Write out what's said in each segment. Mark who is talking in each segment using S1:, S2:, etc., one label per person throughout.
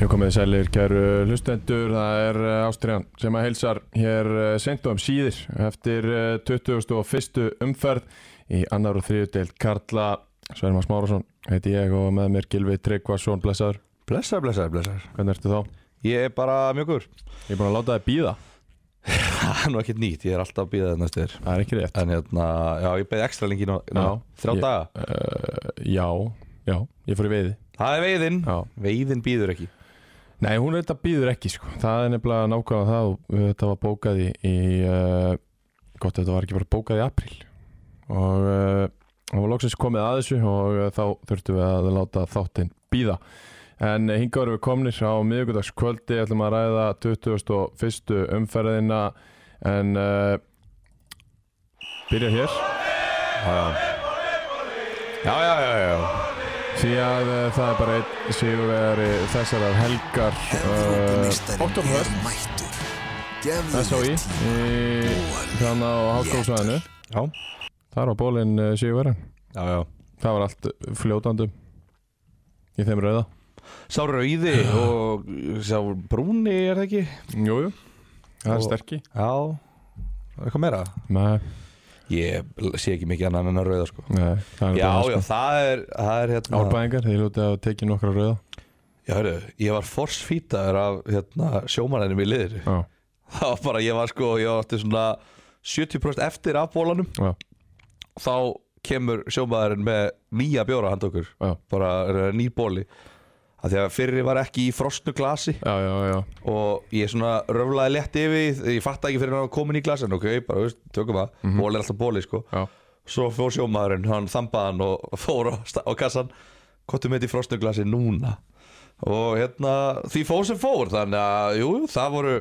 S1: Ég komið sælir, kæru hlustendur, það er eh, Ástriðan sem að heilsar hér sent og um síðir eftir eh, 21. umferð í annar og þriðu deild Karla Sverma Smárasson, heiti ég og með mér Gilvi Tryggvason, blessaður,
S2: Blessar, blessar, blessar
S1: hvernig ertu þá?
S2: Ég er bara mjög góður
S1: Ég er búin að láta þið býða,
S2: Það er nú ekkert nýtt, ég er alltaf að býða þetta eftir
S1: það er ekki rétt
S2: En hérna, já, ég beði ekstra lengi nú, nú
S1: Já.
S2: Þrjá
S1: Ég-
S2: daga
S1: uh, Já, já, ég fór í veiði
S2: Það er veiðin
S1: Já.
S2: Veiðin býður ekki
S1: Nei, hún þetta býður ekki sko, það er nefnilega nákvæmlega það og þetta var bókað í, í uh, gott ef þetta var ekki bara bókað í april og uh, það var loksins komið að þessu og uh, þá þurftum við að láta þáttinn býða en hingaður við komnir á miðvikudagskvöldi ætlum að ræða 21. umferðina en uh, byrja hér
S2: Já, já, já, já
S1: því að uh, það er bara einn sigurvegari þessarar helgar uh, Oktoberfest
S3: mættur Gefðu
S1: SOI í hérna á háskólusvæðinu
S2: Já,
S1: þar var bólinn síðu verðan
S2: já, já
S1: það var allt fljótandi í þeim rauða
S2: Sá rauði og sá brúni er það ekki
S1: jújú, það er
S2: Og-
S1: sterkji
S2: Já Eitthvað meira
S1: nei,
S2: Ég sé ekki mikið annað en að rauða sko
S1: nei, það sko. er
S2: Já,
S1: bara
S2: já, það er, það er hérna
S1: árbæðingar, þeir lútið að tekið nokkra rauða
S2: Já, hörru, ég var forsfýtaður af hérna, sjómanninum í liðir
S1: já,
S2: það var bara, ég var sko, ég átti svona 70% eftir af bólanum
S1: já,
S2: þá kemur sjómaðurinn með nýja bjóra handa okkur
S1: já
S2: bara eh, nýr bóli að því að fyrri var ekki í frosnu glasi
S1: já, já, já,
S2: og ég svona röflaði lett yfir ég fatt ekki fyrir hann var kominn í glasin ok, bara, veist, tökum það, bóli er alltaf bóli sko.
S1: já.
S2: svo fór sjómaðurinn, hann þambaði hann og fór á, sta- á kassan kottum með í frosnu glasi núna og hérna, því fór sem fór þannig að, jú, það voru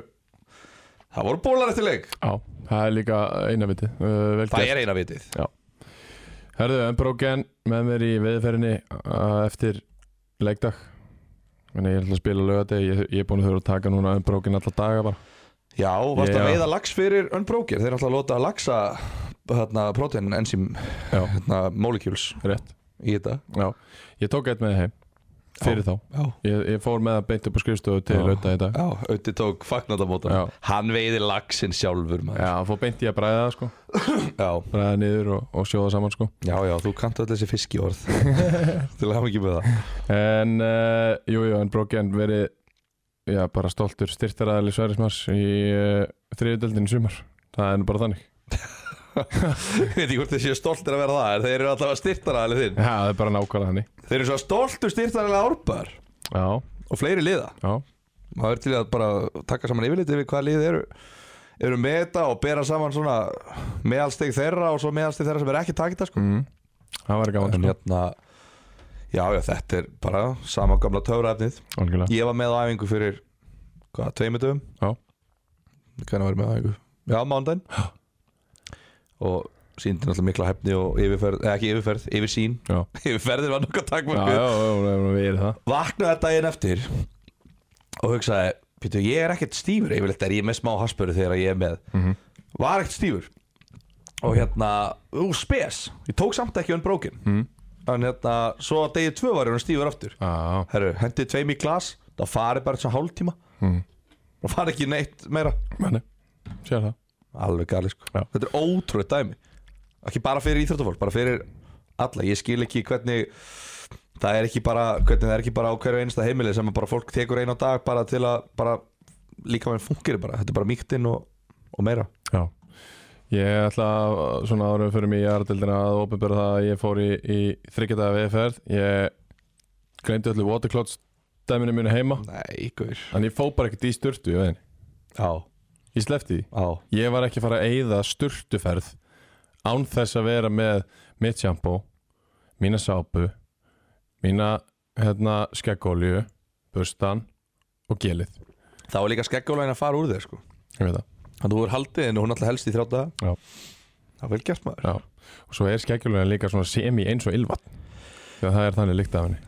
S2: það voru bólar eftir leik
S1: já. það er líka eina viti uh, vel
S2: Það
S1: gert.
S2: er eina vitið
S1: Herðu, Unbroken með mér í veðferðinni eftir leikdag Þannig að ég ætla að spila lögadeg ég, ég er búin að þurfa að taka núna Unbroken alla daga bara
S2: Já, varst
S1: Já.
S2: að veiða lax fyrir Unbroker Þeir ætla að láta laxa hérna, protein, enzym,
S1: Já,
S2: hérna, molecules
S1: rétt
S2: í þetta
S1: Já, ég tók eitt með heim fyrir þá,
S2: Já,
S1: ég, ég fór með það beint upp á skrifstofu til
S2: Já.
S1: auðvitað í dag
S2: já auðvitað tók fagnandamóta
S1: Já.
S2: Hann veiði laxin sjálfur maður.
S1: Já, fór beint í að bræða það sko
S2: Já.
S1: bræða niður og, og sjóða saman sko
S2: já, já, þú kannt öll þessi fiskiorð Til að hafa ekki með það
S1: En, uh, jú, jú, en Broken verið já, bara stoltur styrtaræðali Sverrismars í uh, þriðutöldin í sumar Það er nú bara þannig
S2: Ég veit ekki hvort þessi stoltir að vera það en Þeir eru alltaf styrtaraðalið þinn
S1: Já, það er bara nákvæmlega þannig
S2: Þeir eru svo stoltur styrtaraðalið árbæðar
S1: Já,
S2: Og fleiri liða
S1: já,
S2: maður er til að bara taka saman yfirlit yfir hvaða lið eru eru með þetta og bera saman svona meðalsteg þeirra og svo meðalsteg þeirra sem er ekki takita sko.
S1: mm, það var gaman
S2: en
S1: sko,
S2: hérna já já þetta er bara sama gamla töfraefnið
S1: algjörlega
S2: ég var með á æfingu fyrir hvað, tveimur dögum
S1: Já.
S2: hvernig var ég með á æfingu já, mándaginn og síndi náttúrulega mikla hefni og yfirferð, eða ekki yfirferð, yfirsýn
S1: Já,
S2: yfirferðir var nokkað
S1: já,
S2: takkmörkuð
S1: já, já, já, við erum það
S2: vaknaði daginn eftir og hugsaði Pítur, ég er ekkert stífur yfirleitt er ég með smá haspöru þegar ég er með
S1: Mhm.
S2: var ekkert stífur og hérna, ú, spes ég tók samt ekki unbroken
S1: Mhm.
S2: en hérna, svo að degi tvö var ég orðinn stífur aftur
S1: Já,
S2: herru, hendi tveim í glas það fari bara þess að hálftíma
S1: Mhm.
S2: og fari ekki neitt meira
S1: manni, sér það
S2: alveg gali sko,
S1: Já.
S2: þetta er ótrúið dæmi ekki bara fyrir íþróttafólk, bara fyrir alla, ég skil ekki hvernig það er ekki bara, hvernig það er ekki bara á hverju einasta heimili sem að bara fólk tekur einu á dag bara til að bara líka með fungir bara, þetta er bara mýktinn og, og meira
S1: Já Ég ætla að, svona árum fyrir mig í aðraldildina að opinbera það að ég fór í, í þryggjadaða veðferð Ég glemdi öllu waterclots dæminu mínu heima
S2: Nei, guður
S1: Þannig ég fó bara ekkert í sturtu í veðinni
S2: Já,
S1: Ég sleppti því
S2: já,
S1: Ég var ekki að fara að eyða sturtuferð án þess að vera með mitt sjampó, mína sápu mína hérna skeggolju, bustan og gelið
S2: það var líka skeggjólægin að fara úr þér sko
S1: Ég veit það
S2: Þannig að þú er haldið en hún alltaf helst í þrjá daga
S1: Já.
S2: Það er vel gert maður
S1: Já. og svo er skeggjulina líka svona semi eins og ylvatn því að það er þannig líkt af henni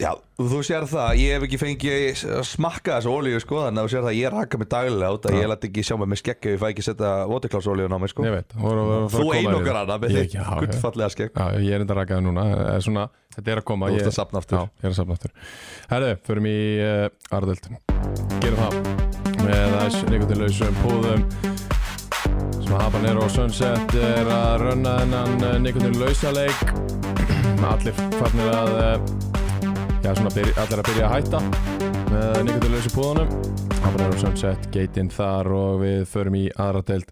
S2: Já, þú sér það, ég hef ekki fengið að smakka þessu ólíu sko Þannig að þú sér það, ég raka mig daglega út að
S1: Já.
S2: ég læt ekki sjá mig með skegg ef ég fæ ekki setja waterclass-ólíun á mig sko
S1: ég veit, og, og, og,
S2: Þú einokar hana með
S1: Ég-
S2: þitt
S1: já, já.
S2: gullfallega skegg
S1: hérna. Já, ég er enda rakaði núna eh, svona, Þetta er að koma
S2: Þú
S1: ég,
S2: ert að safna aftur
S1: Já, ég er að safna Hérna aftur Herðu, förum í uh, Ardöld Gerum það Með þess nikotinlausum púðum Sem hafa nýra á Sunset Er að runna þennan eh, nikotinlausa leik Allir farnir að uh, Já, svona byrja, allir að byrja að hætta Með nikotinlausu púðunum Hafa nýra á Sunset, geitinn þar Og við förum í aðradöld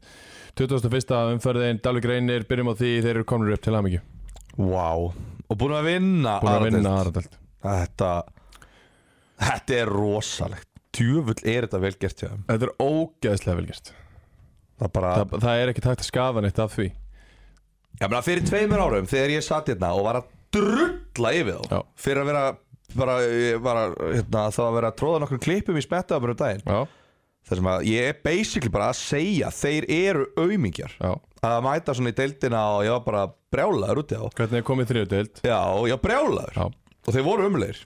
S1: 21. umferðin, Dalvik Reynir Byrjum á því, þeir eru komnir upp til hamingju
S2: Vá, og búin að vinna
S1: Búin að
S2: aðra
S1: vinna
S2: deild.
S1: aðradöld
S2: Þetta, þetta er rosalegt Djöfull er þetta vel gert hjá þeim
S1: Þetta er ógeðslega velgjast
S2: Það bara,
S1: Þa, Það er ekki takt að skafa neitt af því
S2: ég meina fyrir tveimur árum þegar ég satt hérna og var að drulla yfir þá
S1: Já.
S2: Fyrir að vera, bara, ég var að, hérna, það var að vera að tróða nokkrum klippum í smettaðum um daginn
S1: Já,
S2: Þar sem að ég er basically bara að segja, þeir eru aumingjar
S1: já
S2: Að mæta svona í deildina og ég var bara brjálaður út í þá
S1: Hvernig er komið þriðudeld
S2: Já, og ég var brjálaður
S1: Já,
S2: Og þeir voru umleir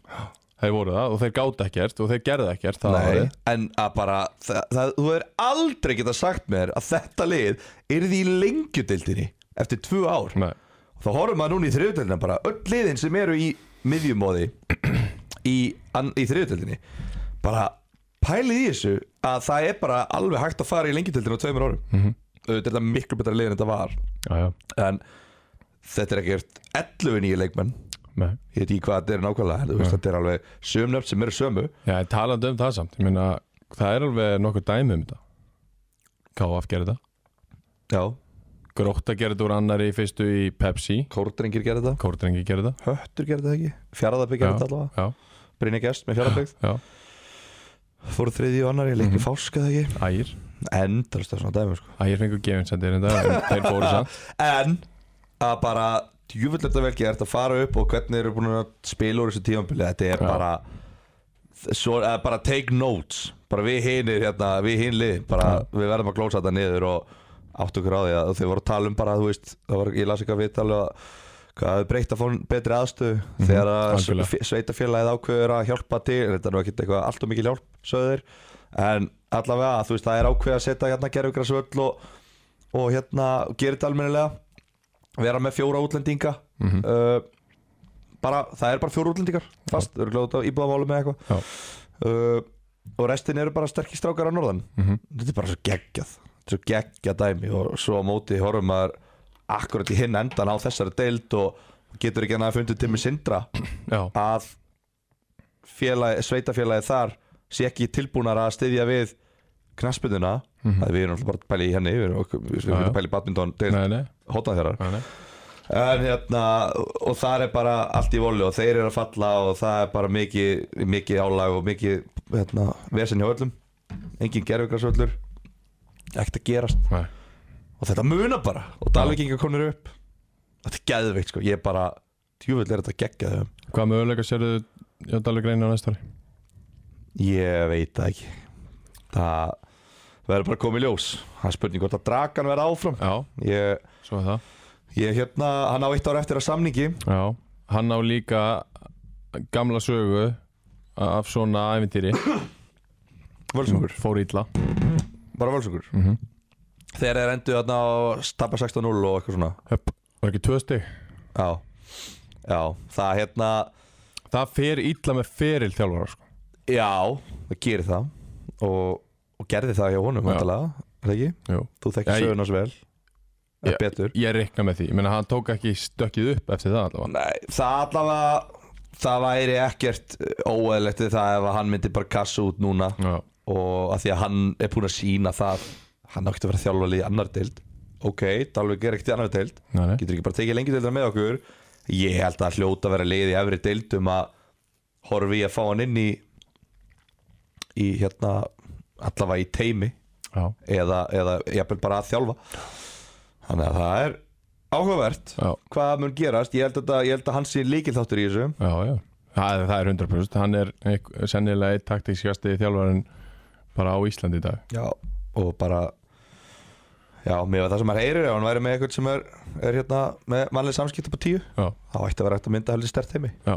S1: þeir voru það og þeir gáta ekkert og þeir gerðu ekkert það
S2: Nei,
S1: árið.
S2: en að bara það, það, þú er aldrei geta sagt mér að þetta lið er því í lengjudeildinni eftir tvö ár
S1: Nei.
S2: þá horfum maður núna í þriðudeldina bara öll liðin sem eru í miðjumóði í, ann- í þriðudeldinni bara pælið í þessu að það er bara alveg hægt að fara í lengjudeildinu á tveimur árum mm -hmm. þetta er miklu betra lið en þetta var
S1: Já, já,
S2: en þetta er ekkert 11 nýju leikmenn
S1: nei
S2: ég veit ekki hvað þetta er nákvæmlega en þú veist þetta er alveg sömnöfn sem eru sömu
S1: Já, en talandi um það samt, ég meina Það er alveg nokkuð dæmi um þetta KF gerði það
S2: já,
S1: Grótta gerði þetta úr annari í fyrstu í Pepsi
S2: kórdrengir gerði þetta
S1: Kórdrengi gerði það
S2: Höttur gerði það ekki, Fjarðabæk gerði
S1: Já.
S2: þetta allavega
S1: Já,
S2: Brynja Gest með Fjarðabæk,
S1: já,
S2: fóru þriði og annar ég leikir mm -hmm. fáska það ekki,
S1: ægir
S2: endalst það svona dæmi sko.
S1: Ægir fengur gefinsendir hérna en það Þeir fóru samt
S2: en að bara djúvill þetta vel gert að fara upp og hvernig þeir eru búin að spila úr þessu tímanbili þetta er
S1: Já.
S2: bara svo, að bara take notes bara við hinir hérna, við hinlið bara við verðum að glósa þetta niður og átt okkur á því að þau voru að tala um bara þú veist, það var, ég las eitthvað viðtal að hvað hafði breytt að fá betri aðstöðu þegar að
S1: algjörlega.
S2: fe- sveitafélagið ákveður að hjálpa til þetta er nú ekkert eitthvað allt og mikil hjálp sögður en allavega þú veist það er ákveð að setja hérna gerðugræsvöll og, og hérna gera þetta almennilega vera með fjóra útlendinga uh, bara, það er bara fjóra útlendingar fast, þau eru glóðið á íbúðamálu með eitthvað
S1: Já,
S2: uh, og restin eru bara sterkir strákar á norðan
S1: Mhm.
S2: þetta er bara svo geggjað þetta er svo geggjað dæmi og svo á móti horfum maður akkurat í hinn endan á þessari deild og getur ekki hann að fundið Timmi Sindra
S1: já,
S2: að félagi, sveitafélagi þar sé ekki tilbúnar að styðja við knaspunduna mm -hmm. við erum alltaf bara að pæla í henni við erum ok- við
S1: Mhm. Já,
S2: erum ekki
S1: já.
S2: að pæla í badminton deild
S1: nei, nei,
S2: hótað þeirra
S1: nei, nei.
S2: en hérna og þar er bara allt í voli og þeir eru að falla og það er bara mikið mikið álag og mikið hérna, vesen hjá öllum engin gerfugrarsvöllur ekkert að gerast
S1: nei.
S2: og þetta muna bara og Dalvíkinga konur upp þetta er geðveikt sko, ég er bara djúvill er þetta geggjað þeim
S1: Hvað möguleika sérðu Já, Dalvik Reynir á næsta ári?
S2: ég veit það ekki það verður bara komið ljós það er spurning hvort að dragan verður áfram
S1: Já,
S2: ég,
S1: svo er það
S2: ég hérna, hann á eitt ára eftir að samningi
S1: Já, hann á líka gamla sögu a- af svona ævintýri
S2: völsungur,
S1: fór illa
S2: bara völsungur
S1: mm -hmm.
S2: Þegar þeir endur þarna á tappa 16-0 og eitthvað svona
S1: var ekki tvö stig
S2: Já, já það hérna
S1: það fer illa með feril þjálfara sko.
S2: Já, það gerir það og, og gerði það hjá honum
S1: Já.
S2: vandalega, er það ekki?
S1: Jú.
S2: Þú
S1: Já,
S2: þekkir
S1: ég-
S2: söguna svo vel
S1: Já.
S2: yeah. Betur
S1: ég reikna með því, ég meina hann tók ekki stökkið upp eftir það allavega
S2: Nei, það allavega það væri ekkert óeðlegt við það ef að hann myndi bara kassa út núna
S1: Já,
S2: og að því að hann er búin að sína það hann átti að vera þjálfalið í annar deild Ok, Dalvik er ekkert í annar deild
S1: nei, nei.
S2: getur ekki bara tekið lengi deildina með okkur ég held að hljóta að vera leið í efri deildum að horfi í að fá hann inn í í hérna allavega í teimi
S1: Já.
S2: eða, eða jafnvel bara að þjálfa þannig að það er áhugavert
S1: Já.
S2: hvað mun gerast, ég held að, þetta- ég held að hann sé líkilþáttur í þessu
S1: Já, já. Það, er- það er 100% hann er eik- sennilega eitt taktíkskjasti þjálfarin bara á Íslandi í dag
S2: Já. og bara Já, mér var það sem maður heyrir ef hann væri með eitthvað sem er, er hérna með mannlega samskipt upp á tíu
S1: Já.
S2: þá ætti að vera hægt að mynda heldur stert heimi
S1: Já.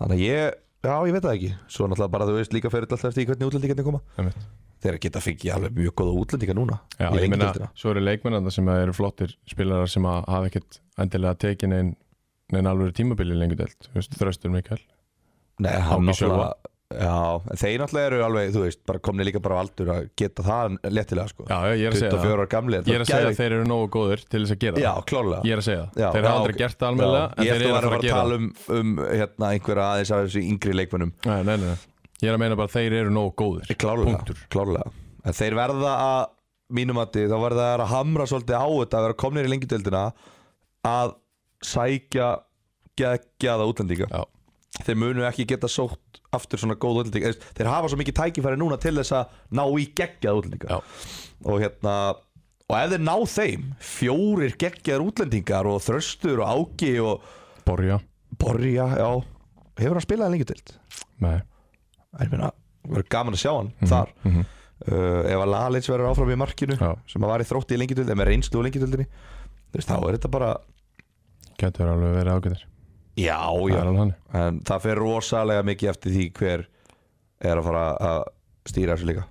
S2: Þannig að ég, já ég veit það ekki Svo náttúrulega bara þú veist líka fyrir alltaf eftir í hvernig útlendingarnir koma
S1: einmitt.
S2: Þeir geta fengið alveg mjög góða útlendingar núna
S1: Já,
S2: í
S1: ég meina,
S2: Englandsdeildina.
S1: svo eru leikmennarna sem eru flottir spilarar sem að hafa ekkert endilega tekin einn neinn alveg tímabili lengur delt, þröstur Mikael
S2: Nei, hann
S1: Áki
S2: náttúrulega Já, en þeir náttúrulega eru alveg, þú veist, bara komni líka bara á aldur að geta það léttilega sko
S1: Já, já, ég er að segja
S2: 24
S1: það
S2: ára gamli
S1: Ég er að segja að þeir eru nógu góður til þess að gera
S2: Já,
S1: það
S2: klárlega
S1: Ég er að segja það,
S2: Já,
S1: þeir
S2: já,
S1: hafa aldrei
S2: ok.
S1: gert það almennilega
S2: Já,
S1: en
S2: Ég
S1: þeir
S2: ætti
S1: eru
S2: að
S1: að
S2: vera
S1: fara að
S2: bara að
S1: gera það
S2: tala um, um hérna, einhverja aðeins af þessu yngri leikmönnum
S1: Nei, nei, nei, nei. ég er að meina bara að þeir eru nógu góðir
S2: Klárlega,
S1: Punktur.
S2: klárlega En þeir verða að, mínum að þá verða þeir að hamra svolítið á þetta að vera komnir í lengjudeldina að sækja geggjaða útlendinga
S1: Já.
S2: Þeir munu ekki geta sótt aftur svona góð útlendinga Þeir- Þeir hafa svo mikið tækifæri núna til þess að ná í geggjaða útlendinga
S1: Já.
S2: Og hérna Og ef þeir ná þeim, fjórir geggjaðar útlendingar og þröstur og ági og
S1: Borja,
S2: borja, já Hefur hann spilað lengjudeld?
S1: nei,
S2: ég meina, verður gaman að sjá hann
S1: Mhm,
S2: þar uh, ef að Lalins verður áfram í markinu
S1: Já.
S2: sem að var í þrótti í lengjudöld eða með reynslu á lengjudöldinni þá er þetta bara,
S1: getur alveg verið ágætir
S2: já,
S1: Það
S2: já
S1: er alveg hann
S2: en það fer rosalega mikið eftir því hver er að fara að stýra þessu líka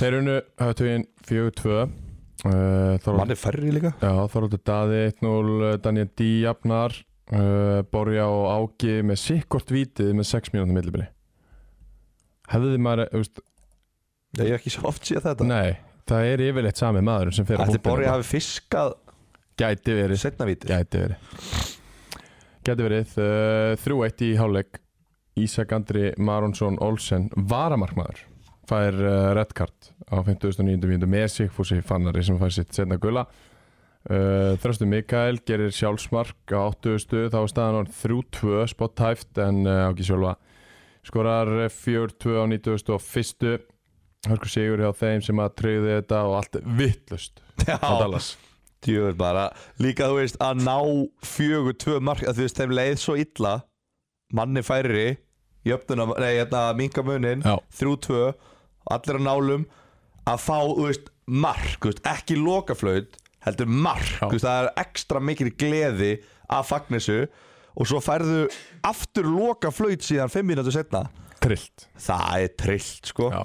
S1: Þeir unnu höfðtögin 4-2 uh, Þorvald
S2: mann er færri líka
S1: Já, Þorvaldur Daði 1-0, Daniel D. Jafnar uh, Borja og Áki með sikkort vítið með 6 mínútur millibili Hefði maður, eh, þú veist,
S2: ég hef ekki svo oft séð þetta
S1: nei Það er yfirleitt sami maður sem fyrir
S2: Ætli Borja hafi fiskað
S1: Gæti verið,
S2: setna viti
S1: gæti verið Gæti verið uh, 3-1 í hálfleik Ísak Andri Maronsson Olsen varamarkmaður fær uh, red card á 59. mínútu með Sigfúsi Fannari sem fær sitt setna gula uh, Þröstu Mikael gerir sjálfsmark á 80. þá er staðan orð 3-2 spott tæft en uh, ákveð sjálfa skorar eh, 4-2 á 90. og fyrstu Hörkur Sigur hjá þeim sem að treyði þetta og allt vittlust á Dallas
S2: Djöfur bara, líka þú veist að ná fjögur, tvö mark að þú veist þeim leið svo illa manni færri jöfnuna, nei, hérna, minga munin
S1: Já.
S2: þrjú, tvö, allir að nálum að fá, þú veist, mark þú veist, ekki lokaflaut, heldur mark,
S1: Já.
S2: þú veist, það er ekstra mikil gleði að fagnissu og svo færðu aftur lokaflaut síðan fimm mínútur setna
S1: trillt
S2: það er trillt, sko
S1: Já.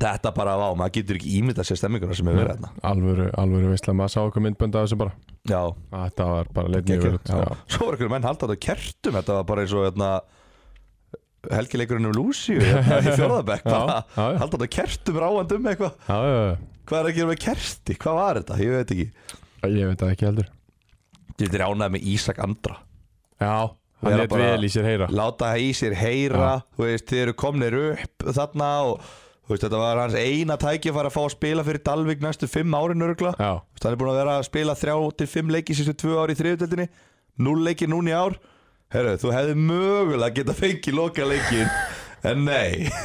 S2: þetta bara, vá, maður getur ekki ímynda sér stemminguna sem hefur verið hérna
S1: alvöru, alvöru veistlega maður sá okkur myndbönda þessu bara
S2: Já,
S1: Að þetta var bara leit mjög
S2: Gekk,
S1: vel út
S2: já.
S1: Já.
S2: Svo var einhverjum menn haldað á kertum Þetta var bara eins og hérna, helgileikurinn um Lúsíu hérna, í fjörðabæk
S1: Já, já, já.
S2: haldað á kertum ráand um eitthvað
S1: Já, já, já.
S2: Hvað er að gera með kerti? Hvað var þetta? Ég veit ekki
S1: ég veit það ekki heldur
S2: Ég veit ránaði með Ísak Andra
S1: já, hann
S2: Vera
S1: lét
S2: bara-
S1: vel í sér heyra
S2: Láta það í sér heyra Þú veist, Þið eru komnir upp þarna og þú veist, Þetta var hans eina tæki að fara að fá að spila fyrir Dalvik næstu fimm árin örgla
S1: já,
S2: Þú veist, Hann er búin að vera að spila þrjá til fimm leiki sístu tvö ár í þriðutöldinni Núl leiki núna í ár Herru, þú hefði mögulega geta fengið loka leikin En nei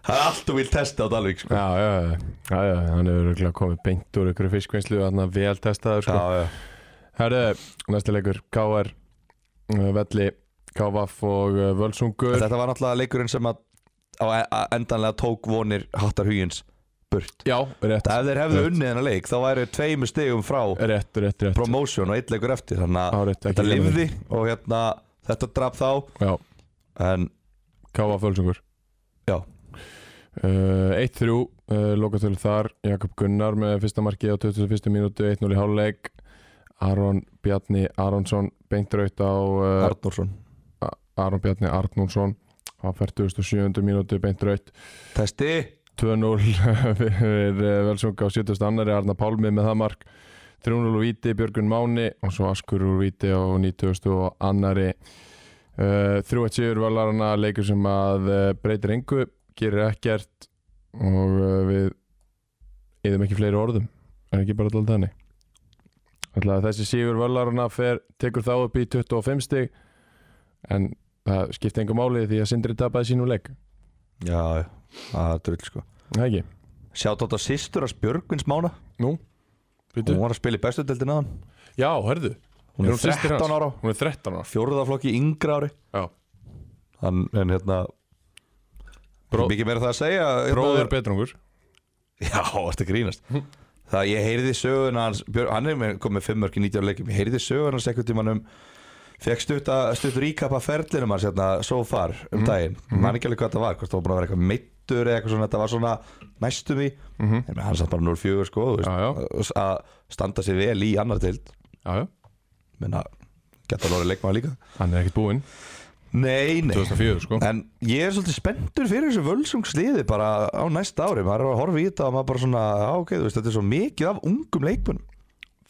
S2: Það er allt og vil testa á Dalvik sko.
S1: já, já, já, já, já. hann hefur örugglega komið beint úr ykkur fiskvinnslu hann er vel testaður sko.
S2: já,
S1: herru, næsti leikur K.R. uh, Velli K.V.A.F. og uh, Völsungur
S2: Þetta var náttúrulega leikurinn sem að, á, að endanlega tók vonir Hattar Huyins burt
S1: já, rétt,
S2: Ef þeir hefðu
S1: Rétt.
S2: unnið hennar leik þá væri tveimur stegum frá
S1: rétt, rétt, rétt
S2: promotion og eitt leikur eftir Þannig
S1: Á,
S2: að
S1: rétt,
S2: þetta
S1: ekki glemma
S2: lifði og hérna, þetta draf þá
S1: já,
S2: En
S1: K.V.A.F. Völsungur
S2: Já.
S1: Uh, 1-3, uh, lokatölu þar Jakob Gunnar með fyrsta markið á 21. mínútu 1-0 í háluleik Aron Bjarni Aronsson beintraut á uh,
S2: Arnórsson
S1: Aron Bjarni Arnúnsson á 47. mínútu beintraut
S2: Testi
S1: 2-0 fyrir uh, Velsung á 72. Arna Pálmi með það mark 3-0 úr Víti, Björgun Máni og svo Askur úr Víti á 90. og annari uh, 3-1 sigur valarana leikur sem að uh, breytir engu, gerir ekkert og uh, við eðum ekki fleiri orðum er ekki bara alltaf þannig Ætla að þessi sigur valarana fer, tekur þá upp í 25 stig en það skipti engum máli því að Sindri tapaði sínum leik
S2: Já, já, það er drull sko
S1: Það ekki?
S2: Sjátt átt á sýstur að Spjörgvins mána
S1: Nú? Býtu?
S2: Hún var að spila í bestudeldin aðan
S1: Já, hörðu
S2: Hún
S1: Er
S2: er
S1: systir hans?
S2: 13 ára
S1: Hún er 13 ára
S2: Fjórðaflokki yngra ári
S1: Já.
S2: Hann, En hérna
S1: Bró-
S2: Mikið meira það að segja hérna,
S1: Bróður betrungur
S2: Já, þetta grínast það ég heyrði söguna hans Björn, hann er með, kom með fimm mörk í 19 leikjum ég heyrði söguna hans einhvern tímann um fekk stutt, stutt ríkap af ferlinum hans hérna, so far um
S1: Mhm,
S2: daginn mm -hmm. ekki alveg hvað það var, hvort það var búin að vera eitthvað meittur eða eitthvað svona, þetta var svona næstum í mm -hmm. hann satt bara 0-4 sko þú veist,
S1: Mhm. Já, já.
S2: og- að standa sig vel í annar tild
S1: já, já,
S2: menna, geta alveg orðið leikmaður líka
S1: hann er ekkert búinn
S2: nei, nei
S1: 2004 sko
S2: En ég er svolítið spenntur fyrir þessu völsungsliði bara á næsta ári, maður er að horfa í þetta og maður bara svona, á, ok, þú veist, þetta er svo mikið af ungum leikmunum.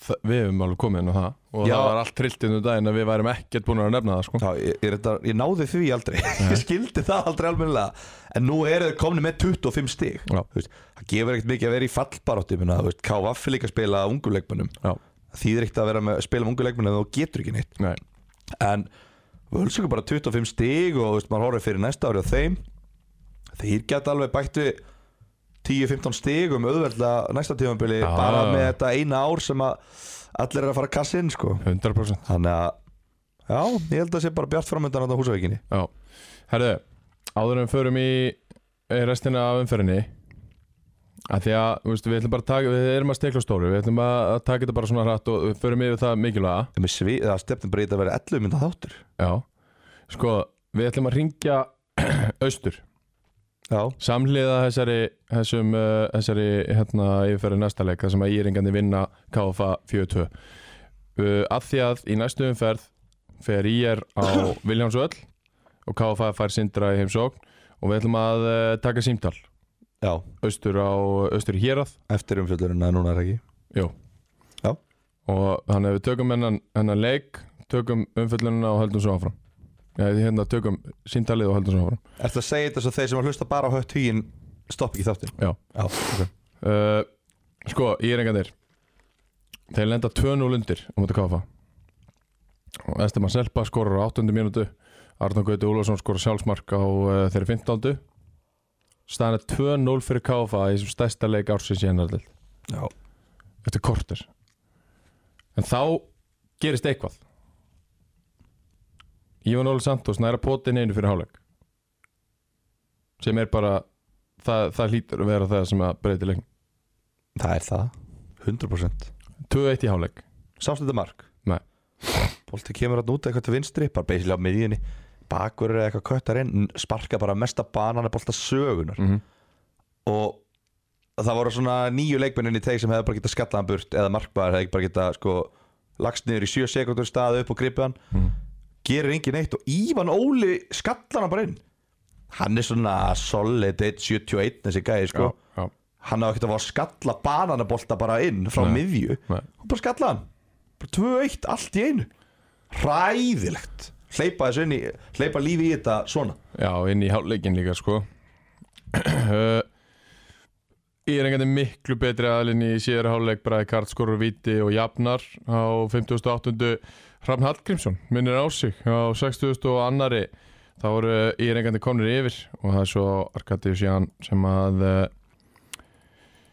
S1: Þa- Við hefum alveg komið inn á það og
S2: Já.
S1: það var allt trillt inn um daginn að við værum ekkert búin að nefna það sko
S2: Já, ég, ég, þetta, ég náði því aldrei, ég skildi það aldrei almennilega, en nú eru þeir komni með 25 stig.
S1: Já.
S2: Þú Veist, það gefur ekkert mikið að vera í fallbarótti, minna, þú veist, KVF er líka að spila af ungum leikmunum,
S1: Já,
S2: þýðir ekkert að vera með að spila um ungum leikmunum og getur ekki neitt.
S1: nei,
S2: En völsungur bara 25 stig og þú veist, maður horfir fyrir næsta ári á þeim þeir geta alveg bætt við 10-15 stigum um auðveldlega næsta tímanbili
S1: Já.
S2: bara með þetta eina ár sem að allir er að fara að kassa inn sko
S1: 100%
S2: þannig að já, ég held að sé bara bjart framöndan á húsavíkinni
S1: Já, herðu, áður en við förum í eh, restina af umferðinni að því að, þú veist, við ætlum bara að taka við erum að stekla á stóru, við ætlum að að taka þetta bara svona hratt og við förum yfir það mikilvæga
S2: En með svi- það stefnum breyta að vera 11 mynda þáttur
S1: Já, sko, við ætlum að ringja austur
S2: já,
S1: samhliða þessari, þessum, uh, þessari hérna, yfirferði næsta leik þar sem að íringandi vinna KFA 42 uh, að því að í næstu umferð fer IR á Viljámsvöll og KFA fær sindra í heimsókn og við ætlum að uh, taka símtal
S2: já,
S1: austur á austur í hérað
S2: eftir umfjöldurinn að núna er ekki
S1: Jó.
S2: Já.
S1: og þannig að við tökum hennan, hennan leik tökum umfyllununa og höldum svo áfram Já, hérna tökum síntalið og höldum svo áfram
S2: Ertu að segja þetta svo þeir sem að hlusta bara á hött hugin stopp ekki þáttin
S1: Já.
S2: já, ok
S1: Uh, sko, írengarnir Þeir lenda 2-0 undir á móti KFA og Esteban Selpa skorur á 8. mínútu Arnón Gauti Úlfarsson skorur sjálfsmark á uh, þeirri 15. staðan er 2-0 fyrir KFA í þessum stærsta leik ársins í hennar
S2: já,
S1: eftir korter en þá gerist eitthvað Ívan Óli Santos næra potin einu fyrir hálfleik sem er bara það, það hlýtur að vera það sem að breyti leikn
S2: það er það 100%
S1: 2-1 í hálfleik
S2: Sástu þetta mark?
S1: Nei.
S2: Bólti kemur hann út eitthvað til vinstri bara beislega á miðjunni bakverður eða eitthvað köttar inn n- sparka bara mesta banana bólta sögunar
S1: mm -hmm.
S2: og það voru svona nýju leikmennin í teg sem hefði bara getað skallað hann burt eða markmaður hefði bara getað sko lagst niður í sjö sekundur staði upp og gripið hann
S1: Mhm.
S2: gerir engin eitt og Ívan Óli skallar hann bara inn hann er svona solid 1.71 þessi gæði sko
S1: já, já.
S2: hann hafði ekkert að fá að skalla bananabolta bara inn frá
S1: Nei.
S2: miðju
S1: Nei.
S2: og bara skalla hann bara 2-1 allt í einu ræðilegt hleypa þessu inn í hleypa lífi í þetta svona
S1: já, inn í hálfleikin líka sko uh, Írengarnir miklu betri aðlinn í síðara hálfleik bræði Karl skorur viti og jafnar á 58. Hrafn Hallgrímsson minnir á sig á 60. og annari þá voru írengarnir komnir yfir og það er svo Arkadius Ján sem að uh,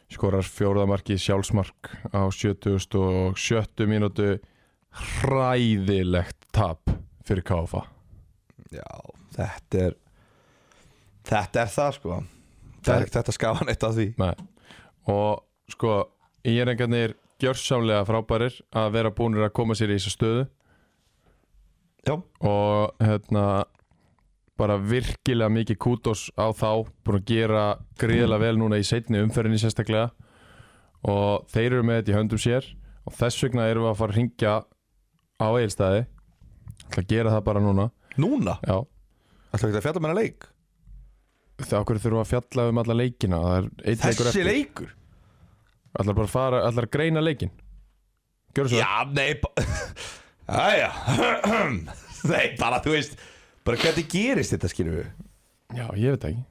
S1: skorar fjórðamarki sjálfsmark á 70. og 70. mínútu hræðilegt tap fyrir KFA
S2: já, þetta er þetta er það sko það er ekkert þetta skafan eitt af því
S1: Nei. og sko ég er einhvern veginn gjörsamlega frábærir að vera búinir að koma sér í þessa stöðu
S2: já,
S1: og hérna bara virkilega mikið kútos á þá búin að gera gríðilega vel núna í seinni umferðinni sérstaklega og þeir eru með þetta í höndum sér og þess vegna erum við að fara að ringja á eigilstæði ætla að gera það bara núna
S2: núna
S1: já,
S2: ætlum við að fjalla með hennar leik
S1: það okkur þurfum við að fjalla um alla leikina það er einn leikur
S2: þessi
S1: eftir
S2: leikur
S1: ætla bara að fara, ætla að greina leikin gjör svo
S2: já, nei aðja nei, bara þú veist bara hvernig gerist þetta skilum við
S1: já, ég veit það ekki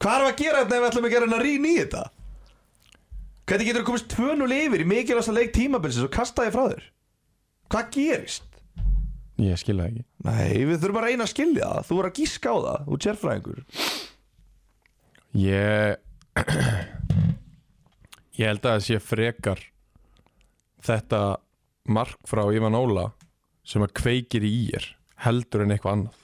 S2: Hvað erum við að gera þetta ef við ætlum að gera hennar rín í þetta? Hvernig getur þú komist 2-0 yfir í mikilvægsta leik tímabilsins og kasta þig frá þér? Hvað gerist?
S1: Ég skil það ekki
S2: Nei, við þurfum að reyna að skilja það. Þú voru að gíska á það. Þú tjærfræðingur.
S1: Ég Ég held að það sé frekar þetta mark frá Ivan Óla sem að kveikir í ég heldur en eitthvað annað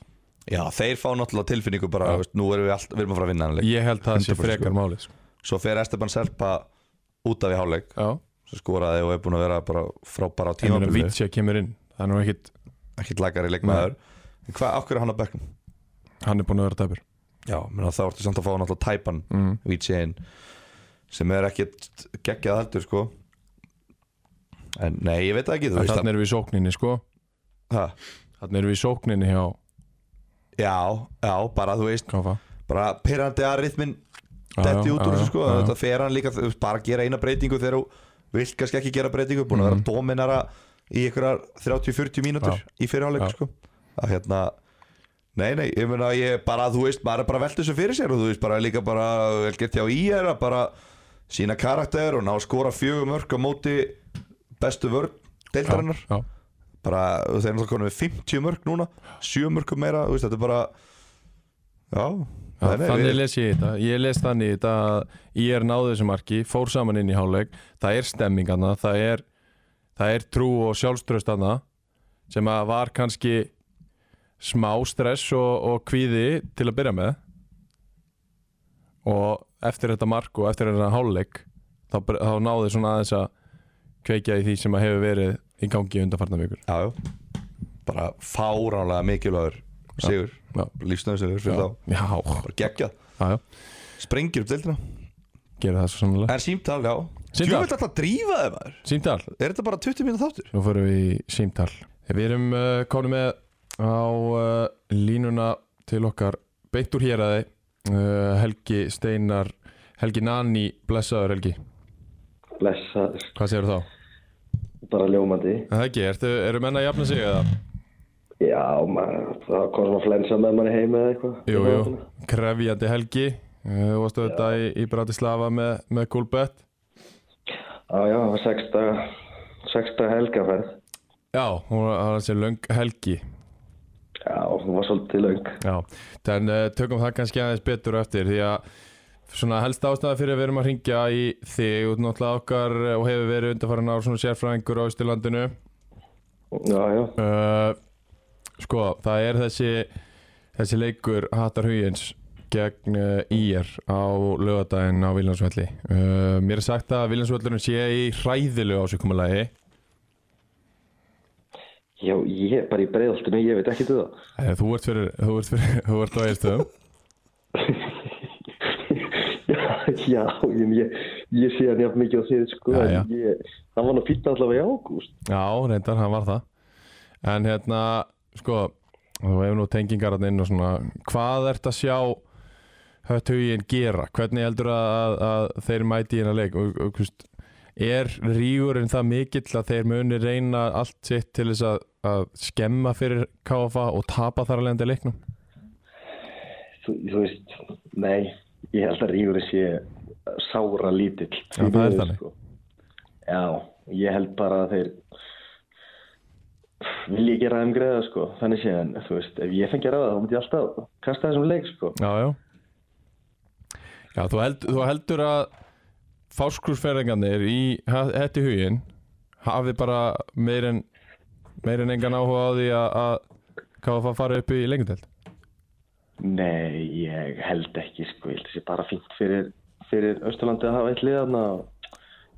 S2: Já, þeir fá náttúrulega tilfinningu bara, veist, nú erum við, all, við erum að fara að vinna hann leik.
S1: Ég held að það sé
S2: 100%
S1: frekar málið sko.
S2: Svo fer Esteban Selpa út af í hálfleik
S1: já,
S2: sem skoraði og er búin að vera bara frábara á
S1: tíma
S2: tímabili
S1: Vítja kemur inn, það er nú ekkit
S2: ekki lagari leikmaður en hvað, af hverju er hann á bekknum?
S1: hann er búin að vera dæpur
S2: Já, menn þá ertu samt að fá náttúrulega tæpan
S1: mm.
S2: Vítsein sem er ekkit geggjað heldur sko en nei, ég veit það ekki þú
S1: en
S2: veist
S1: þannig erum við í sókninni sko
S2: það
S1: þannig erum við í sókninni hjá
S2: Já, já, bara þú veist
S1: Káfa
S2: bara pyrrandi að rytmin detti út úr þessu sko þetta fer hann líka, þú veist, bara að gera eina breytingu þegar þú vilt kannski ekki gera breytingu búin að vera dominara í einhverjar 30-40 mínútur
S1: Mhm. Já.
S2: í fyrirháleik
S1: Já.
S2: sko að hérna Nei, nei, ég meina ég bara, þú veist, maður er bara velt þessu fyrir sér og þú veist, bara líka bara vel gert hjá í er að bara sína karakter og ná að skora fjögum örk á móti bestu vörn deildarinnar
S1: já,
S2: bara, og þeir eru náttúrulega konum við 50 mörg núna 7 mörgum meira, þú veist, þetta er bara já,
S1: já,
S2: nei, nei,
S1: þannig
S2: við-
S1: les ég þetta ég les þannig þetta að ég er náðu þessu marki fór saman inn í háleik það er stemming hana, það er það er trú og sjálfströst hana sem að var kannski smá stress og, og kvíði til að byrja með og eftir þetta mark og eftir þetta háleik þá, bre- þá náðu svona aðeins að kveikja í því sem að hefur verið í gangi undanfarnar vikur
S2: já, já, bara fáránlega mikilvægur sigur,
S1: já.
S2: lífsnöðsigur fyrir
S1: já,
S2: þá,
S1: já,
S2: bara geggjað
S1: já, já,
S2: sprengir upp deildina,
S1: gera það svo sannlega
S2: en símtal, já
S1: Símtal.
S2: Djúvill alltaf að drífa þeim maður,
S1: Símtal,
S2: er þetta bara 20 mínútur þáttur?
S1: nú fórum við í símtal Við erum uh, komin með á uh, línuna til okkar beint úr héræði uh, Helgi Steinar Helgi Nani, blessaður Helgi
S4: Blessaður,
S1: Hvað segir þá?
S4: bara ljómandi.
S1: Það ekki, ertu, eru menna að jafna sig eða?
S4: Já, maður, það kom svona flensa með manni heim eða eitthvað.
S1: Jú, jú, krefjandi Helgi uh, Þú varstu þetta í, í Bratislava með, með Gulbett
S4: Já, já, það var sex daga, sex daga helgaferð.
S1: Já, hún var hann sem löng Helgi
S4: Já, hún var svolítið löng.
S1: Já, en uh, tökum það kannski aðeins betur á eftir því að svona helst ástæða fyrir að við erum að ringja í þig út náttúrulega okkar eh, og hefur verið undarfæran ár svona sérfræðingur á Íslandinu
S4: Já, já,
S1: uh, Sko, það er þessi þessi leikur Hattar Huyens gegn uh, IR á lögadaginn á Viljansvelli uh, Mér er sagt að Viljansvellurinn sé í hræðilu ásökumulagi
S4: já, ég, bara í breiðoltinu, ég veit ekki til það.
S1: Eh, Þú ert fyrir, þú ert fyrir, þú ert á Íslandum
S4: já, já, ég, ég, ég sé hann jafn mikið á þið, sko.
S1: Já,
S4: en
S1: já.
S4: Ég, hann var nú fýtt allavega í ágúst.
S1: Já, reyndar, hann var það En hérna, sko þú hefur nú tengingar hann inn og svona hvað ert að sjá höttugin gera, hvernig heldur að, að, að þeir mæti í hérna leik og, og hvist, er rígurinn það mikill að þeir muni reyna allt sitt til þess að, að skemma fyrir KFA og tapa þar að leiðandi leiknum
S4: Þú, þú veist, nei, ég held að rífurinn sé sára lítill.
S1: Já, það er þannig.
S4: Sko. Já, ég held bara að þeir vil ég gera þeim greiða sko, þannig sé en þú veist, ef ég fengi að ráða þá myndi ég alltaf kasta þessum leik sko.
S1: Já, já Já, þú, held, þú heldur að fáskursferðingarnir í hætti hugin hafi bara meir en meir en engan áhuga á því að, að KFA fara upp í lengundeld
S4: Nei, ég held ekki sko, ég held að sé bara fínt fyrir, fyrir Östurlandi að hafa eitt liðan og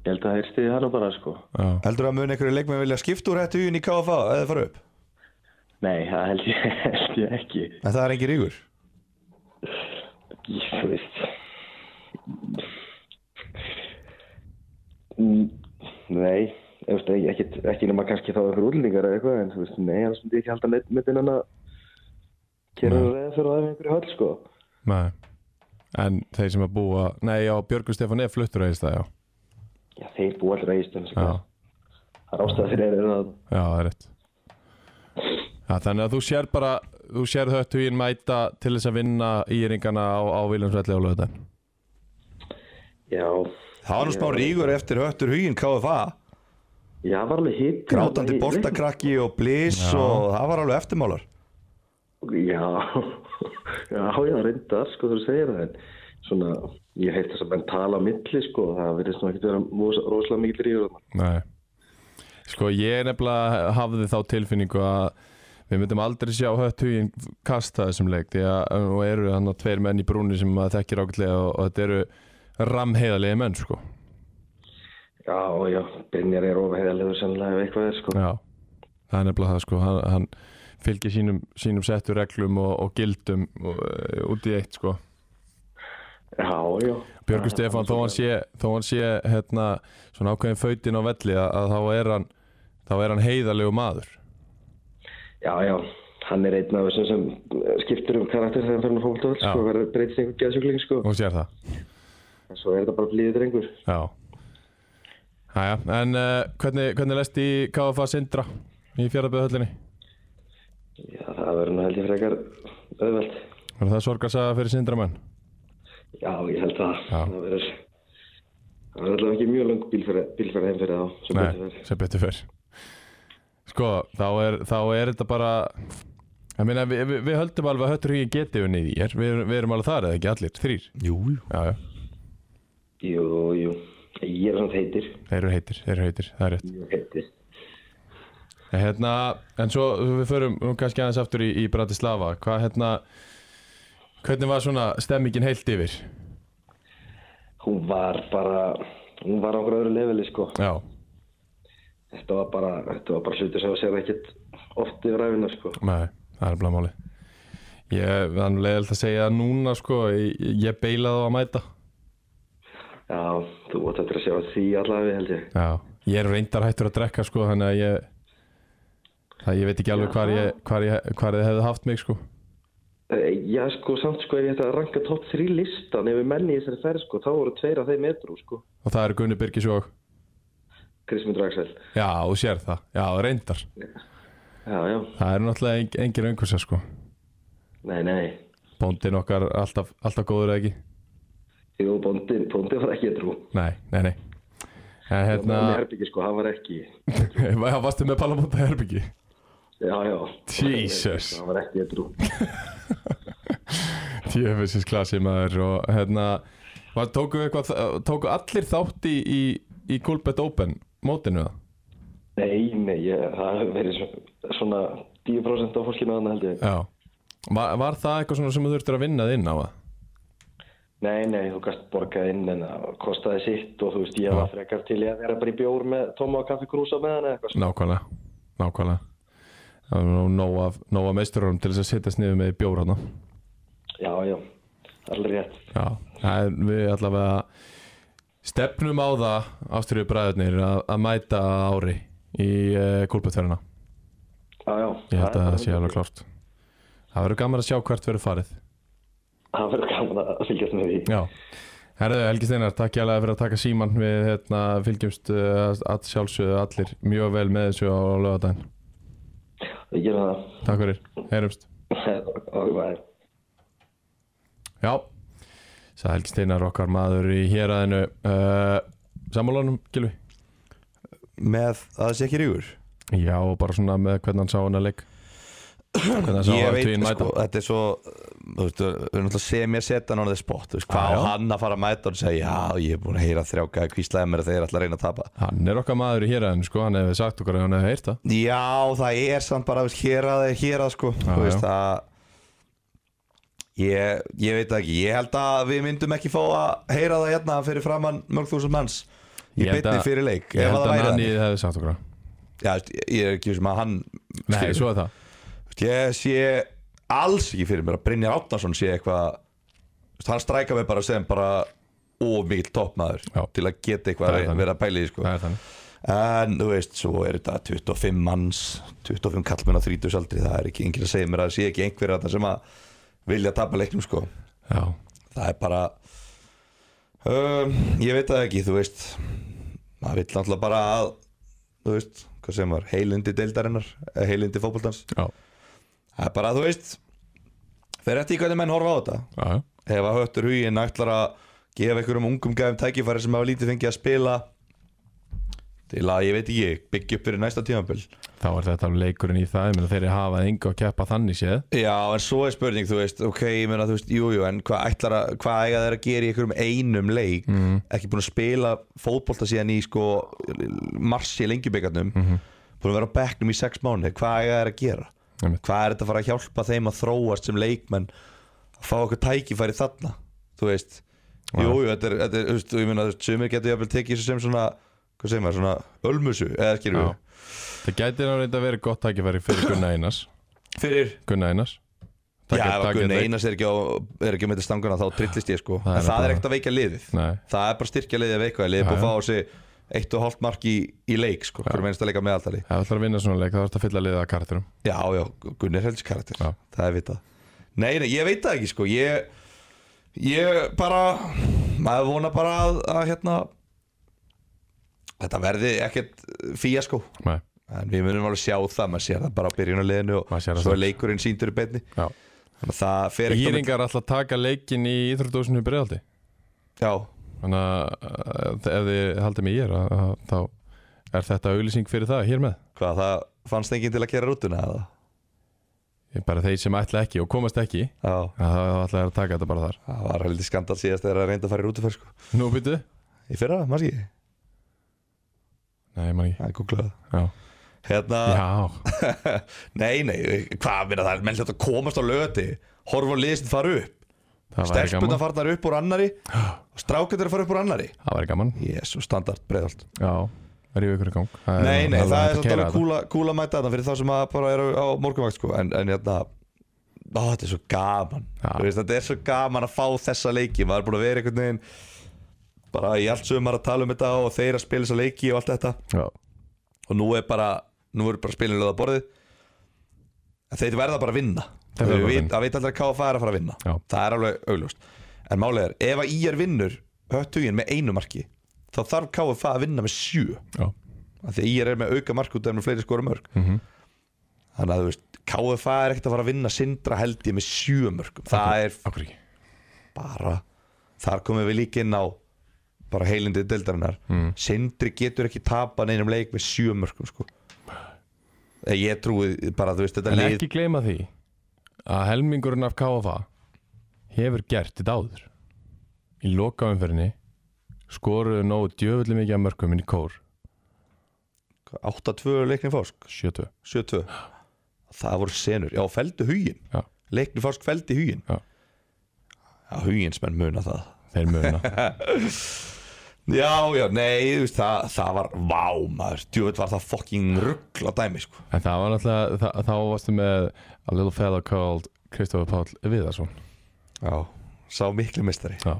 S4: ég held að þeir stiði hana bara sko.
S1: Já,
S2: Heldur að mun einhverju leikmenn vilja skipta úr hættu í KFA eða fara upp?
S4: Nei, það held ég, held ég ekki.
S2: En það er engin rígur
S4: Ég, þú veist Mm, Nei, þú veist, ekki, ekki nema kannski þá einhver útlendingar eða eitthvað en þú veist, nei, annars myndi ég ekki halda neitt með innan að gera
S1: Nei.
S4: reyða fyrir aðeins einhverju höll, sko
S1: nei En þeir sem að búa, nei já, Björgur Stefán er fluttur að það, já
S4: Já, þeir búa allir að ístum, sko
S1: Já,
S4: Það er ástæða fyrir þeir eru að
S1: já, það er rétt Já, þannig að þú sér bara þú sér þau hugin mæta til þess að vinna íringana á, á Viljámsvelli á lögutan
S4: Já,
S2: Það var nú smá rígur eftir höttur huginn KFA
S4: já, var alveg hitt
S2: grátandi boltakrakki og blís og það var alveg eftirmálar
S4: Já, já, já, reyndar, sko, þú segir það en svona, ég heilt þess að menn tala á milli, sko, það verðist nú ekkert vera mos- rosalega mikil ríður þarna
S1: Nei Sko ég nefnilega hafði þá tilfinningu að við myndum aldrei sjá hött hugin kasta þessum leik því að nú eru hann að tveir menn í brúni sem maður þekkir ákveðlega og, og þetta eru ramheiðalegi menn sko
S4: Já, já, Brynjar er ofheðalegur sannlega ef eitthvað er sko.
S1: Já, það er nefnilega það sko hann, hann fylgir sínum, sínum settu reglum og, og gildum og, uh, út í eitt sko
S4: Já, já.
S1: Björgur Stefán, þó hann sé, þó hann sé hérna, svona ákveðin fötin á velli að, að þá er hann þá er hann heiðalegu maður
S4: Já, já, hann er einn af þessum sem eh, skiptir um karakter þegar hann fyrir að fólta öll sko, verður breytist í einhver geðsjúkling sko.
S1: og sér það
S4: En svo er þetta bara blíðið drengur.
S1: Já Hæja, en uh, hvernig, hvernig lest í KFA Sindra í fjárðaböðhöllinni?
S4: Já, það verður nú held ég frekar auðvelt.
S1: Var það sorgarsaga fyrir Sindramenn?
S4: Já, ég held það.
S1: Já.
S4: Það verður það verður alltaf ekki mjög lang bílferð bílferð heim fyrir þá, sem betur
S1: Nei,
S4: verður.
S1: sem betur fyrr Sko, þá er, þá er þetta bara Ég meina, við, við, við höldum alveg að höttur hugin geti unni í þér við, við erum alveg þar eða ekki allir, þrýr
S2: Jú, jú
S1: Já, já,
S4: Jú, jú, ég er samt heitir.
S1: þeir eru heitir, þeir eru heitir, það er rétt
S4: Ég er heitir.
S1: En Hérna, en svo við förum nú kannski aðeins aftur í, í Bratislava Hvað hérna Hvernig var svona stemmingin heilt yfir?
S4: Hún var bara, hún var á okkur öðru leveli sko.
S1: Já,
S4: Þetta var bara, þetta var bara hlutur sem að segja ekkert oft yfir ræfina sko.
S1: nei, það er blá máli Ég, þannig leiðilt að segja að núna sko, ég, ég beilaði á að mæta
S4: Já, þú átt eftir að sjá því allavega held ég.
S1: Já, ég er reyndar hættur að drekka sko þannig að ég það ég veit ekki alveg hvar ég, hvar ég hvar þið hefði haft mig sko
S4: Eh, Já sko, samt sko ef ég ætti að ranka topp 3 listan ef við menni í þessari ferð sko, þá voru tveir af þeim edru sko.
S1: og það eru Gunni Birgis og
S4: Krismundur Axel.
S1: já, þú sér það, já, reyndar
S4: Já, já,
S1: það eru náttúrulega en, engin öngursa sko
S4: nei, nei.
S1: bóndin okkar alltaf, alltaf góður eða ekki
S4: Jú, bóndin, bóndin var ekki edru.
S1: nei, nei, nei en
S4: Hérna...
S1: hérna,
S4: Með herbyggi sko, hann var ekki.
S1: já, varstu með palabóta herbyggi
S4: Já, já.
S1: Jesus.
S4: Hann var ekki edru.
S1: tjöfisins klasi maður og hérna, var, tóku, eitthvað, tóku allir þátt í, í, í Gulbet Open mótinu það?
S4: Nei, nei, ég, það hefur verið svo- svona 10% af fólkinu að held ég.
S1: Já Var, var það eitthvað svona sem þú þurftir að vinnað inn á það?
S4: Nei, nei, þú gæst borgað inn en það kostaði sitt og þú veist, ég var frekar til ég að vera bara í bjór með tóma og kaffi krúsa með hann eða eitthvað. svona.
S1: Nákvæmlega, nákvæmlega Það var nú nóg af, nóg af meisturum til þess að setjast niður með í bjór hérna. hana
S4: Já, já, allir rétt.
S1: Já, það er við allavega stefnum á það ástriðu bræðurnir að, að mæta að ári í uh, kúlbötverðina
S4: Já, já.
S1: Ég held að
S4: er
S1: það sé
S4: bara-
S1: alveg klárt Það verður gaman að sjá hvert verður farið
S4: Það verður gaman að fylgjast með því.
S1: Já Herðu Helgi Steinar, takk ég alveg fyrir að taka síman við hérna, fylgjumst uh, að sjálfsögðu allir mjög vel með þessu á lögadaginn
S4: Við gerum það.
S1: Takk fyrir, heyrumst
S4: Og það er
S1: Já, sagði Helgi Steinar okkar maður í héræðinu uh, Sammálanum, Gilvi
S2: Með að það sé ekki rígur
S1: Já, og bara svona með hvernig hann sá hann að leik Hvernig hann sá
S2: Ég
S1: að
S2: veit,
S1: tvín mæta
S2: sko, þetta er svo Þú veist, við erum alltaf sem ég setja hann á þess spot Þú veist, hvað
S1: Já,
S2: á
S1: já.
S2: hann að fara að mæta og segja Já, ég er búin að heyra þrjáka Hvíslaði mér að þeir ætla að reyna að tapa
S1: Hann er okkar maður í héræðinu, sko, hann hefði sagt okkar ef hann hefði heyrt það
S2: Já, það er samt bara þú veist, hér að þeir hér að sko
S1: Já,
S2: Þú veist
S1: já.
S2: að Ég, ég veit það ekki, ég held að við myndum ekki fá að heyra það hérna fyrir framann mörg þúsund manns í
S1: Ég held
S2: beinni
S1: að-
S2: fyrir leik
S1: Ég
S2: ef
S1: held
S2: að það
S1: að
S2: væri
S1: hann
S2: þannig.
S1: hefði sagt okkar
S2: Já, veist, ég er ekki sem að hann
S1: Nei,
S2: skilur.
S1: svo er það
S2: Veist, Ég sé alls ekki fyrir mér að Brynjar Átnarsson sé eitthvað veist, Hann stræka mig bara sem bara of mikill toppmaður
S1: Já.
S2: til að geta
S1: Það
S2: eitthvað
S1: er
S2: að
S1: þannig.
S2: vera að pæli sko.
S1: Það er þannig
S2: En þú veist, svo er þetta 25 manns 25 kallmenn á 30 aldri Það er ekki enginn að segja mér að það sé ekki einhverja þetta sem að vilja tapa leiknum sko.
S1: Já,
S2: Það er bara um, Ég veit það ekki, þú veist maður vill náttúrulega bara að þú veist, hvað sem var, heilindi deildarinnar eh, heilindi fótboltans
S1: já,
S2: Það er bara, þú veist Þeir eftir í hvernig menn horfa á þetta
S1: já, já.
S2: Ef að höttur huginn ætlar að gefa einhverjum ungum gæfum tækifæri sem hafa lítið fengið að spila til að, ég veit ekki, byggja upp fyrir næsta tímabil
S1: Þá er þetta alveg leikurinn í það, ég meina þeir hafa engu að keppa þannig séð
S2: Já, en svo er spurning, þú veist, ok, ég meina, þú veist, jújú, jú, en hvað ætlar að, hvað eiga þeir að gera í einhverjum einum leik
S1: Mhm.
S2: ekki búin að spila fótbolta síðan í, sko, mars í lengjubikarnum
S1: Mhm.
S2: búin að vera á bekknum í sex mánuði, hvað eiga þeir að gera?
S1: Einmitt.
S2: Hvað er þetta að fara að hjálpa þeim að þróast sem leikmenn að fá okkur tækifæri þarna, þú veist Jújú, þetta er, þetta er, þú veist, og ég meina, þú veist, sumir getur jafnvel tekið þessu sem svona hvað segir maður, svona ölmusu eða skilur
S1: Já. Það gæti nú reynda að vera gott tækifæri fyrir Gunna Einars
S2: Fyrir
S1: Gunna Einars
S2: Já, ef að
S1: hérna.
S2: Gunni Einars er ekki, á, er ekki með þetta stanguna þá trillist ég sko En það er ekkert að veika liðið
S1: Nei,
S2: Það er bara styrkja liðið að veika það Liðið
S1: Já,
S2: búið að
S1: já.
S2: fá á sig eitt og hálft mark í, í leik sko Hvernig mennst að leika meðaltali
S1: ef það ætlar að vinna svona leik þá þarf það að fylla liðið að karakterum
S2: Já, já, Gunni er helst karakter
S1: Já.
S2: Það er vitað Nei, nei, ég veit það ekki sko Ég, ég bara Maður vona bara að, að hérna Þetta verði ekkert fíja sko
S1: Nei,
S2: En við munum alveg sjá það, maður sér það bara á byrjunarliðinu og
S1: Maður sér það
S2: svo er
S1: strax.
S2: leikurinn síndur í beinni
S1: já
S2: Þannig að það fer ekkert á milli-
S1: Íringar ætla að taka leikin í Íþrótdósinu í Breiðaldi
S2: Já,
S1: Þannig að eh, ef þið haldið mig í er að, að, þá er þetta auglýsing fyrir það hér með
S2: hvað það fannst enginn til að gera rútuna eða?
S1: Ég bara þeir sem ætla ekki og komast ekki
S2: Já,
S1: að þá þá ætla þeir að taka þetta bara þar
S2: það var heldur skandal síðast þegar það reyndi að fara í rútuferð sko.
S1: Nú býtu?
S2: Í fyrra, maður ekki?
S1: Nei, maður ekki
S2: Það er googlaði
S1: Já,
S2: Hérna,
S1: já.
S2: nei, nei, hvað minna það er menn þetta að komast á lögati horfa á liðist fara upp
S1: það væri
S2: stelpunna
S1: gaman
S2: farnar upp úr annari og strákendur fara upp úr annari
S1: Það væri gaman
S2: Jésu, standard, breiðalt
S1: Já, ríðu ykkur í gang Það
S2: Nei, nei,
S1: hægt að
S2: það er svolítið
S1: keyra
S2: alveg kúla, kúla mæta þarna fyrir þá sem að bara eru á morgunvakt sko. en, en hérna Ó, þetta er svo gaman
S1: Já.
S2: Þú veist, Þetta er svo gaman að fá þessa leiki Maður er búin að vera einhvern veginn Bara í allt sumar að tala um þetta og þeir að spila þessa leiki og allt þetta
S1: þetta. Já.
S2: Og nú er bara, nú er bara spilin lögða borðið En þeir verða bara að vinna
S1: Þeir
S2: Og
S1: verða bara
S2: við
S1: að
S2: vit-
S1: vinna.
S2: Það veit allir að KFA er að fara að vinna
S1: Já.
S2: Það er alveg augljóst En málið er, ef að IR vinnur höttugin með einu marki Þá þarf KFA að vinna með sjö
S1: Já.
S2: af því að IR er með auka mark út með fleiri skora mörg
S1: Mhm.
S2: þannig að þú veist KFA er ekkert að fara að vinna sindra held ég með sjö mörgum það er
S1: Akkur ekki
S2: bara þar komum við líka inn á bara heilindi deildarinnar
S1: Mhm.
S2: sindri getur ekki tapa neinum leik með sjö mörgum sko Eða ég trúi bara þú veist þetta
S1: En
S2: lið
S1: ekki gleyma því að helmingurinn af KFA hefur gert þetta áður í lokaumferðinni skoruðu nógu djöfulli mikið af mörgum inn í kór
S2: 8-2 leikni fórsk
S1: 7-2
S2: 7-2 það voru senur, já feldu hugin
S1: Já.
S2: leikni fórsk feldi hugin
S1: Já.
S2: já huginsmenn muna það
S1: þeir muna
S2: Já, já, nei, þú veist, það, það var Vá, maður, djúvöld var það fucking ruggla dæmi, sko
S1: en það var náttúrulega þa þá varstu með a little fellow called Kristofur Páll Viðarsson
S2: Já, sá miklu mistari
S1: Já.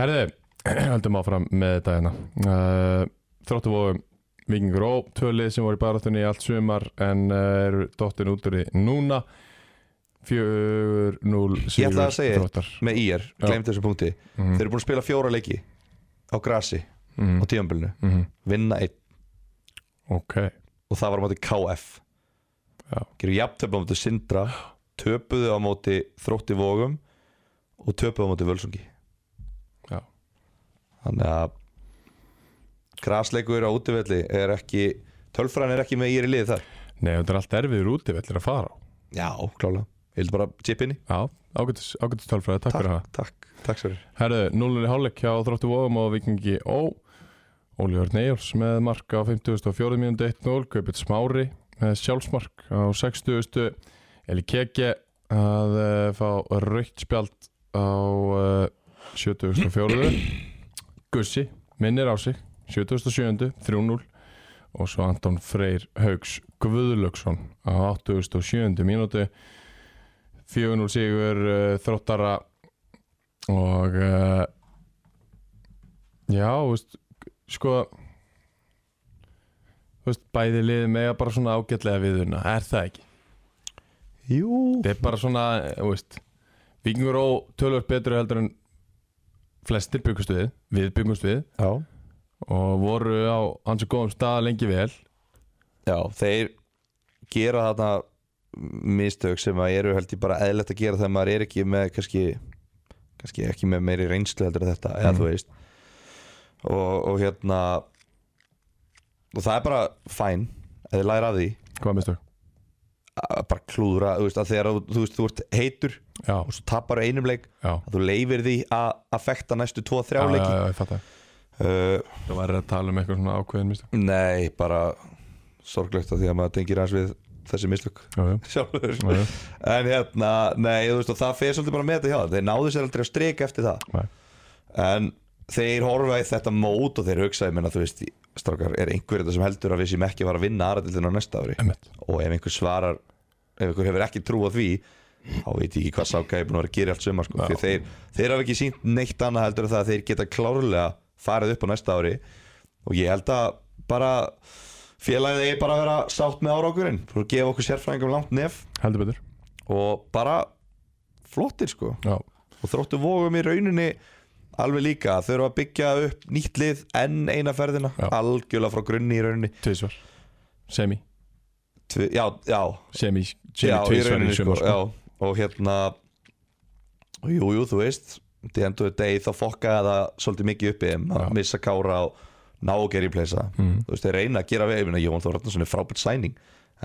S1: Herði, höldum áfram með þetta hérna uh, Þróttu vóðum Vikingur Ó, tvölið sem voru í baráttunni í allt sumar en uh, eru dottin út úr því núna 4-0
S2: Ég ætla að segja eitt.
S1: þróttar
S2: Með IR, glemt þessum punkti Þeir eru búin að spila fjóra leiki á grasi á tíðanbölinu,
S1: Mhm. Mhm.
S2: vinna einn
S1: Ok,
S2: og það var á móti KF
S1: Já.
S2: Gerðu jafntöp á móti Sindra töpuðu á móti Þrótti Vógum og töpuðu á móti Völsungi
S1: Já.
S2: Þannig að grasleikur á útivelli er ekki tölfræðan er ekki með íri liði þar
S1: nei þetta er allt erfiður úti vellir að fara á
S2: Já, klálega Ég vil bara chipinni
S1: Já, ágætis, ágætis tölfræði, takk fyrir það
S2: takk, takk sér
S1: Herðu, 0-0 í hálfleik hjá Þróttu vóðum og Vikingi Ó Óli Örn Eyjáls með marka á 54. mínúti 1-0, Kaupið Smári með sjálfsmark á 60. Eli Keke að eh, fá raukt spjald á eh, 74. Gussi minnir á sig 77. 3-0 og svo Anton Freyr Haugs Guðlöksson á 87. mínúti 4-0 sigur eh, þróttara og uh, já, þú veist sko þú veist, bæði liðið með bara svona ágætlega viðuna, er það ekki
S2: Jú
S1: þetta er bara svona, eh, þú veist vikingur og tölvöld betur heldur en flestir byggust við við byggust við
S2: Já,
S1: og voru á hans og góðum stað lengi vel
S2: Já þeir gera þarna mistök sem að eru held ég bara eðlilegt að gera þegar maður er ekki með kannski, kannski ekki með meiri reynslu heldur en þetta, eða þú veist og, og hérna og það er bara fæn að þið læra af því
S1: hvað minnstu?
S2: að bara klúðra, þú veist, að þegar þú, þú veist þú ert heitur
S1: Já,
S2: og svo tapar einum leik
S1: já,
S2: að þú leifir því að, að fekta næstu 2-3
S1: já, já,
S2: leiki
S1: já, ég fatt það
S2: uh,
S1: það var að tala um eitthvað svona ákveðin minnstu
S2: Nei, bara sorglegt að því að maður tengir hans við þessi mislök
S1: já, já,
S2: sjálfur
S1: já, já.
S2: en hérna, nei, þú veist, og það fer svolítið bara með þetta hjá þeir þeir náðu sér aldrei að streika eftir það
S1: Nei.
S2: en þeir horfa í þetta mót og þeir hugsaði minna, þú veist, strákar, er einhver þetta sem heldur að við sem ekki var að vinna aðrætildin á næsta ári
S1: Einmitt.
S2: og ef einhver svarar ef einhver hefur ekki trú á því þá veit ég ekki hvað sáka er búin að vera að gera í allt sumar sko. Því þeir, þeir hafa ekki sínt neitt annað heldur en það að þeir geta klárlega farið upp á næsta ári og ég held að bara félagið eigi bara að vera sátt með árákurinn og gefa okkur sérfræðingum langt nef
S1: heldur betur
S2: og bara flottir sko
S1: Já,
S2: og þróttu vógum í rauninni alveg líka þau eru að byggja upp nýtt lið enn eina ferðina
S1: Já.
S2: algjörlega frá grunni í rauninni
S1: tvisvar Semi,
S2: Tvi, já, já,
S1: semi, semi
S2: já, í
S1: tvisvar í
S2: rauninni sko,
S1: sumar sko.
S2: já, og hérna og jú, jú, þú veist því endur degi þá fokkaði það svolítið mikið uppi þeim að
S1: Já. Mm.
S2: missa kára og ná að gera í pleysa þú veist, þeir reyna að gera við, ég meina Jón Þór Ragnarsson er frábært sæning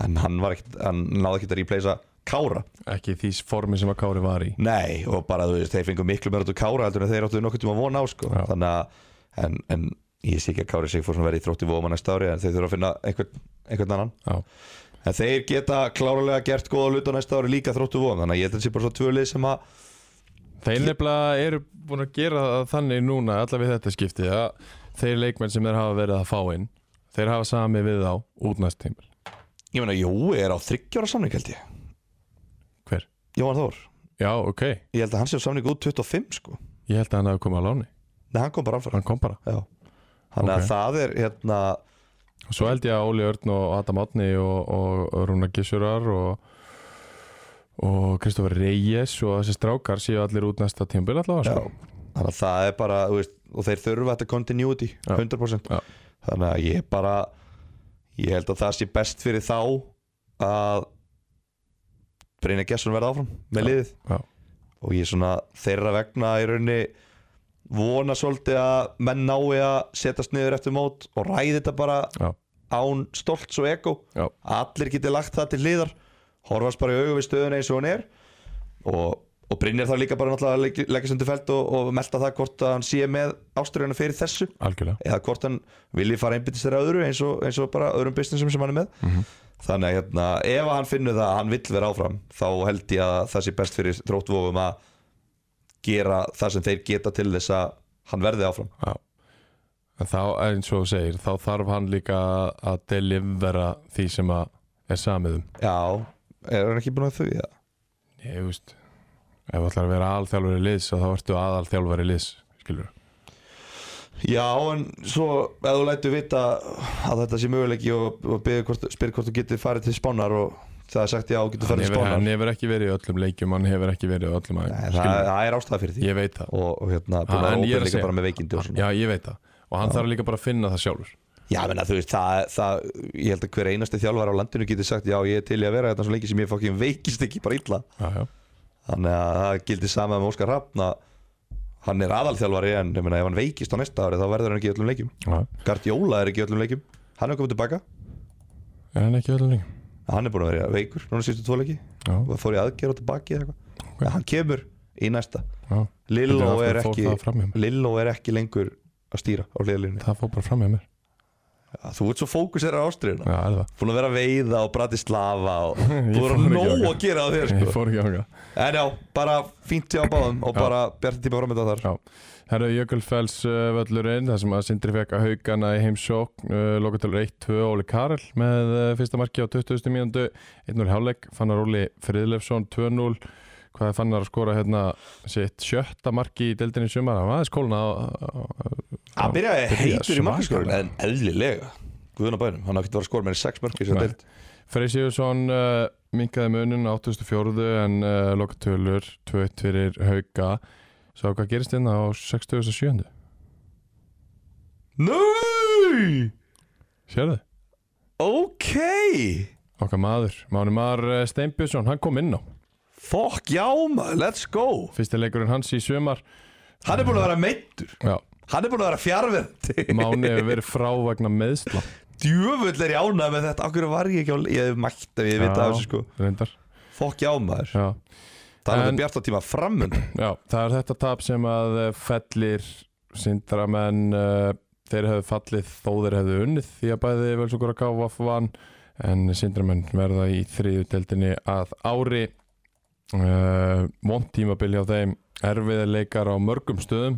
S2: en hann, var ekkit, hann náði ekkert að repleysa kára
S1: Ekki því formi sem að Kári var í
S2: Nei, og bara þú veist, þeir fengu miklu meira út úr Kára heldur en þeir áttu nokkuð tíma að vona á sko.
S1: Já.
S2: þannig að en, en ég sé ekki að Kári Sigfúrsson verði í þrótti vóma næsta ári en þeir þurfa að finna einhvern, einhvern annan
S1: Já,
S2: en þeir geta klárlega gert góða hlut á næsta ári líka þrótti vóma þannig að ég held að það sé bara svo tvölið sem að
S1: Þeir nefnilega eru búin að gera það þannig núna allavega þetta skipti að þeir leikmenn sem þeir hafa verið að fá inn þeir hafa sami við þá út næst tímil
S2: ég meina, Jói er á þryggjára samning held ég
S1: Hver?
S2: Jóhann Þór,
S1: Já, ok,
S2: ég held að hann sé á samning út 25 sko,
S1: ég held að hann hafi komið á láni
S2: nei hann kom bara alfara
S1: hann kom bara
S2: Já.
S1: Ok.
S2: þannig að það er hérna
S1: og svo held ég að Óli Örn og Adam Átni og, og Rúna Gissurar og og Kristoffer Reyes og þessi strákar séu allir út næsta tímbil allavega
S2: Já,
S1: sko.
S2: þannig að það er bara þú veist, og þeir þurfa þetta continuity 100%
S1: Já.
S2: þannig að ég bara ég held að það sé best fyrir þá að Brynja Gesson verða áfram með liðið
S1: já.
S2: og ég svona þeirra vegna í rauninni vona svolítið að menn nái að setjast niður eftir mót og ræði þetta bara
S1: Já.
S2: án stolts og ego
S1: Já.
S2: allir geti lagt það til hliðar horfast bara í augu við stöðuna eins og hún er og, og Brynjar þarf líka bara náttúrulega að leggja- leggja sem til felt og, og melta það hvort að hann sé með ásturiðana fyrir þessu
S1: algjörlega
S2: eða hvort hann vilji fara einbyttist þeirra öðru eins og, eins og bara öðrum businessum sem hann er með
S1: Mhm.
S2: þannig að hérna, ef að hann finnur það að hann vill vera áfram þá held ég að það sé best fyrir þróttvofum að gera það sem þeir geta til þess að hann verði áfram
S1: Já. En þá, eins og þú segir, þá þarf hann líka að delivera því sem að er samið um.
S2: Já, er hann ekki búin að þau í það?
S1: Ég veist, ef þú ætlar að vera alþjálfari liðs þá ertu aðalþjálfari liðs, skilur þú?
S2: Já, en svo ef þú lætur vita að þetta sé möguleiki og, og biður hvort, spyrir hvort þú getur farið til spánar og það er sagt já, þú getur
S1: Hann,
S2: farið til
S1: hefur-
S2: spánar
S1: hann hefur ekki verið í öllum leikjum, hann hefur ekki verið í öllum
S2: Nei,
S1: aðeins,
S2: það,
S1: skilur
S2: það er ástæða fyrir því
S1: Ég veit það.
S2: og, og hérna, búin
S1: en
S2: að
S1: ég er
S2: ópera
S1: að
S2: líka
S1: segja-
S2: bara með veikindi og svona
S1: Já, ég veit það. Og hann þarf líka bara að finna það sjálfur.
S2: Já, menna, þú veist, það, það, ég held að hver einasti þjálfar á landinu getur sagt Já, ég er til í að vera þetta svo lengi sem ég fokkjum veikist ekki bara illa
S1: Já, já.
S2: Þannig að það gildi sama með Óskar Hrafn að Hann er aðalþjálfari en ég meina, ef hann veikist á næsta ári þá verður hann ekki í öllum leikjum
S1: já.
S2: Gardjóla er ekki í öllum leikjum Hann er komið tilbaka
S1: Er hann ekki í öllum leikjum?
S2: Hann er búin að vera veikur núna sístu tvo leiki
S1: Já,
S2: Og fór í aðgerð og tilbaki eða eitthvað En hann kemur í næsta
S1: já.
S2: Lilló
S1: Heldur þú
S2: er,
S1: að fór
S2: ekki,
S1: það fram hjá mér?
S2: Lilló er ekki lengur að stýra á liðlínu
S1: Það fór bara fram með mér.
S2: Þú ert svo fókusir á ástriðina
S1: Já, er það.
S2: búin að vera að veiða og Bratislava og
S1: Ég
S2: þú
S1: fór ekki
S2: verður nóg
S1: þangað.
S2: að gera á þér
S1: Ég
S2: sko.
S1: fór ekki á það.
S2: en já, bara fínt hjá báðum og bara bjartir tíma framönda þar
S1: Já, herru Jökulfells uh, völlurinn, þar sem að Sindri fekk að haugana í heimsókn, uh, lokatalur 1-2 Óli Karel með uh, fyrsta marki á 20. mínúndu, 1-0 hjáleik, Fannar Óli Friðlefsson 2-0, hvað er Fannar að skora hérna sitt sjötta marki í deildinni í sumar, hann var aðeins kólna á, á, á,
S2: að byrjaði
S1: byrjaði
S2: heitur í markaskorun
S1: svakalega.
S2: en eðlilega, guðun á bænum hann hafði ekkert verið að skora með sex mörk í þessu
S1: Nei.
S2: deild
S1: Frey Sigursson uh, minkaði munun á 2004 en uh, lokatölur 2-1 fyrir hauga, svo hvað gerist hérna á 67.
S2: Nei,
S1: Sérðu?
S2: ok
S1: Okkar maður, Máni Mar Steinbjörnsson, hann kom inn á
S2: fokk já maður, let's go
S1: Fyrsti leikurinn hans í sumar
S2: hann er búin að vera meittur
S1: Já,
S2: hann er búin að vera fjarverð
S1: Máni hefur verið frá vegna meðsla
S2: djöfull er ég ánað með þetta okkur var ég ekki á ég hef mætt ef ég veit af þessu sko
S1: Reyndar,
S2: fokk já maður,
S1: já
S2: það
S1: En-
S2: er bjart á tíma framönda
S1: Já, það er þetta tap sem að eh, fellir sindramenn uh, þeir hefðu fallið þó þeir hefðu unnið því að bæði vel svo góra káfa vann en sindramenn verða í þriðu deildinni að ári Eh, uh, vond tímabil hjá þeim erfiðar leikar á mörgum stöðum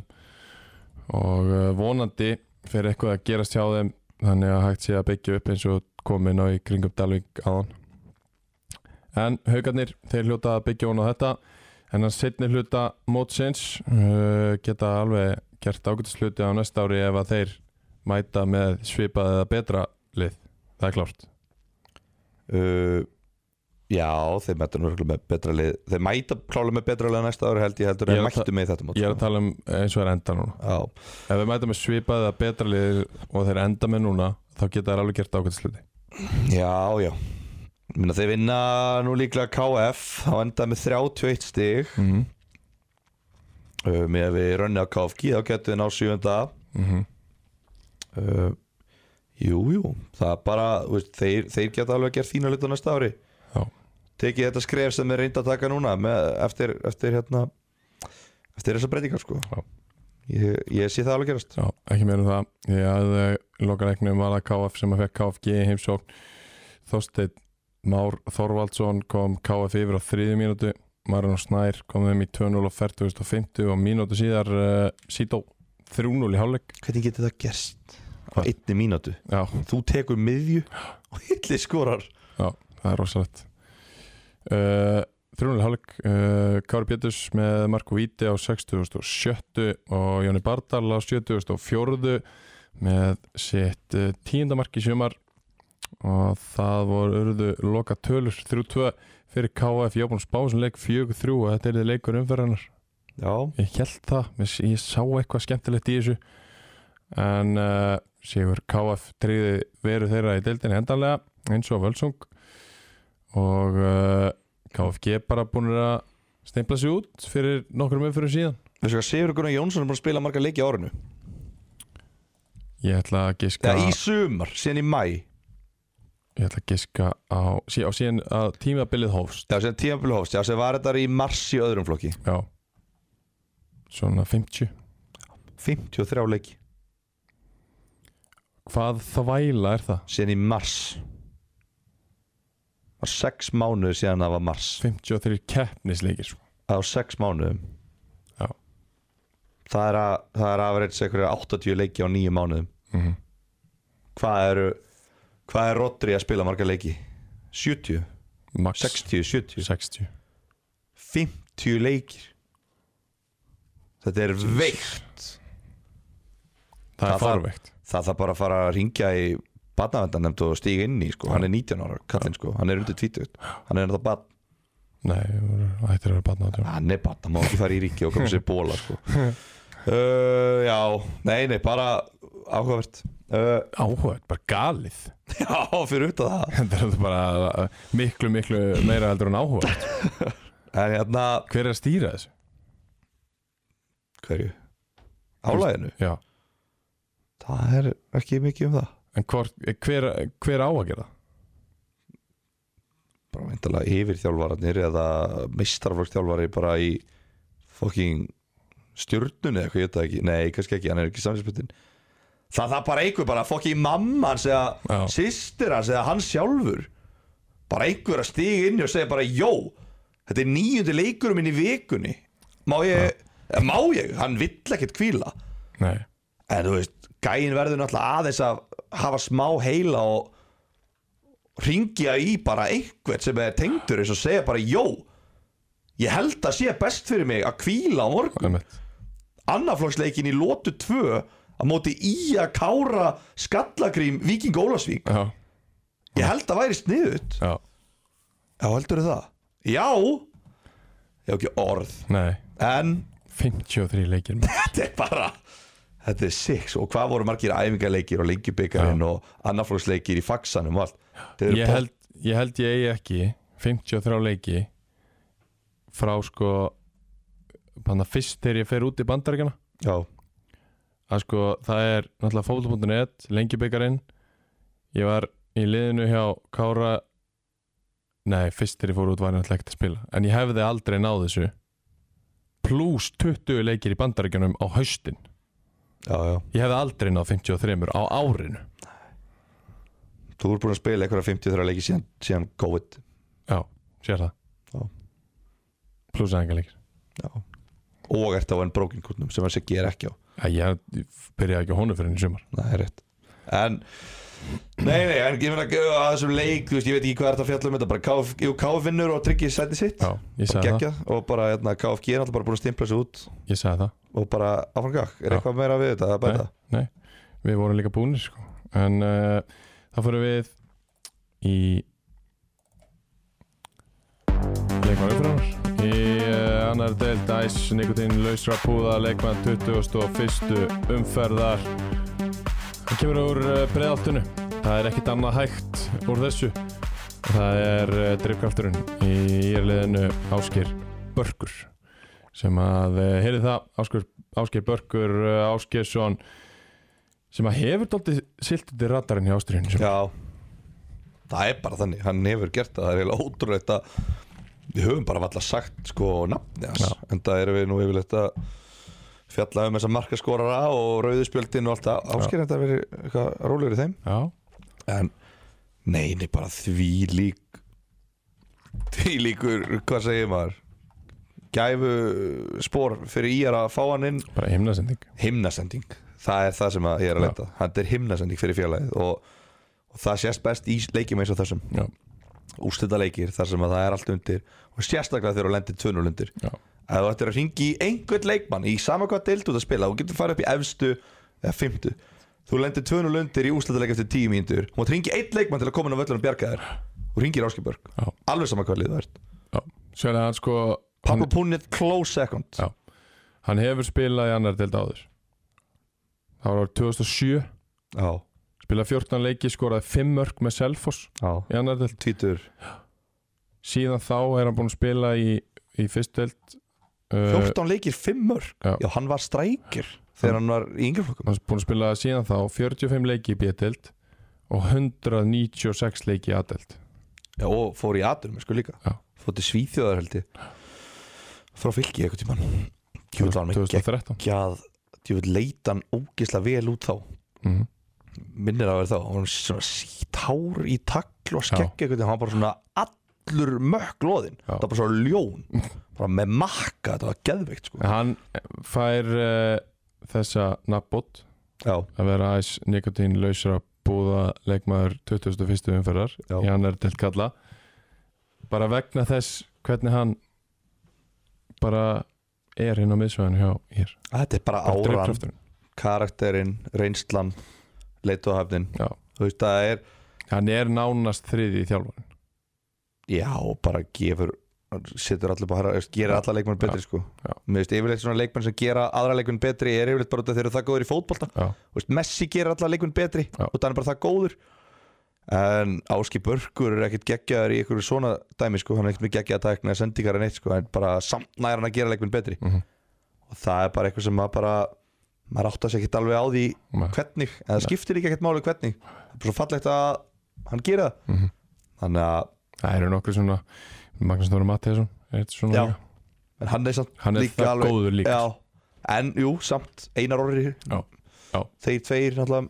S1: og uh, vonandi fer eitthvað að gerast hjá þeim þannig að hægt sé að byggja upp eins og komin á í kringum Dalvik áðan en haugarnir þeir hljóta að byggja hún á þetta en að setni hluta mótsins uh, geta alveg gert ágætisluti á næsta ári ef að þeir mæta með svipað eða betra lið það er klárt
S2: uh, Já, þeir mæta nú örugglega með betra lið Þeir mæta klálega með betra lið næsta ári held ég heldur
S1: Ég
S2: en
S1: er að
S2: mættu með þetta mót
S1: ég er að
S2: sko.
S1: tala um eins og er enda núna
S2: Já,
S1: ef við mætum með svipað eða betra lið og þeir enda með núna þá geta þeir alveg gert ágætisluti
S2: Já, já Ég Minna, þeir vinna nú líklega KF þá enda með 31 stig
S1: mm -hmm.
S2: uh, með að við rönni á KFG þá getum við ná 7.
S1: mm -hmm.
S2: Uh, jú, jú það er bara, þú veist, þeir, þeir geta alveg gert fína hluti á næsta ári
S1: Já.
S2: tekið þetta skref sem er reynd að taka núna með, eftir, eftir hérna eftir þessar breytingar sko
S1: Já.
S2: ég, ég sé það alveg gerast
S1: Já, ekki meira um það Ég hafði lokareiknum var það KF sem að fekk KFG í heimsókn Þorsteinn Már Þorvaldsson kom KF yfir á þriðju mínútu Marino Snær kom þeim í 2-0 og 40.50 og mínútu síðar uh, Sító 3-0 í hálfleik
S2: hvernig getur það gerst á
S1: Hvað?
S2: einni mínútu
S1: Já,
S2: þú tekur miðju og hilli skorar
S1: það er rosalegt uh, 3-0 í hálfleik uh, Kári Péturs með Marko Víti á 60.70 og Jóni Bardal á 70.40 með sitt eh, tíunda mark í sumar og það voru urðu loka tölur 3-2 fyrir KF Jóbun Spásson leik 4-3 og þetta er þið leikur umferðarnar
S2: já,
S1: ég held það, mér s- ég sá eitthvað skemmtilegt í þessu en uh, sigur KF treyði veru þeirra í deildinni endanlega eins og völsung og uh, KFG bara búin að steimpla sig út fyrir nokkrum umferðum síðan
S2: veistu hvað Sigur Gunnar Jónsson er búin að spila marga leiki á árinu
S1: ég ætla að giska
S2: eða í sumar, síðan í mæ
S1: ég ætla að giska á, sí, á síðan að tímabilið hófst
S2: já, síðan tímabili hófst, já, sem var þetta í mars í öðrum flokki
S1: Já Svona 50
S2: 53 leiki,
S1: Hvað þvæla er það?
S2: síðan í mars var 6 mánuð síðan það var mars
S1: 53 keppnisleikir sko.
S2: á 6 mánuðum
S1: Já.
S2: það er að það er afreits einhverja 80 leiki á 9 mánuðum
S1: Mhm.
S2: hvað eru hvað er Rodri að spila marga leiki 70,
S1: Max
S2: 60, 70
S1: 60
S2: 50 leikir þetta er veikt
S1: Það er
S2: Það þarf-
S1: farveikt
S2: það þarf bara að fara að ringja í barnavendarnemnd og stíga inn í sko. hann er 19 ára, kallinn sko, hann er undir 20 hann er þetta barn,
S1: Nei, ættir að vera batna átjón
S2: hann er barn, hann má ekki fara í ríki og koma sér í bóla sko. uh, já, nei, nei, bara áhugavert uh,
S1: Áhugað, bara galið
S2: já, fyrir út af það
S1: Þetta er bara uh, miklu, miklu meira heldur en áhugað
S2: en hérna,
S1: Hver er að stýra þessu?
S2: hverju álæðinu,
S1: Já,
S2: það er ekki mikið um það
S1: en hvort, eh, hver, hver á að gera? það?
S2: bara veintalega yfirþjálfararnir eða mistarflokksþjálfari bara í fucking stjórnunni eða hvað ég veit það ekki, nei kannski ekki, hann er ekki samsinsbyttin það það bara einhver bara fucking mamma hans eða
S1: Já.
S2: sýstir hans eða hann sjálfur bara einhver að stíga inn í og segja bara jó, þetta er nýjundi leikurum minn í vikunni má ég, eða má ég, hann vill ekkert kvíla
S1: Nei,
S2: en þú veist, gæin verður náttúrulega aðeins að hafa smá heila og ringja í bara einhvern sem er tengdur eins og segja bara, jó ég held að sé best fyrir mig að kvíla á morgun,
S1: einmitt
S2: annaflokksleikin í lotu 2 að móti í að kára skallagrím Víking Ólasvík,
S1: Já,
S2: ég held að væri sniðut
S1: já,
S2: já, heldur það? já ég hef ekki orð,
S1: nei
S2: en
S1: 53 leikir maður.
S2: þetta er bara þetta er six og hvað voru margir æfingaleikir og lengjubikarinn og annarflóksleikir í faxanum og allt Þeir eru
S1: ég
S2: pott-
S1: held, ég held ég eigi ekki 53 leiki frá sko þannig fyrst þegar ég fer út í bandaríkjana
S2: já,
S1: að sko það er náttúrulega fótbol.net lengjubikarinn ég var í liðinu hjá Kára nei fyrst þegar ég fór út var ég náttúrulega ekkert að spila en ég hefði aldrei náð þessu pluss 20 leikir í bandaríkjanum á haustin
S2: já, já,
S1: ég hefði aldrei náð 53 á árinu
S2: þú eru búin að spila einhverja 53 leiki síðan, síðan COVID
S1: já, sér það
S2: Já.
S1: pluss aðeins leikir
S2: já. og ert á enn brókinkurnum sem þessi ger ekki á
S1: Já, ég byrjaði ekki á honum fyrir henni sumar
S2: Nei, það er rétt En Nei, nei, en ég meina að þessum leik, þú veist, ég veit ekki hvað er þetta að fjalla um þetta bara KF, jú, KF vinnur og tryggir sæti sitt
S1: Já, ég
S2: og
S1: sagði það,
S2: geggja og bara hérna, KFG er alltaf bara búin að stimpla sig út
S1: ég sagði það
S2: og bara áfram gakk, er
S1: Já.
S2: eitthvað meira við þetta að bæta?
S1: Nei, nei, við vorum líka búinir sko En uh, það fyrir við í Leikmann uppræðar Í uh, annar deild Æs, Nikotín, Lausra, Púða Leikmann 21. umferðar Það kemur úr uh, breiðaltinu Það er ekkit annað hægt úr þessu Það er uh, drifkrafturinn í írliðinu Ásker Börkur sem að, uh, heyrið það, Ásker, Ásker Börkur uh, Áskersson sem að hefur dálítið silt út í radarinn hjá Ástriðinu sem
S2: Já Það er bara þannig, hann hefur gert það, það er eiginlega ótrúlegt að við höfum bara valla sagt sko nafni hans,
S1: Já.
S2: en það erum við nú yfirleitt að fjalla um þessa markaskorara og rauðuspjöldin og allt það, ásker þetta að vera eitthvað rólegur í þeim,
S1: Já,
S2: en nei, nei, bara því lík því líkur, hvað segir maður gæfu spór fyrir íjar að fá hann inn
S1: bara himnasending
S2: himnasending það er það sem að ég er að
S1: Já.
S2: leta þetta er himnasending fyrir félagið og, og það sést best í leikjum eins og þessum
S1: Já,
S2: úrslita leikir þar sem að það er allt undir og sérstaklega þegar þú lendir tvunul undir
S1: já,
S2: að þú ættir að ringi í einhvern leikmann í sama hvað deild út að spila og getur farið upp í efstu eða fymtu þú lendir tvunul undir í úrslita leik eftir tíu mínútur og þú ringi einn leikmann til að koma inn á völlunum og bjarga þér og ringir Áskibörg
S1: Já.
S2: alveg sama hvað lið það ert
S1: já Sérlega hann sko hann,
S2: Pablo Punnið close second
S1: Já. hann hefur spilað í annar deild áður Það var árið 2007
S2: Já.
S1: Spilað 14 leiki, skoraði 5 mörg með Selfoss
S2: Já.
S1: í annar deild
S2: tvítur
S1: Síðan þá er hann búin að spila í, í fyrst deild uh,
S2: 14 leikir 5 mörg
S1: Já.
S2: já. hann var strækir þegar hann var í yngri flokkum
S1: Hann er búin að spila síðan þá 45 leiki í B-deild og 196 leiki í A-deild
S2: já, og fór í atur sko líka
S1: Já.
S2: fór til Svíþjóðar held ég frá fylki eitthvað tímann djúvill var hann
S1: 2013
S2: geggjað djúvill leit hann ógislega vel út þá
S1: mm
S2: minnir að vera þá hann var svona sítár í tagl og skegg
S1: Já.
S2: eitthvað tímann. hann var bara svona allur mökk loðin
S1: Já.
S2: það var bara svona ljón bara með makka þetta var geðveikt sko
S1: En Hann fær uh, þessa nabbot
S2: já,
S1: að vera aðeins nikotín lausra búða leikmaður 2001. umferðar
S2: Já.
S1: í annar delt kalla bara vegna þess hvernig hann bara er hinn á miðsvæðinu hjá hér
S2: þetta er bara
S1: Bara
S2: áran
S1: drifkrafturinn.
S2: karakterinn, reynslan leituhafnin
S1: Já.
S2: þú veist það er
S1: hann er nánast þriði í þjálfan
S2: já, bara gefur setur allir bara, herra, veist, gerir alla leikmenn betri sko.
S1: já.
S2: Mér veist, yfirleitt svona leikmenn sem gera aðra leikmenn betri er yfirleitt bara út af þeir eru það góður í fótbolta
S1: Já.
S2: Þú veist, Messi gerir alla leikmenn betri
S1: Já.
S2: og það er bara það góður en Áski Börkur er ekkert geggjaður í einhverju svona dæmi sko, hann er ekkert með geggjaða tækna eða sendingar en eitt sko, en bara samt nær hann að gera leikmenn betri
S1: Mhm.
S2: og það er bara eitthvað sem maður bara maður áttast sér ekkert alveg á því
S1: Nei.
S2: hvernig, en það skiptir ekki ekkert máli hvernig það er bara svo fallegt að hann gera það
S1: Mhm.
S2: þannig að
S1: það eru nokkri svona Magnús Nóra Mattiðsson er svona
S2: Já.
S1: líka.
S2: en hann er samt
S1: Hann er
S2: líka
S1: það
S2: alveg
S1: góður líka.
S2: já, en jú, samt Einar Orri
S1: Já. Já.
S2: þeir tveir náttúrulega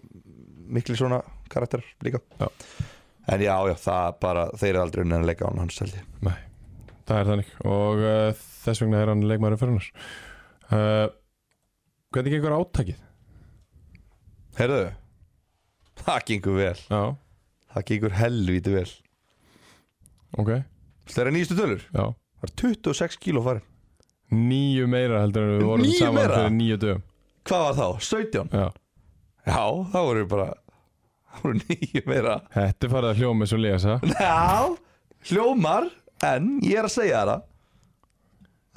S2: miklu svona karakter líka
S1: Já.
S2: en já, já, það er bara þeir eru aldrei unnið að leika án hans held ég
S1: Nei, það er þannig og uh, þess vegna er hann leikmaður umferðunar uh, hvernig gengur átakið?
S2: heyrðu, það gengur vel
S1: Já,
S2: það gengur helvíti vel
S1: ok,
S2: það er nýjastu tölur,
S1: já
S2: það er 26 kíló farin
S1: Níu meira heldur en við vorum
S2: Níu
S1: saman
S2: meira?
S1: fyrir níu dögum
S2: hvað var þá, 17?
S1: Já,
S2: já, þá voru bara það voru nýju meira
S1: þetta er farið að hljóma eins og lesa
S2: Já, hljómar En ég er að segja það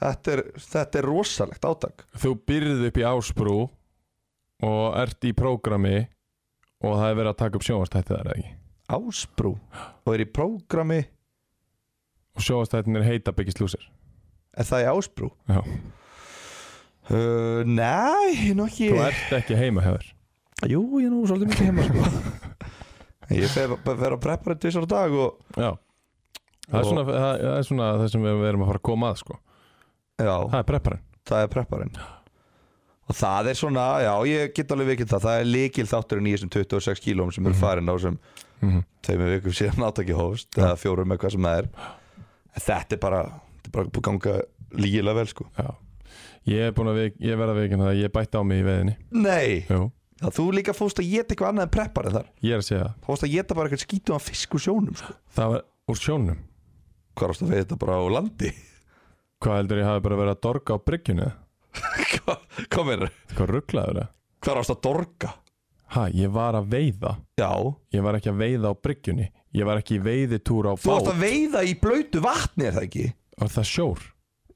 S2: Þetta er, þetta er rosalegt átak
S1: Þú byrðið upp í Ásbrú og ert í prógrami og það er verið að taka upp sjónvastætti þar eða ekki
S2: Ásbrú Og er í prógrami
S1: og sjónvastættin er heita byggist lúsir
S2: Er það í Ásbrú?
S1: Já,
S2: Uh, nei, nú ekki
S1: þú ert ekki heima hefur
S2: Jú, ég er nú svolítið mikið heima sko. Ég fer, fer að preppa þetta þessar dag og
S1: Já Það er,
S2: Og-
S1: svona, það, það er svona það sem við við erum að fara að koma að sko
S2: Já,
S1: Það er prepparinn
S2: það er prepparinn Og það er svona, já, ég get alveg vikið það Það er líkil þátturinn í þessum 26 kílóm sem eru farin á þessum
S1: Mhm.
S2: tveimur vikum síðan átaki hófst eða fjórum eitthvað sem það er en þetta er bara, þetta er bara búið að ganga lígilega vel sko
S1: Já Ég er búin að við, ég verð að veikina það að Ég bætti á mig í veðinni
S2: Nei,
S1: Jú,
S2: það, þú líka fórst að geta eitthvað annað en prepparið þar
S1: ég er að segja það
S2: Þú fórst að geta bara eitthvað skítum að fisk úr sjónum sko.
S1: Það var úr sjónum
S2: Hvað varst að veita þetta bara á landi?
S1: Hvað heldur ég hafi bara verið að dorga á bryggjunni eða?
S2: Hvað hvað meinar?
S1: Hvað rugglaður það?
S2: Hvað varst að dorga?
S1: Ha, ég var að veiða
S2: Já,
S1: Ég var ekki að veiða á bryggjunni Ég var ekki í veiðitúr á bát
S2: þú varst að veiða í blöytu vatni er það ekki?
S1: Og það er sjór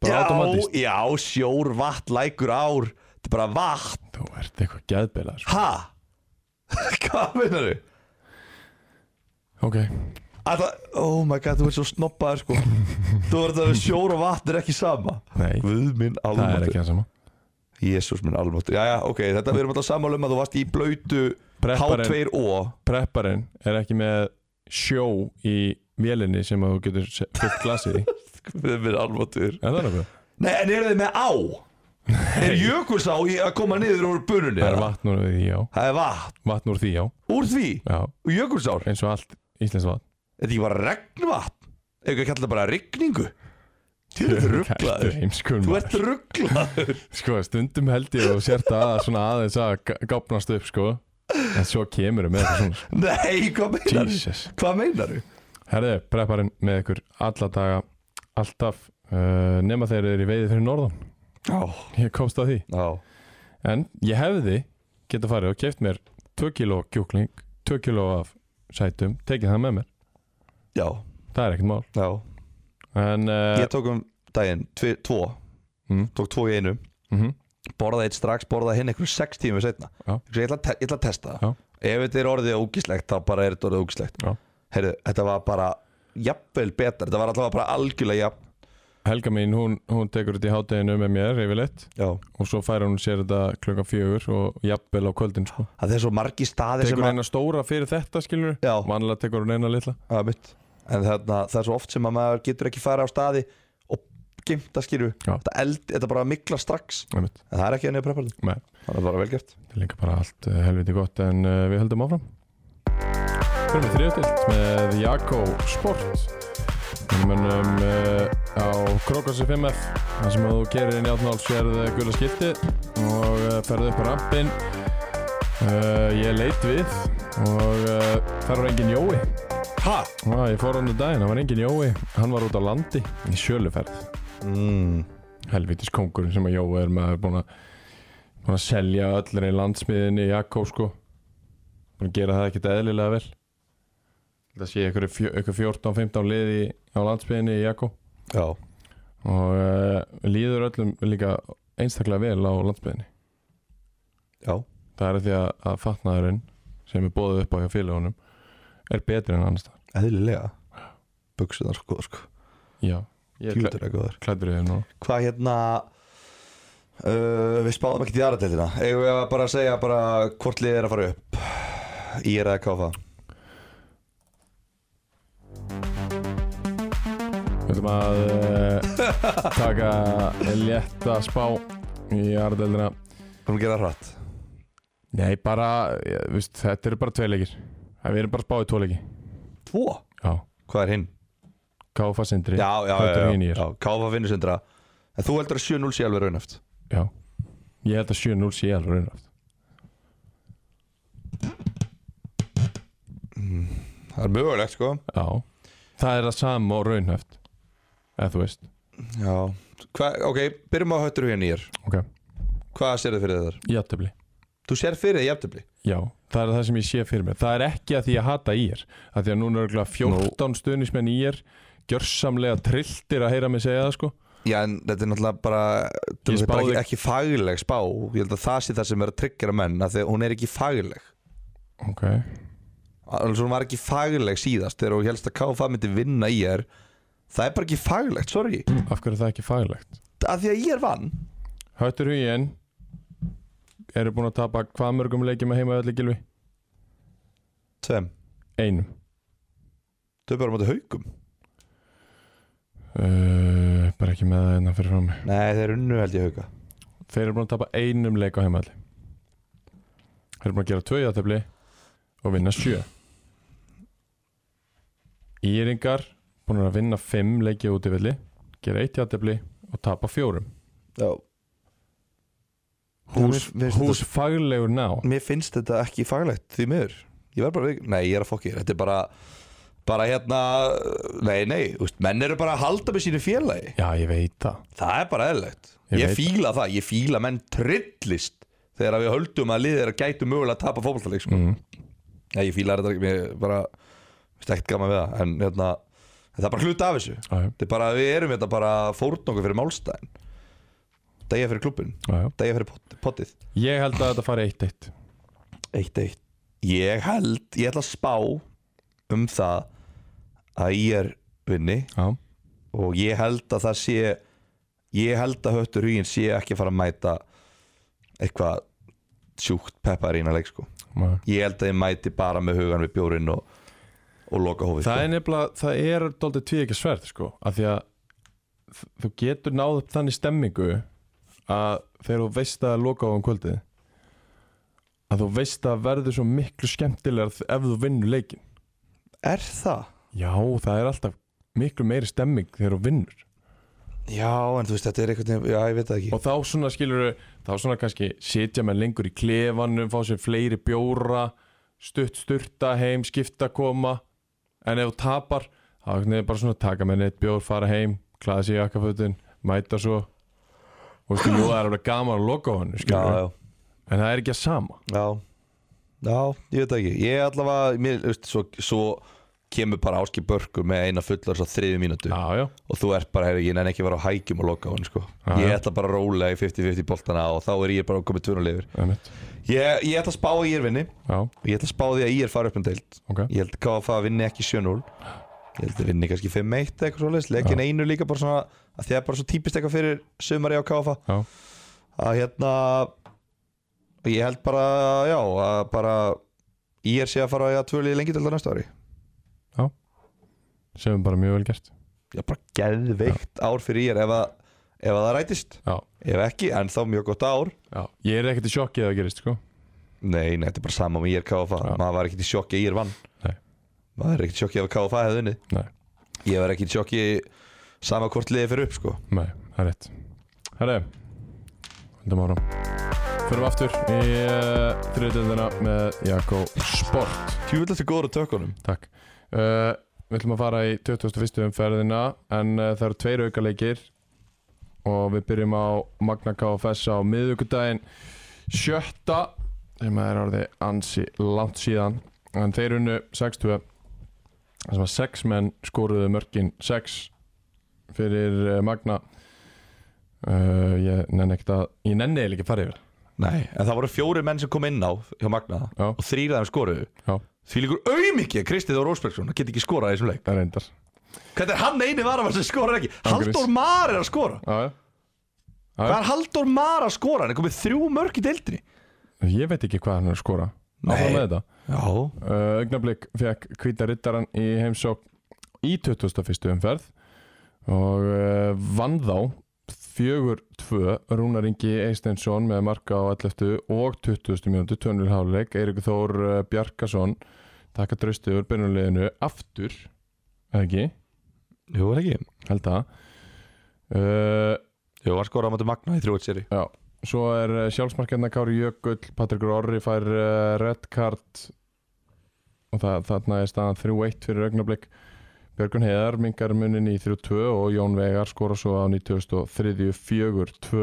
S1: Bara automatist
S2: já, sjór, vatn, lækur, ár Þetta er bara vatn
S1: Þú ert eitthvað geðbeilar
S2: Ha? Hvað meinar þau?
S1: Ok,
S2: Alltaf, oh my god, þú ert svo snoppaður sko Þú ert að sjór og vatn er ekki sama
S1: nei,
S2: Guð minn
S1: það er ekki
S2: almáttur
S1: það sama
S2: Jésús minn almáttur Jæja, ok, þetta við erum alltaf sammála um að þú varst í blöytu
S1: Prepparinn-
S2: H2O
S1: Prepparinn er ekki með sjó í vélinni sem að þú getur se- fyllt glasið í
S2: Guð minn almáttur
S1: Er það nokkuð?
S2: Nei, en eru þið með á? Er jökulsá í að koma niður úr bununni?
S1: Það er
S2: eða?
S1: vatn úr því, já
S2: Það er vatn
S1: Vatn úr því, já,
S2: Úr því?
S1: já
S2: Og jökulsár?
S1: Eins og allt íslensk vatn
S2: Þetta er ekki bara regnvatn? Eða ekki að kalla þetta bara rigningu? Þú ert
S1: Kæftur
S2: rugglaður
S1: heimskur
S2: Þú
S1: maður.
S2: ert rugglaður
S1: Sko, stundum held ég og sért að svona aðeins að gá- gáfnast upp, sko En svo kemur við með þetta svona sko.
S2: Nei, hvað meinar þú?
S1: Jesus
S2: Hvað meinar þú?
S1: Herði, prepparinn með ykkur alla daga Alltaf uh, Nema þeir eru í veiði fyrir norðan
S2: Já,
S1: Ég komst að því
S2: já
S1: En ég hefði geta farið og keft mér 2 kg kjúkling, 2 kg af sætum, tekið það með mér
S2: Já,
S1: Það er ekkert mál
S2: já
S1: En uh,
S2: Ég tók um daginn, tvi, tvo
S1: Mm.
S2: Tók tvo í einu
S1: mm
S2: Borðaði eitt strax, borðaði hinn einhverjum sex tímur setna
S1: Já.
S2: Ég ætla, að te- ég ætla að testa
S1: Já.
S2: það Ef þetta er orðið ógislegt, þá bara er þetta orðið ógislegt
S1: Já.
S2: Heyrðu, þetta var bara Jafnvel betra, þetta var allavega bara algjörlega jafn
S1: Helga mín, hún, hún tekur þetta í hádeginu með mér yfirleitt
S2: Já
S1: og svo fær hún sér þetta klukkan fjögur og jafnvel á kvöldin sko.
S2: Það er svo margi staðir
S1: Tekur
S2: sem að
S1: eina stóra fyrir þetta skilur
S2: Já.
S1: Vanlega tekur hún eina litla
S2: Já, mitt. En þarna, það er svo oft sem að maður getur ekki fara á staði og gimta skýru
S1: Já.
S2: þetta, eld, þetta bara mikla strax
S1: Einmitt.
S2: en það er ekki henni að prepparinn
S1: Nei,
S2: það er bara velgeft
S1: Það er líka bara allt eh, helviti gott en uh, við höldum áfram Fyrir með þriðutilt með Jakko Sport Við munum uh, á Krokosi 5F þar sem að þú kerir inn í átnáls sérð eh, gula skilti og uh, ferðu upp á rampin uh, Ég leit við og uh, þar var engin Jói
S2: Ha?
S1: ah, Ég fór hann um daginn, það var engin Jói hann var út á landi í sjöluferð
S2: Mm.
S1: helvitis kongurinn sem að Jói er maður búin að búin að selja öllur í landsmiðinni Jakko sko búin að gera það ekkert eðlilega vel þetta sé ykkur, fjó- ykkur 14-15 liði á landsmiðinni í Jakko
S2: Já,
S1: og uh, líður öllum líka einstaklega vel á landsmiðinni
S2: já,
S1: það er því að, að fatnaðurinn sem er bóðið upp á hjá félagunum er betri en annars það
S2: eðlilega Buksunar sko, sko.
S1: já, ég er klæ-
S2: Kjútur er góður
S1: klæddur í þér núna
S2: Hvað hérna uh, Við spáðum ekki í aðra deildina Eigum við að bara segja bara hvort liðið er að fara upp Í er að káfa
S1: Við ætlum að uh, taka létta spá í aðardeldina
S2: Hvað að gera það hratt?
S1: Nei, bara, ég, viðst, þetta eru bara tvei leikir Það eru bara spáið tvo leiki
S2: Tvo?
S1: Já,
S2: Hvað er hinn?
S1: Káfa Sindri
S2: Já, já, já,
S1: Höttur
S2: já,
S1: Hinir.
S2: já. Káfa finnur sindra En þú heldur að 7-0 sé alveg raunöft
S1: Já. Ég held að 7-0 sé alveg raunraft
S2: Það er mögulegt sko
S1: Já, það er það sama og raunhaft Eða þú veist
S2: Já Hva, Ok, byrjum á höttur hérna í þér
S1: Ok,
S2: Hvað sérðu fyrir þér?
S1: játtöfli
S2: Þú sér fyrir þér jafntöfli
S1: Já, það er það sem ég sé fyrir mér Það er ekki að því ég hata í er að Því að núna er örugglega 14 stuðnismenn í er Gjörsamlega trilltir að heyra mig segja það sko
S2: Já, en þetta er náttúrulega bara, þú
S1: Ég
S2: veist, bara
S1: spáði-
S2: ekki, ekki fagileg spá Ég held að það sé það sem er að tryggjara menn af því að hún er ekki fagileg
S1: Ok,
S2: Alveg hún var ekki fagileg síðast Þegar hún helst að KFA myndi vinna í er Það er bara ekki fagilegt, sorry
S1: af hverju er það ekki faglegt?
S2: Af því að ég er vann
S1: Höttur hugin Eru búin að tapa hvað mörgum leikjum að heima öllu gilvi?
S2: Tveim
S1: Einum
S2: Þau bara mátu haukum
S1: Uh, bara ekki með það hérna fyrir fram
S2: Nei, þeir unnu held ég hauka
S1: Þeir eru búin að tapa einum leik á heimalli Þeir eru búin að gera tvö játtöfli og vinna sjö Íringar búin að vinna fimm leiki á útivilli gera eitt játtöfli og tapa fjórum
S2: Já
S1: hús,
S2: mér finnst
S1: hús faglegur ná
S2: mér finnst þetta ekki faglegt því miður ég verð bara, nei ég er að fokkir þetta er bara, bara hérna nei nei, úst, menn eru bara að halda með sínu félagi,
S1: Já, ég veit það
S2: það er bara eðlilegt
S1: Ég
S2: ég,
S1: veit.
S2: fíla það, ég fíla menn trillist þegar við höldum að liðir að gætu mögulega að tapa fótballtaleik sko.
S1: Mhm.
S2: nei ég fíla þetta ekki, mér bara finnst ekkert gaman við það en hérna, það er bara hluti af þessu
S1: Já, já,
S2: þetta er bara, við erum þetta bara fórn okkur fyrir málstæðin degja fyrir klubbin,
S1: já, já.
S2: degja fyrir pot- pottið
S1: Ég held að þetta fari 1-1
S2: eitt eitt ég held, ég ætla að spá um það að ég er vinni
S1: Já,
S2: og ég held að það sé ég held að höttur huginn sé ekki að fara að mæta eitthvað sjúkt peppar í hérna leik sko
S1: já
S2: ég held að ég mæti bara með hugan við bjórin og, og loka hófið
S1: Það er
S2: sko.
S1: nefnilega, það er doldið tvíðekja sverð sko, af því að þ- þú getur náð upp þannig stemmingu að þegar þú veist að loka á um kvöldið að þú veist að verður svo miklu skemmtilegar þ- ef þú vinnur leikin
S2: er það?
S1: Já, það er alltaf miklu meiri stemming þegar þú vinnur
S2: já, en þú veist, þetta er einhvern veginn, já, ég veit það ekki
S1: og þá svona skilur þá svona kannski sitja með lengur í klefanum fá sér fleiri bjóra stutt sturta heim, skipta koma en ef þú tapar þá er þetta bara svona taka með neitt bjór fara heim, klæða sér í akkafötin mæta svo og veistu, jú, það er alveg gaman að loka á hann
S2: já,
S1: en
S2: já,
S1: það er ekki að sama
S2: Já, já, ég veit það ekki Ég allavega, mér, veist, svo, svo kemur bara Áski Börkur með eina fullar svo þriði mínútu
S1: já, já,
S2: og þú ert bara, heyrðu, ég nenni ekki að vera á hækjum og loka á hann, sko
S1: Já,
S2: Ég
S1: já.
S2: ætla bara að róla í 50-50 boltana og þá er ég bara komið tvönulegur
S1: einmitt
S2: ég, ég ætla að spá að ég er vinni
S1: já,
S2: og ég ætla að spá því að ég er fara upp um deild
S1: ok,
S2: Ég held að KFA vinni ekki 7-0 Ég held að vinni kannski 5-1 eða eitthvað svoleiðis Lekin einu líka bara svona að því að bara svo típist eitthvað fyrir sumari á KFA
S1: já,
S2: að hérna ég held bara, já, að bara ég er sé að fara að tvöli lengi til það næsta ári
S1: sem er bara mjög vel gert
S2: já, bara geðveikt ár fyrir ég er ef, að, ef að það rætist
S1: já,
S2: ef ekki, en þá mjög gott ár
S1: já, ég er ekkert í sjokki eða gerist, sko
S2: nei, nei, þetta er bara sama um með ég er KFA
S1: Já.
S2: maður var ekkert í sjokki að ég er vann
S1: Nei.
S2: maður er ekkert í sjokki ef KFA hefði unni
S1: nei,
S2: ég var ekkert í sjokki sama hvort liði fyrir upp sko
S1: Nei, það er rétt Herre, höldum áram Förum aftur í uh, þriðdöndina með Jakko Sport
S2: tjúvill eftir góður á tökunum
S1: Takk uh, Við ætlum að fara í 21. umferðina en uh, það eru tveir aukaleikir og við byrjum á Magna KFS á miðvikudaginn sjötta sem er orðið ansi langt síðan en þeir unnu 6-2 það sem að 6 menn skoruðu mörkin 6 fyrir uh, Magna uh, ég nenni ekkert að ég nenni eiginlega ekki að fara yfir
S2: nei, en það voru fjóri menn sem kom inn á hjá Magna
S1: Já.
S2: og þrýr af þeim skoruðu
S1: Já.
S2: því líkur auðmikið Kristið og Rósbergsson það geti ekki skorað í þessum leik
S1: það er reyndar
S2: Hvernig er hann eini varamar sem skorar ekki?
S1: Ángurins.
S2: Halldór Mar er að skora
S1: Já, já.
S2: Hvað er Halldór Mar að skora? Hann er komið þrjú mörg í deildinni
S1: ég veit ekki hvað hann er að skora
S2: Nei.
S1: áfram með þetta
S2: Já
S1: Uh, Augnablík fekk hvíta rittaran í heimsók í 21. umferð og uh, vann þá 4-2 Rúnar Ingi Eistensson með marka á 11. og 20. mínútu tönul háluleik, Eirik Þór uh, Bjarkason taka draustið úr byrjunarliðinu aftur, eða ekki
S2: Jú, er ekki
S1: held það uh,
S2: Jú, hann skoraði á mæti Magna í þrjóðt seri
S1: Já, svo er eh, sjálfsmarkefna Kári Jökull, Patrik Orri fær uh, red card og það, þarna er staðan 3-1 fyrir augnablík Björgun Heiðar mingar munin í 3-2 og Jón Vegar skora svo á 2003 4-2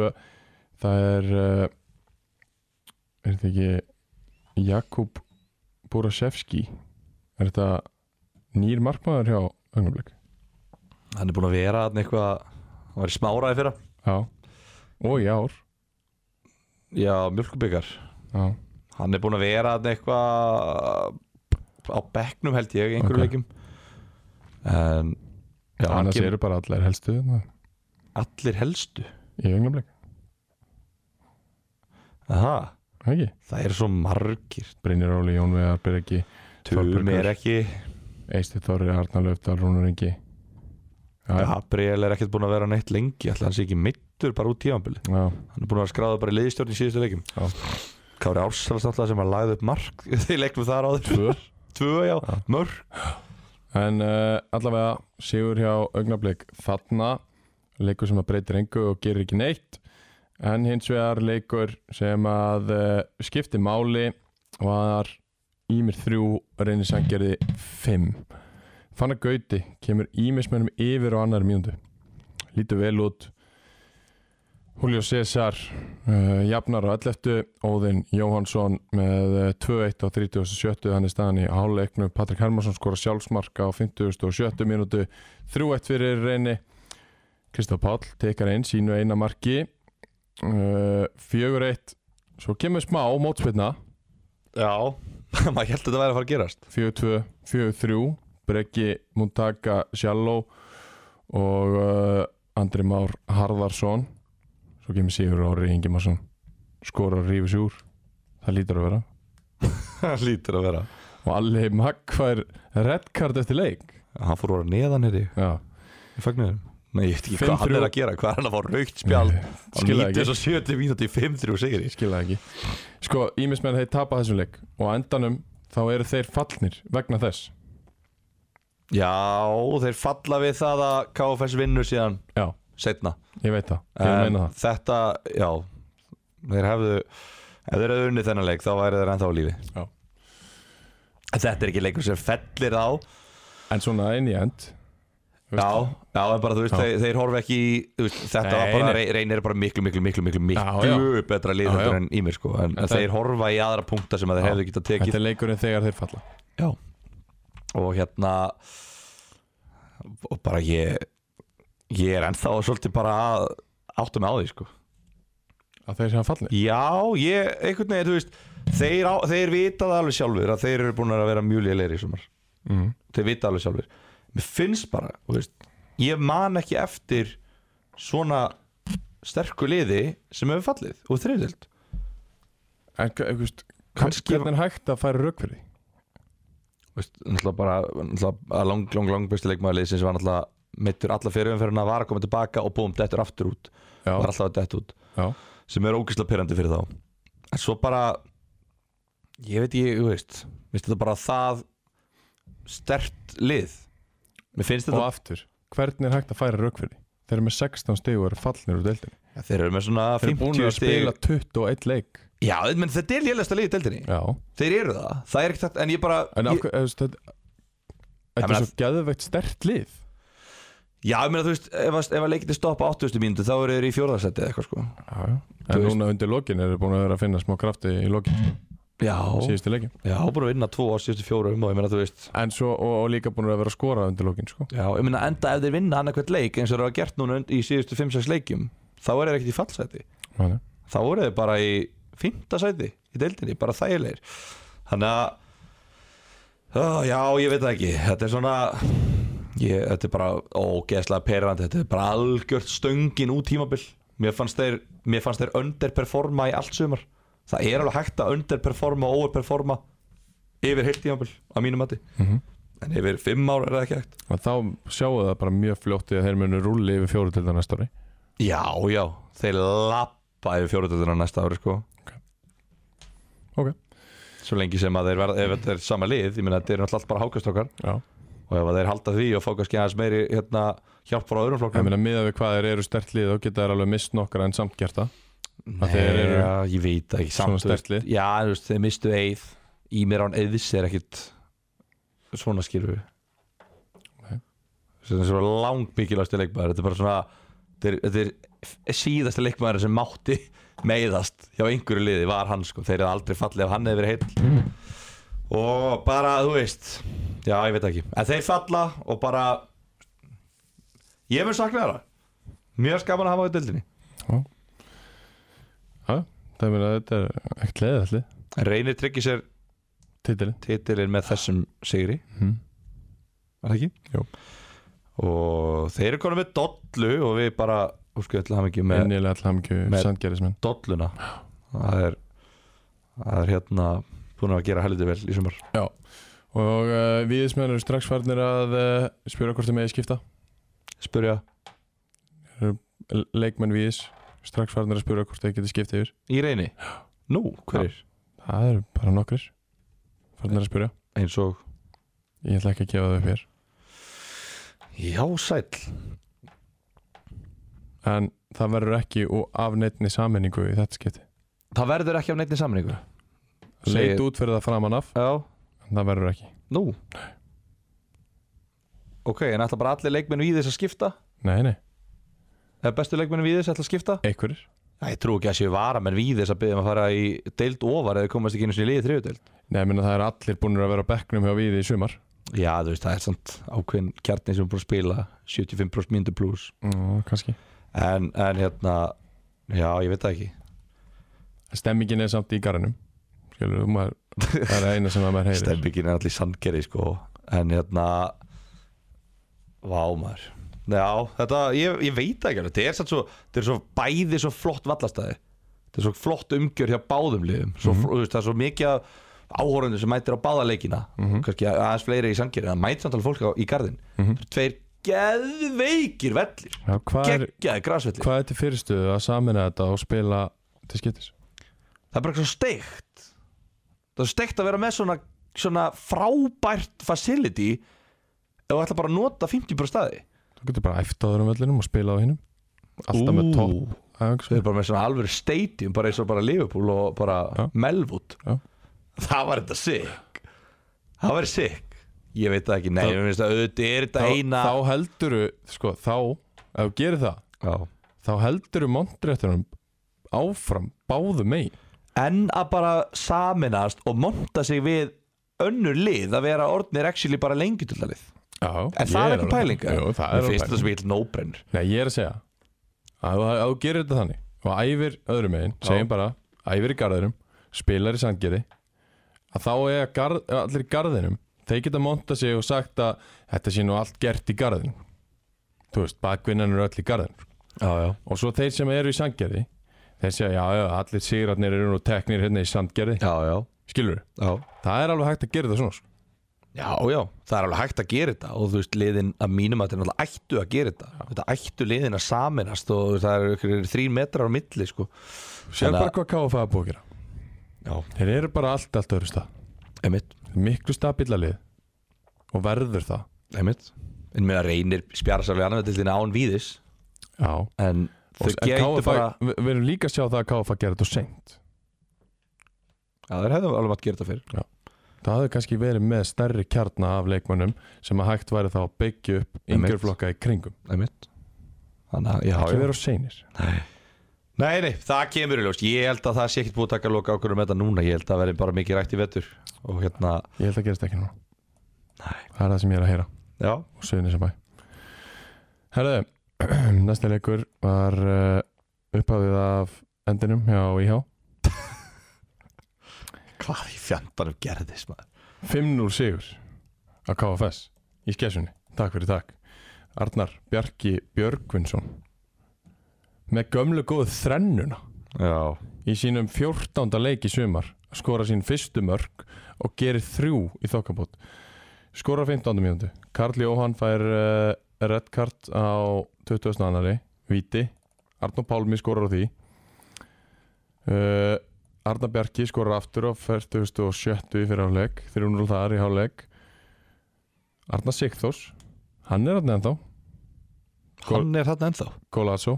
S1: það er uh, er þetta ekki Jakub Burasevski er þetta nýr markmaður hjá augnablík
S2: Hann er búin að vera hann eitthvað Hann var í smáraði fyrra
S1: já, og í ár
S2: Já, mjölkubikar
S1: já,
S2: Hann er búin að vera hann eitthvað Á bekknum held ég, í einhverjum
S1: Ok.
S2: leikum En Já, hann
S1: annars
S2: kemur
S1: eru bara allar helstu þarna
S2: allir helstu
S1: í augnablík
S2: Aha,
S1: Ekki?
S2: það eru svo margir
S1: Brynjar Óli, Jón Vegar, Byrki,
S2: Tumi er ekki
S1: Eisti Þorri, Arnar Löfdal, Rúnar Ingi Já,
S2: Gabriel er ekkert búin að vera neitt lengi Ætli hann sé ekki mittur bara út tímanbili
S1: já,
S2: Hann er búin að vera skráða bara í liðstjórn í síðustu leikum
S1: já,
S2: Kári Ársals alltaf sem að lagði upp mark Þeir leiknum þar áður
S1: tvö
S2: Tvö, já, mörg
S1: En uh, allavega sigur hjá augnablík þarna leikur sem að breytir engu og gerir ekki neitt en hins vegar leikur sem að uh, skipti máli var Ímir 3, reynir sangerði 5 Fannar Gauti kemur Ímismennum yfir á annar mínútu lítur vel út Julio César uh, jafnar á 11. Óðinn Jóhansson með eh, 2-1 á 37. hann er staðan í háleiknum Patrik Hermansson skora sjálfsmark á 57. mínútu 3-1 fyrir reyni Kristof Páll tekar einn sínu eina marki uh, 4-1 svo kemur smá mótspilna
S2: Já Maður held að þetta væri að fara að gerast
S1: 4-2, 4-3 Breggi Muntaka Sjalló og uh, Andri Már Harðarsson svo kemur Sigur Ári Ingimarsson skorar rífis úr það lítur að vera
S2: Það lítur að vera
S1: og allir makkvær reddkart eftir leik
S2: Hann fór að neðan hér í
S1: Já,
S2: Ég fagnu þér Nei, ég veit ekki
S1: Fimm,
S2: hvað hann
S1: þrjú.
S2: er að gera Hvað er hann að fá raukt spjald Á
S1: skilja ekki
S2: 70 mínúti í 5-3 sigri
S1: ég skilja ekki sko, ímismenn þeir tapa þessum leik og á endanum þá eru þeir fallnir vegna þess
S2: Já, þeir falla við það að KFS vinnur síðan
S1: já,
S2: setna
S1: ég veit það, ég
S2: En
S1: meina það
S2: Þetta, já Þeir hefðu Ef þeir hefðu unnið þennan leik þá væri þeir ennþá á lífi
S1: Já.
S2: En Þetta er ekki leikur sem fellir á
S1: en svona inn í end veist
S2: Já, já, en bara þú veist,
S1: Já.
S2: þeir, þeir horfa ekki í þú veist, Þetta
S1: Nei,
S2: var bara,
S1: nei.
S2: Re- reynir er bara miklu, miklu, miklu, miklu, miklu
S1: Já,
S2: betra lið
S1: Já,
S2: heldur
S1: já.
S2: en í mér sko En, en
S1: Þetta-
S2: þeir horfa í aðra punkta sem að þeir
S1: Já.
S2: hefðu getað tekið
S1: þetta er leikurinn þegar þeir falla
S2: Já Og hérna Og bara ég Ég er ennþá svolítið bara að átta mig á því sko
S1: að þeir sem fallnir
S2: Já, ég, einhvern veginn, þú veist Þeir, á, þeir vita það alveg sjálfur að þeir eru búin að vera mjög lélegir í sumar
S1: mm.
S2: Þeir vita alveg sjálfur Mér finnst bara, þú veist Ég man ekki eftir svona sterku liði sem hefur fallið og þriðdelt
S1: En hva- þú veist,
S2: Kannski-
S1: hvernig hérna er hægt að færa rauk fyrir því?
S2: Náttúrulega bara, náttúrulega að lang, lang, lang besti leikmaður liðsins var náttúrulega meittur alla fyrirumferðina var að koma tilbaka og búum dettur aftur út
S1: Já,
S2: var alltaf að detta út
S1: já,
S2: sem er ógeðslega pyrrandi fyrir þá en svo bara ég veit ekki, þú veist mér finnst þetta bara það stert lið mér finnst
S1: og
S2: þetta
S1: aftur Hvernig er hægt að færa rauk fyrir því? Þeir eru með 16 stig og eru fallnir úr deildinni
S2: þeir eru með svona
S1: Þeir eru búin
S2: 50
S1: að
S2: stig
S1: spila 21 leik
S2: já, menn þetta er lélegasta lið í deildinni
S1: Já,
S2: þeir eru það, það er ekkert hægt en ég bara
S1: en af
S2: ég,
S1: hverju, þú veist, þetta Þetta
S2: meina-
S1: er svo geðveikt stert lið
S2: já, ég meina þú veist, ef, að- ef að leikinni stoppa á 8000 mínútu þá eru þeir í fjórðarsæti eða eitthvað sko
S1: Já, já
S2: Þú
S1: En
S2: veist-
S1: núna undir lokin eru búin að vera að finna smá krafti í lokin
S2: já,
S1: Síðustu leikin
S2: já, búin að vinna tvo á síðustu fjórum og ég meina þú veist
S1: En svo, og, og líka búin að vera að skora undir lokin, sko
S2: já, ég meina enda ef þeir vinna annarkvæmt leik eins og þeir eru að gert núna und- í síðustu 5-6 leikjum þá eru þeir ekkert í fallsæti
S1: Þannig.
S2: þá voru þeir bara í fymta sæti í deildinni, bara þægilegir þannig að ó, já, ég veit það ekki, þetta er svona ég, þetta er bara ógeðslega perrand, þetta er bara algjört stöngin út tímabil, mér fannst þeir mér fannst þeir underperforma í allt sumar það er alveg hægt að underperforma og overperforma yfir heilt tímabil á mínum mati,
S1: Mhm.
S2: en yfir fimm ár er það ekki hægt
S1: Og Þá sjáu það bara mjög fljótt í að þeir munu rúli yfir fjóru til það næsta ári
S2: já, já, þeir lappa yfir fjóruðöldina næsta ári sko
S1: Ok,
S2: svo lengi sem að þeir verða, ef þetta er sama lið ég meina þetta er náttúrulega allt bara hákastokkar
S1: já
S2: og ef að þeir halda því og fá kannski aðeins meiri hérna, hjálp frá öðrum
S1: Ég
S2: flokkum
S1: meina miðað við hvað þeir eru stert lið þá geta þeir alveg mist nokkra en samt gert það að þeir eru
S2: ja, ég veit það ekki
S1: svona
S2: samt, þú veist,
S1: sterkt lið.
S2: já, þú veist, þeir mistu eið í mér án eðis er ekkit svona skilur
S1: Nei.
S2: þetta er svo langt mikilvægstu leikmaður þetta er bara svona þetta er, þetta er f- síðasti leikmaður sem mátti meiðast hjá einhverju liði var hann sko, þeir eru aldrei fallið ef hann hefur verið heill
S1: Mm.
S2: og bara, þú veist já, ég veit það ekki, en þeir falla og bara ég mun sakna þeirra mjög skaman að hafa á dildinni
S1: Já, það meina þetta er ekkert leiðið allir
S2: reynir tryggir sér
S1: titilin
S2: titilinn með þessum sigri
S1: Mhm.
S2: var það ekki?
S1: Jú.
S2: og þeir eru konum með dollu og við bara úrskuðu ætla hann ekki með
S1: Ennilega allir hamingju
S2: með-
S1: sandgerðismenn
S2: dolluna það er, það er hérna búin að gera heldur vel í sumar
S1: Og uh, viðismenn eru strax farnir að uh, spjóra hvort þeir megi skipta
S2: spurja
S1: L- Leikmenn viðis strax farnir að spjóra hvort þeir geti skipta yfir
S2: í reyni nú, hverjir?
S1: Það eru bara nokkrir farnir að spjóra
S2: eins og
S1: Ég ætla ekki að gefa þau upp hér
S2: já sæll
S1: En það verður ekki og af neittni sammenningu í þetta skipti
S2: Það verður ekki af neittni samningu
S1: leit út fyrir það framan af,
S2: Já,
S1: en það verður ekki
S2: nú Ok, en ætla bara allir leikmenn við þess að skipta
S1: nei, nei,
S2: Eða bestu leikmenn við þess ætla að skipta
S1: einhverjir
S2: Nei, ég trú ekki að séu varamenn við þess að byggja um að fara í deild ofar eða komast ekki einu sinni í liðið þriðudeild
S1: nei, minna, það er allir búinir að vera á bekknum hjá við í sumar
S2: Já, þú veist, það er samt ákveðin kjarni sem er búin að spila 75% myndu pluss
S1: Ó, kannski
S2: en, en hérna, já, ég veit það ekki
S1: stemmingin er samt í garðinum skilur, maður, það er eina sem að maður heyrir
S2: Stemmingin er allir sandgeri, sko En hérna Vá, maður Já, þetta, ég, ég veit það ekki alveg Þetta er samt svo, þetta er svo bæði svo flott vallastæði Þetta er svo flott umgjör hjá báðum liðum svo, mm veist, Það er svo mikið áhórundu sem mætir á báða leikina Kannski aðeins fleiri í sandgeri En það mætir samt alveg fólk á, í garðin mm -hmm. Tveir geðveikir vellir
S1: Já, hvað er,
S2: Geggjaði grasvellir
S1: hvað er til fyrirstöðu að samina þetta og spila til skiptis
S2: það er bara eitthvað svo steikt það er steikt að vera með svona, svona frábært facility ef þú ætla bara að nota 50% staði
S1: þú getur bara æft á þeirum vellinum og spila á hinnum alltaf með topp æfingu,
S2: við
S1: sko.
S2: erum bara með svona alvöru stadium bara eins og bara Liverpool og bara
S1: Já.
S2: Melwood
S1: Já.
S2: það var þetta sick það var sick ég veit það ekki, nei, mér finnst að auðvitað er þetta eina
S1: þá helduru, sko, þá ef þú gerir það,
S2: Já.
S1: þá helduru montréttunum áfram báðu megin
S2: en að bara saminast og monta sig við önnur lið að vera orðnir actually bara lengi til það lið
S1: Já,
S2: en
S1: ég
S2: það er
S1: alveg-
S2: ekki pælinga
S1: Jú, það er
S2: mér
S1: alveg
S2: finnst þetta
S1: pælinga
S2: sem ég vil no-brainer
S1: Nei, ég er að segja að þú- að þú gerir þetta þannig og æfir öðrum megin, segjum bara æfir í garðinum, spilar í sandgeri að þá er garð, allir í garðinum þeir geta monta sig og sagt að þetta sé nú allt gert í garðin þú veist, bakvinnan eru öll í garðin
S2: já, já.
S1: og svo þeir sem eru í sandgeri þeir segja, já, já, allir sigrarnir eru nú teknir hérna í sandgeri,
S2: Já, já,
S1: skilur
S2: já
S1: það er alveg hægt að gera þetta svona sko.
S2: Já, já, það er alveg hægt að gera þetta og þú veist, liðin að mínum að þetta er náttúrulega ættu að gera þetta þetta ættu liðin að saminast og þú veist, það eru ykkur þrín metrar á milli sko.
S1: Sér bara hvað KFA er búið að gera
S2: Já.
S1: Þeir eru bara allt, allt öðru stað
S2: Einmitt,
S1: Miklu stabilalið Og verður það
S2: einmitt En með að reynir spjara sérlega annað til þínu án víðis
S1: Já
S2: en þau
S1: En
S2: gætu
S1: KFA,
S2: bara
S1: við, við erum líka að sjá það að KFA gera þetta seint
S2: Já, þeir hefðu alveg mátt gera þetta fyrir
S1: Það hafði kannski verið með stærri kjarna af leikmönnum sem að hægt væri þá að byggja upp
S2: Einmitt.
S1: yngjörflokka í kringum
S2: Einmitt Þannig að, já,
S1: Það
S2: já
S1: verður seinir
S2: Nei, nei, það kemur í ljós Ég held að það sé ekkert búið að taka loka ákvörðum með þetta núna Ég held að verði bara mikið rætt í vetur Og hérna,
S1: Ég held að gerist ekki núna Það er það sem ég er að heyra
S2: já,
S1: og Suðunisabæ Herðu, næsta leikur var uh, upphafið af endinum hjá IH
S2: hvað í fjandanum gerðist maður
S1: 5-0 sigur á KFS í skessunni, takk fyrir takk Arnar Bjarki Björgvinsson með gömlu góðu þrennuna
S2: Já,
S1: í sínum 14. leik í sumar skora sín fyrstu mörg og gerir þrjú í þokkabót skora 15. mínútu Karl Jóhann fær uh, red card á 20. annari Víti, Arnó Pálmi skorar á því uh, Arna Bjarki skorar aftur á 47. í fyrir hálfleik 300 þar í hálfleik Arna Sigþós hann er hann ennþá, Gól-
S2: hann er þarna ennþá
S1: Golasso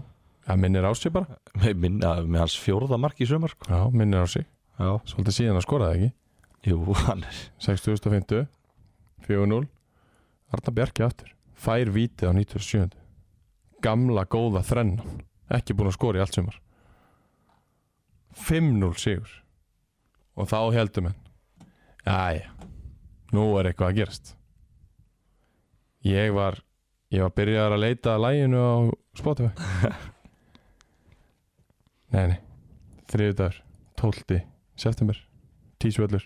S1: hann minnir á sig bara,
S2: með, minn, að, með hans fjórða mark í sumar sko.
S1: já, minnir á sig
S2: Já,
S1: svolítið síðan að skoraði ekki
S2: jú, hann er
S1: 6050 4-0 Arna Bjarki aftur fær vítið á 97 gamla góða þrennan ekki búin að skora í allt sumar 5-0 sigur og þá heldur menn Jæja, nú er eitthvað að gerast ég var ég var byrjaðar að leita að læginu á Spotify nei, nei þriðudagur, 12. september tísvöllur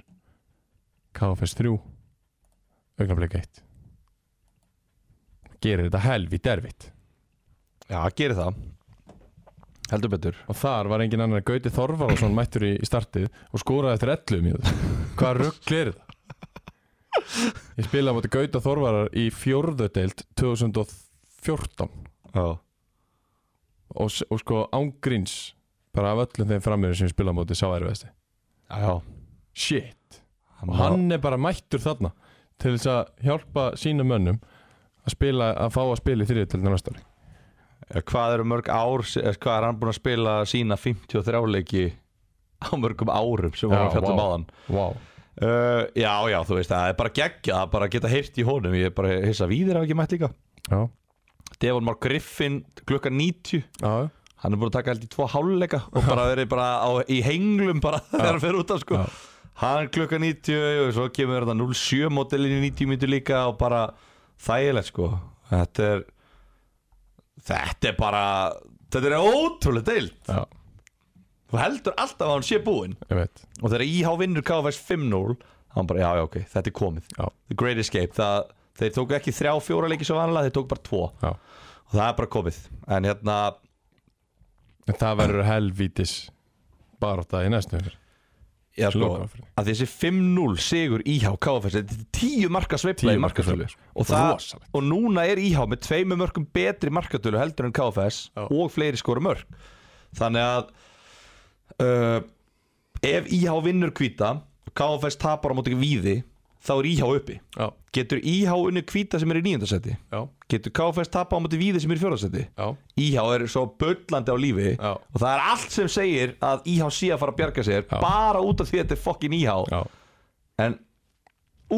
S1: KFS 3 augnablik 1 gerir þetta helvít erfitt
S2: Já, gerir það Heldur betur
S1: og þar var engin annar en Gauti Þorvarásson mættur í í startið og skoraði eftir 11 mínútur hvað rugl er þetta? ég spilaði á móti Gauta Þorvarar í fjórðudeild 2014
S2: Já,
S1: og, s- og sko ángríns bara af öllum þeim framöður sem ég spilaði á móti sá erfiðasti
S2: já, já.
S1: shit
S2: Hann,
S1: og hann er bara mættur þarna til þess að hjálpa sínum mönnum að spila, að fá að spila í þriðutöldinu næsta ári
S2: Eh, Hvað eru mörg ár, eh, hvað er hann búin að spila sína 53 leiki á mörgum árum sem við varum að fjalla um áðan
S1: wow.
S2: Uh, já, já, þú veist, það er bara geggjað að bara geta heyrt í honum, ég er bara hissa víðir af ekki mætt líka.
S1: Já,
S2: Devon Mark Griffin klukkan 90
S1: já,
S2: hann er búin að taka held í tvo háluleika og bara verið bara á, í henglum bara þegar hann fer út af sko hann klukkan 90 og svo kemur þetta 07 modelin í 90 minntu líka og bara þægilegt sko þetta er þetta er bara þetta er ótrúlega deilt
S1: já,
S2: þú heldur alltaf að hann sé búinn
S1: ég veit
S2: og þegar IH vinnur KFS 5-0 hann bara, já, já, ok, þetta er komið
S1: Já.
S2: The Great Escape, það, þeir tóku ekki þrjá, fjóra leiki svo vanlega, þeir tóku bara tvo
S1: Já.
S2: og það er bara komið, en hérna
S1: En það verður helvítis bara þetta í næstu yfir
S2: Já, sko,
S1: Lokaumferðin.
S2: að þessi 5-0 sigur IH KFS, þetta er 10 marka sveifla
S1: 10
S2: í
S1: marka
S2: markatölu
S1: sveifla.
S2: og, það,
S1: Rosalegt.
S2: og núna er IH með tveimur mörgum betri markatölu heldur en KFS
S1: Já.
S2: og fleiri skora mörg þannig að uh, ef IH vinnur kvíta og KFS tapar á móti víði þá er IH uppi
S1: Já,
S2: Getur IH unni kvíta sem er í nýjöndasetti?
S1: já,
S2: Getur KFS tapa á móti víði sem er í fjórasetti?
S1: já,
S2: IH er svo böllandi á lífi
S1: Já.
S2: og það er allt sem segir að IH sé að fara að bjarga sér
S1: Já.
S2: bara út af því að þetta er fokkin IH
S1: já,
S2: en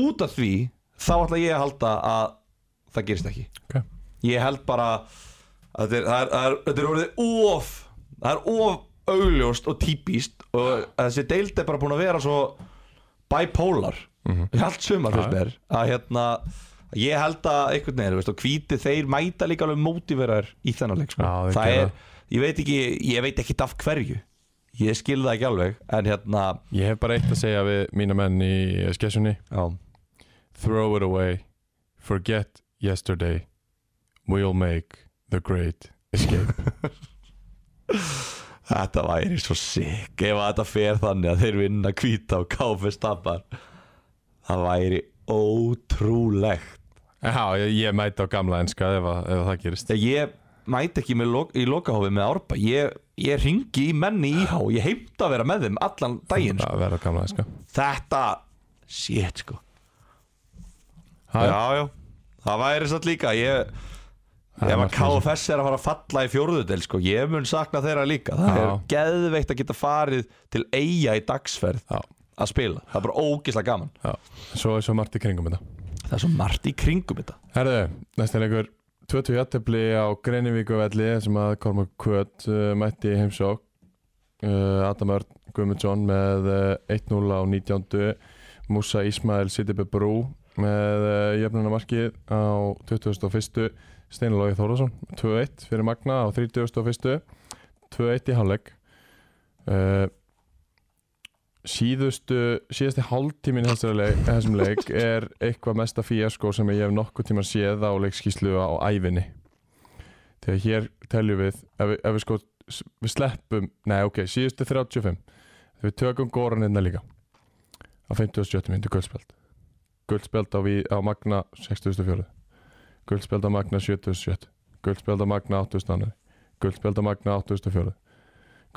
S2: út af því þá ætla ég að halda að það gerist ekki
S1: ok
S2: ég held bara að þetta er, það er, það er, þetta er orðið of það er of augljóst og típist og þessi deild er bara búin að vera svo bipolar
S1: Mhm.
S2: í allt sumar fyrst mér að hérna ég held að einhvern veginn þú veist, og hvíti þeir mæta líka alveg mótiveraður í þennan leik sko.
S1: Já, þeir
S2: það
S1: gera
S2: er, ég veit ekki ég veit ekki af hverju ég skil það ekki alveg en hérna
S1: Ég hef bara eitt að segja við mína menn í skessunni
S2: já,
S1: Throw it away Forget yesterday We'll make the great escape
S2: Þetta væri svo sikk ef að þetta fer þannig að þeir vinna kvíta og KFS tapar Það væri ótrúlegt
S1: Já, ég, ég mæti á gamla enska ef, að, ef að það gerist
S2: Þegar ég mæti ekki með lok, í lokahófi með Árba ég, ég ringi í menni í H ég heimta að vera með þeim allan daginn sko.
S1: Það verður á gamla enska
S2: Þetta, shit sko
S1: Ha,
S2: Já, já, það væri satt líka ég,
S1: Það er
S2: Ef að
S1: margt með
S2: KFS er að fara að falla í fjórðudel sko, ég mun sakna þeirra líka Það
S1: Já.
S2: er geðveikt að geta farið til eiga í dagsferð
S1: Já,
S2: að spila, það er bara ógislega gaman
S1: já Svo er svo margt í kringum þetta
S2: það er svo margt í kringum þetta
S1: Herðu, næsta leikur 20 játtöfli á Greinivíku velli sem að Korma Kvöt uh, mætti í heimsók uh, Adam Örn Guðmundsson með uh, 1-0 á 19. Musa Ismail Sidibe Brú með uh, jöfnunamarkið á 21. Steinlógi Þórðarsson 2-1 fyrir Magna á 31. 2-1 í hálfleik uh, síðustu síðasti hálftímin í þessari leik, þessum leik er eitthvað mesta fíaskó sem ég hef nokkuð tíma séð á leikskíslu á ævinni þegar hér teljum við ef, við- ef við sko s- við sleppum nei ok, síðustu 35 þegar við tökum góran hérna líka á 57 myndu guldspjald guldspjald á, við, á Magna 64 guldspjald á Magna 77 guldspjald á Magna 82 guldspjald á Magna 84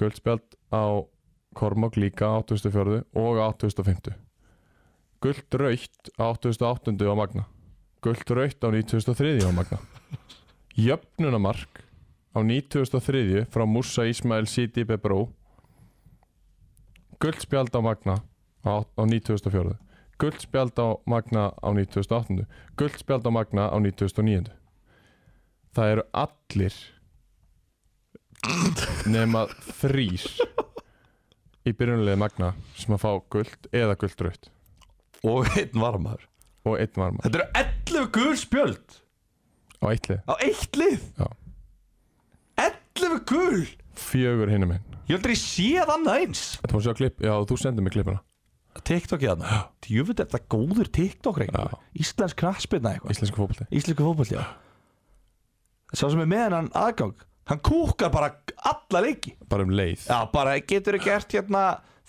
S1: guldspjald á Kormák líka 84 og 85 Gullt raukt á 88 á Magna Gullt raukt á 93 á Magna Jöfnunamark á 93 frá Musa Ismail Sidi Bebró Gullt spjald á Magna á, á 94 Gullt spjald á Magna á 98 Gullt spjald á Magna á 99 Það eru allir nema þrýr í byrjunulegi Magna sem að fá guld eða guldraut
S2: og einn varmaður
S1: og einn varma
S2: þetta eru 11 gul spjöld
S1: á eitt lið
S2: á eitt lið
S1: Já.
S2: 11 gul ég
S1: fjögur hinum einn
S2: heldur ég séð annað eins
S1: Þetta var að sjá klipp, já þú sendir mig klippuna
S2: TikTok í þarna djöfitt er þetta góður TikTok
S1: Já.
S2: reyngur íslensk knassbyrna eitthvað
S1: Íslensku fótbolti
S2: íslensku fótbolti já sá sem er með hennan aðgang hann kúkar bara alla leiki
S1: bara um leið
S2: já bara getur þið gert hérna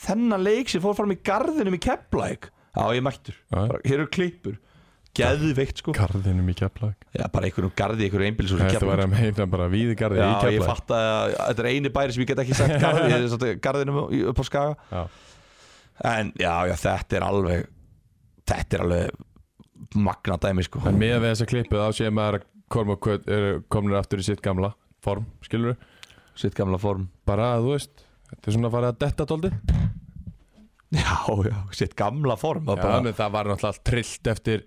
S2: þennan leik sem fór fram í garðinum í keplæk já ég er mættur
S1: Já.
S2: bara, hér eru klippur geðveikt sko
S1: Garðinum í Keflag
S2: Já, bara einhverjum garði, einhverjum einbílisús
S1: Þetta var að meina bara víði garði
S2: Já,
S1: í
S2: ég
S1: Keflag
S2: fatt að þetta er eini bæri sem ég get ekki sagt garði, ég er svolítið garðinum í- upp á skaga
S1: Já.
S2: En já, já, þetta er alveg Þetta er alveg magna dæmi, sko
S1: En með við þessa klippu þá sé maður að Kormák Kvöt eru komnir aftur í sitt gamla form, skilur
S2: sitt gamla form
S1: bara að þú veist, þetta er svona að fara að detta tóldi
S2: Já, já, sitt gamla form
S1: Já, menn það var náttúrulega allt trillt eftir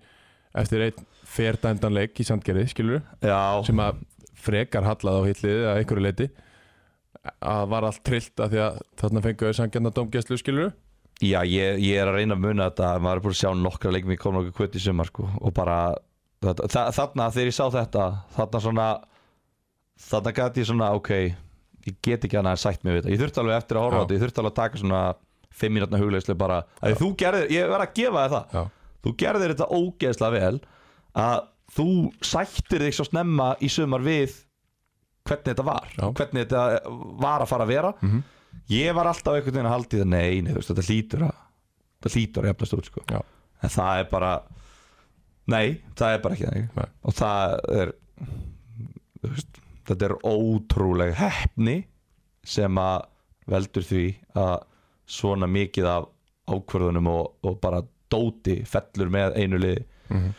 S1: eftir einn ferdændan leik í sandgerði, skilur
S2: já,
S1: sem að frekar hallaði á hitlið að einhverju leiti að var allt trillt að því að þarna fenguðu sangjarna domgæslu skilur
S2: já ég, ég er að reyna að muna þetta maður er búin að sjá nokkra leikum í kom nokkuð kvöt í sumar sko, og bara þetta, þa þarna þegar ég sá þetta þarna svona þarna gæti ég svona, ok ég get ekki annað en sætt mig við þetta ég þurfti alveg eftir að horfa á
S1: Já.
S2: þetta, ég þurfti alveg að taka svona fimm mínútna hugleyslu bara að þú gerðir, ég verð að gefa þér það
S1: Já,
S2: þú gerðir þetta ógeðslega vel að þú sættir þig svo snemma í sumar við hvernig þetta var
S1: Já.
S2: hvernig þetta var að fara að vera ég var alltaf einhvern veginn að haldi það nei, nei, þú veist, þetta hlýtur að þetta hlýtur að jafnast út, sko
S1: Já.
S2: en það er bara nei, það er bara ekki þannig
S1: Nei.
S2: og það er þú veist, þetta er ótrúleg hefni sem að veldur því að svona mikið af ákvörðunum og, og bara dóti fellur með einu liði
S1: Mhm.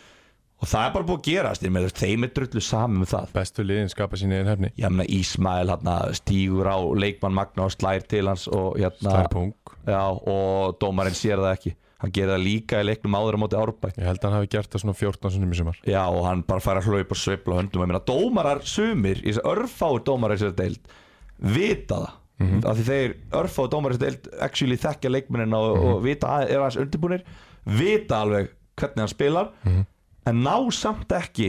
S2: og það er bara búið að gerast ég meina, þeim er drullu saman um það
S1: bestu liðin skapa sín einn hefni
S2: ég meina Ísmael hérna, stígur á leikmann Magna og slær til hans og, hérna,
S1: Slær pung,
S2: já, og dómarinn sér það ekki hann gerir það líka í leiknum áður á móti árbæk
S1: ég held að hann hafi gert það svona 14 sunnum í sumar
S2: Já og hann bara fær að hlaupa og sveifla höndum Ég meina dómarar sumir Í þessi örfáir dómarar í þessi deild Vita það Af því þeir örfáir dómarar í þessi deild Actually þekkja leikmennina og, og vita að, Er aðeins undirbúnir Vita alveg hvernig hann spilar En ná samt ekki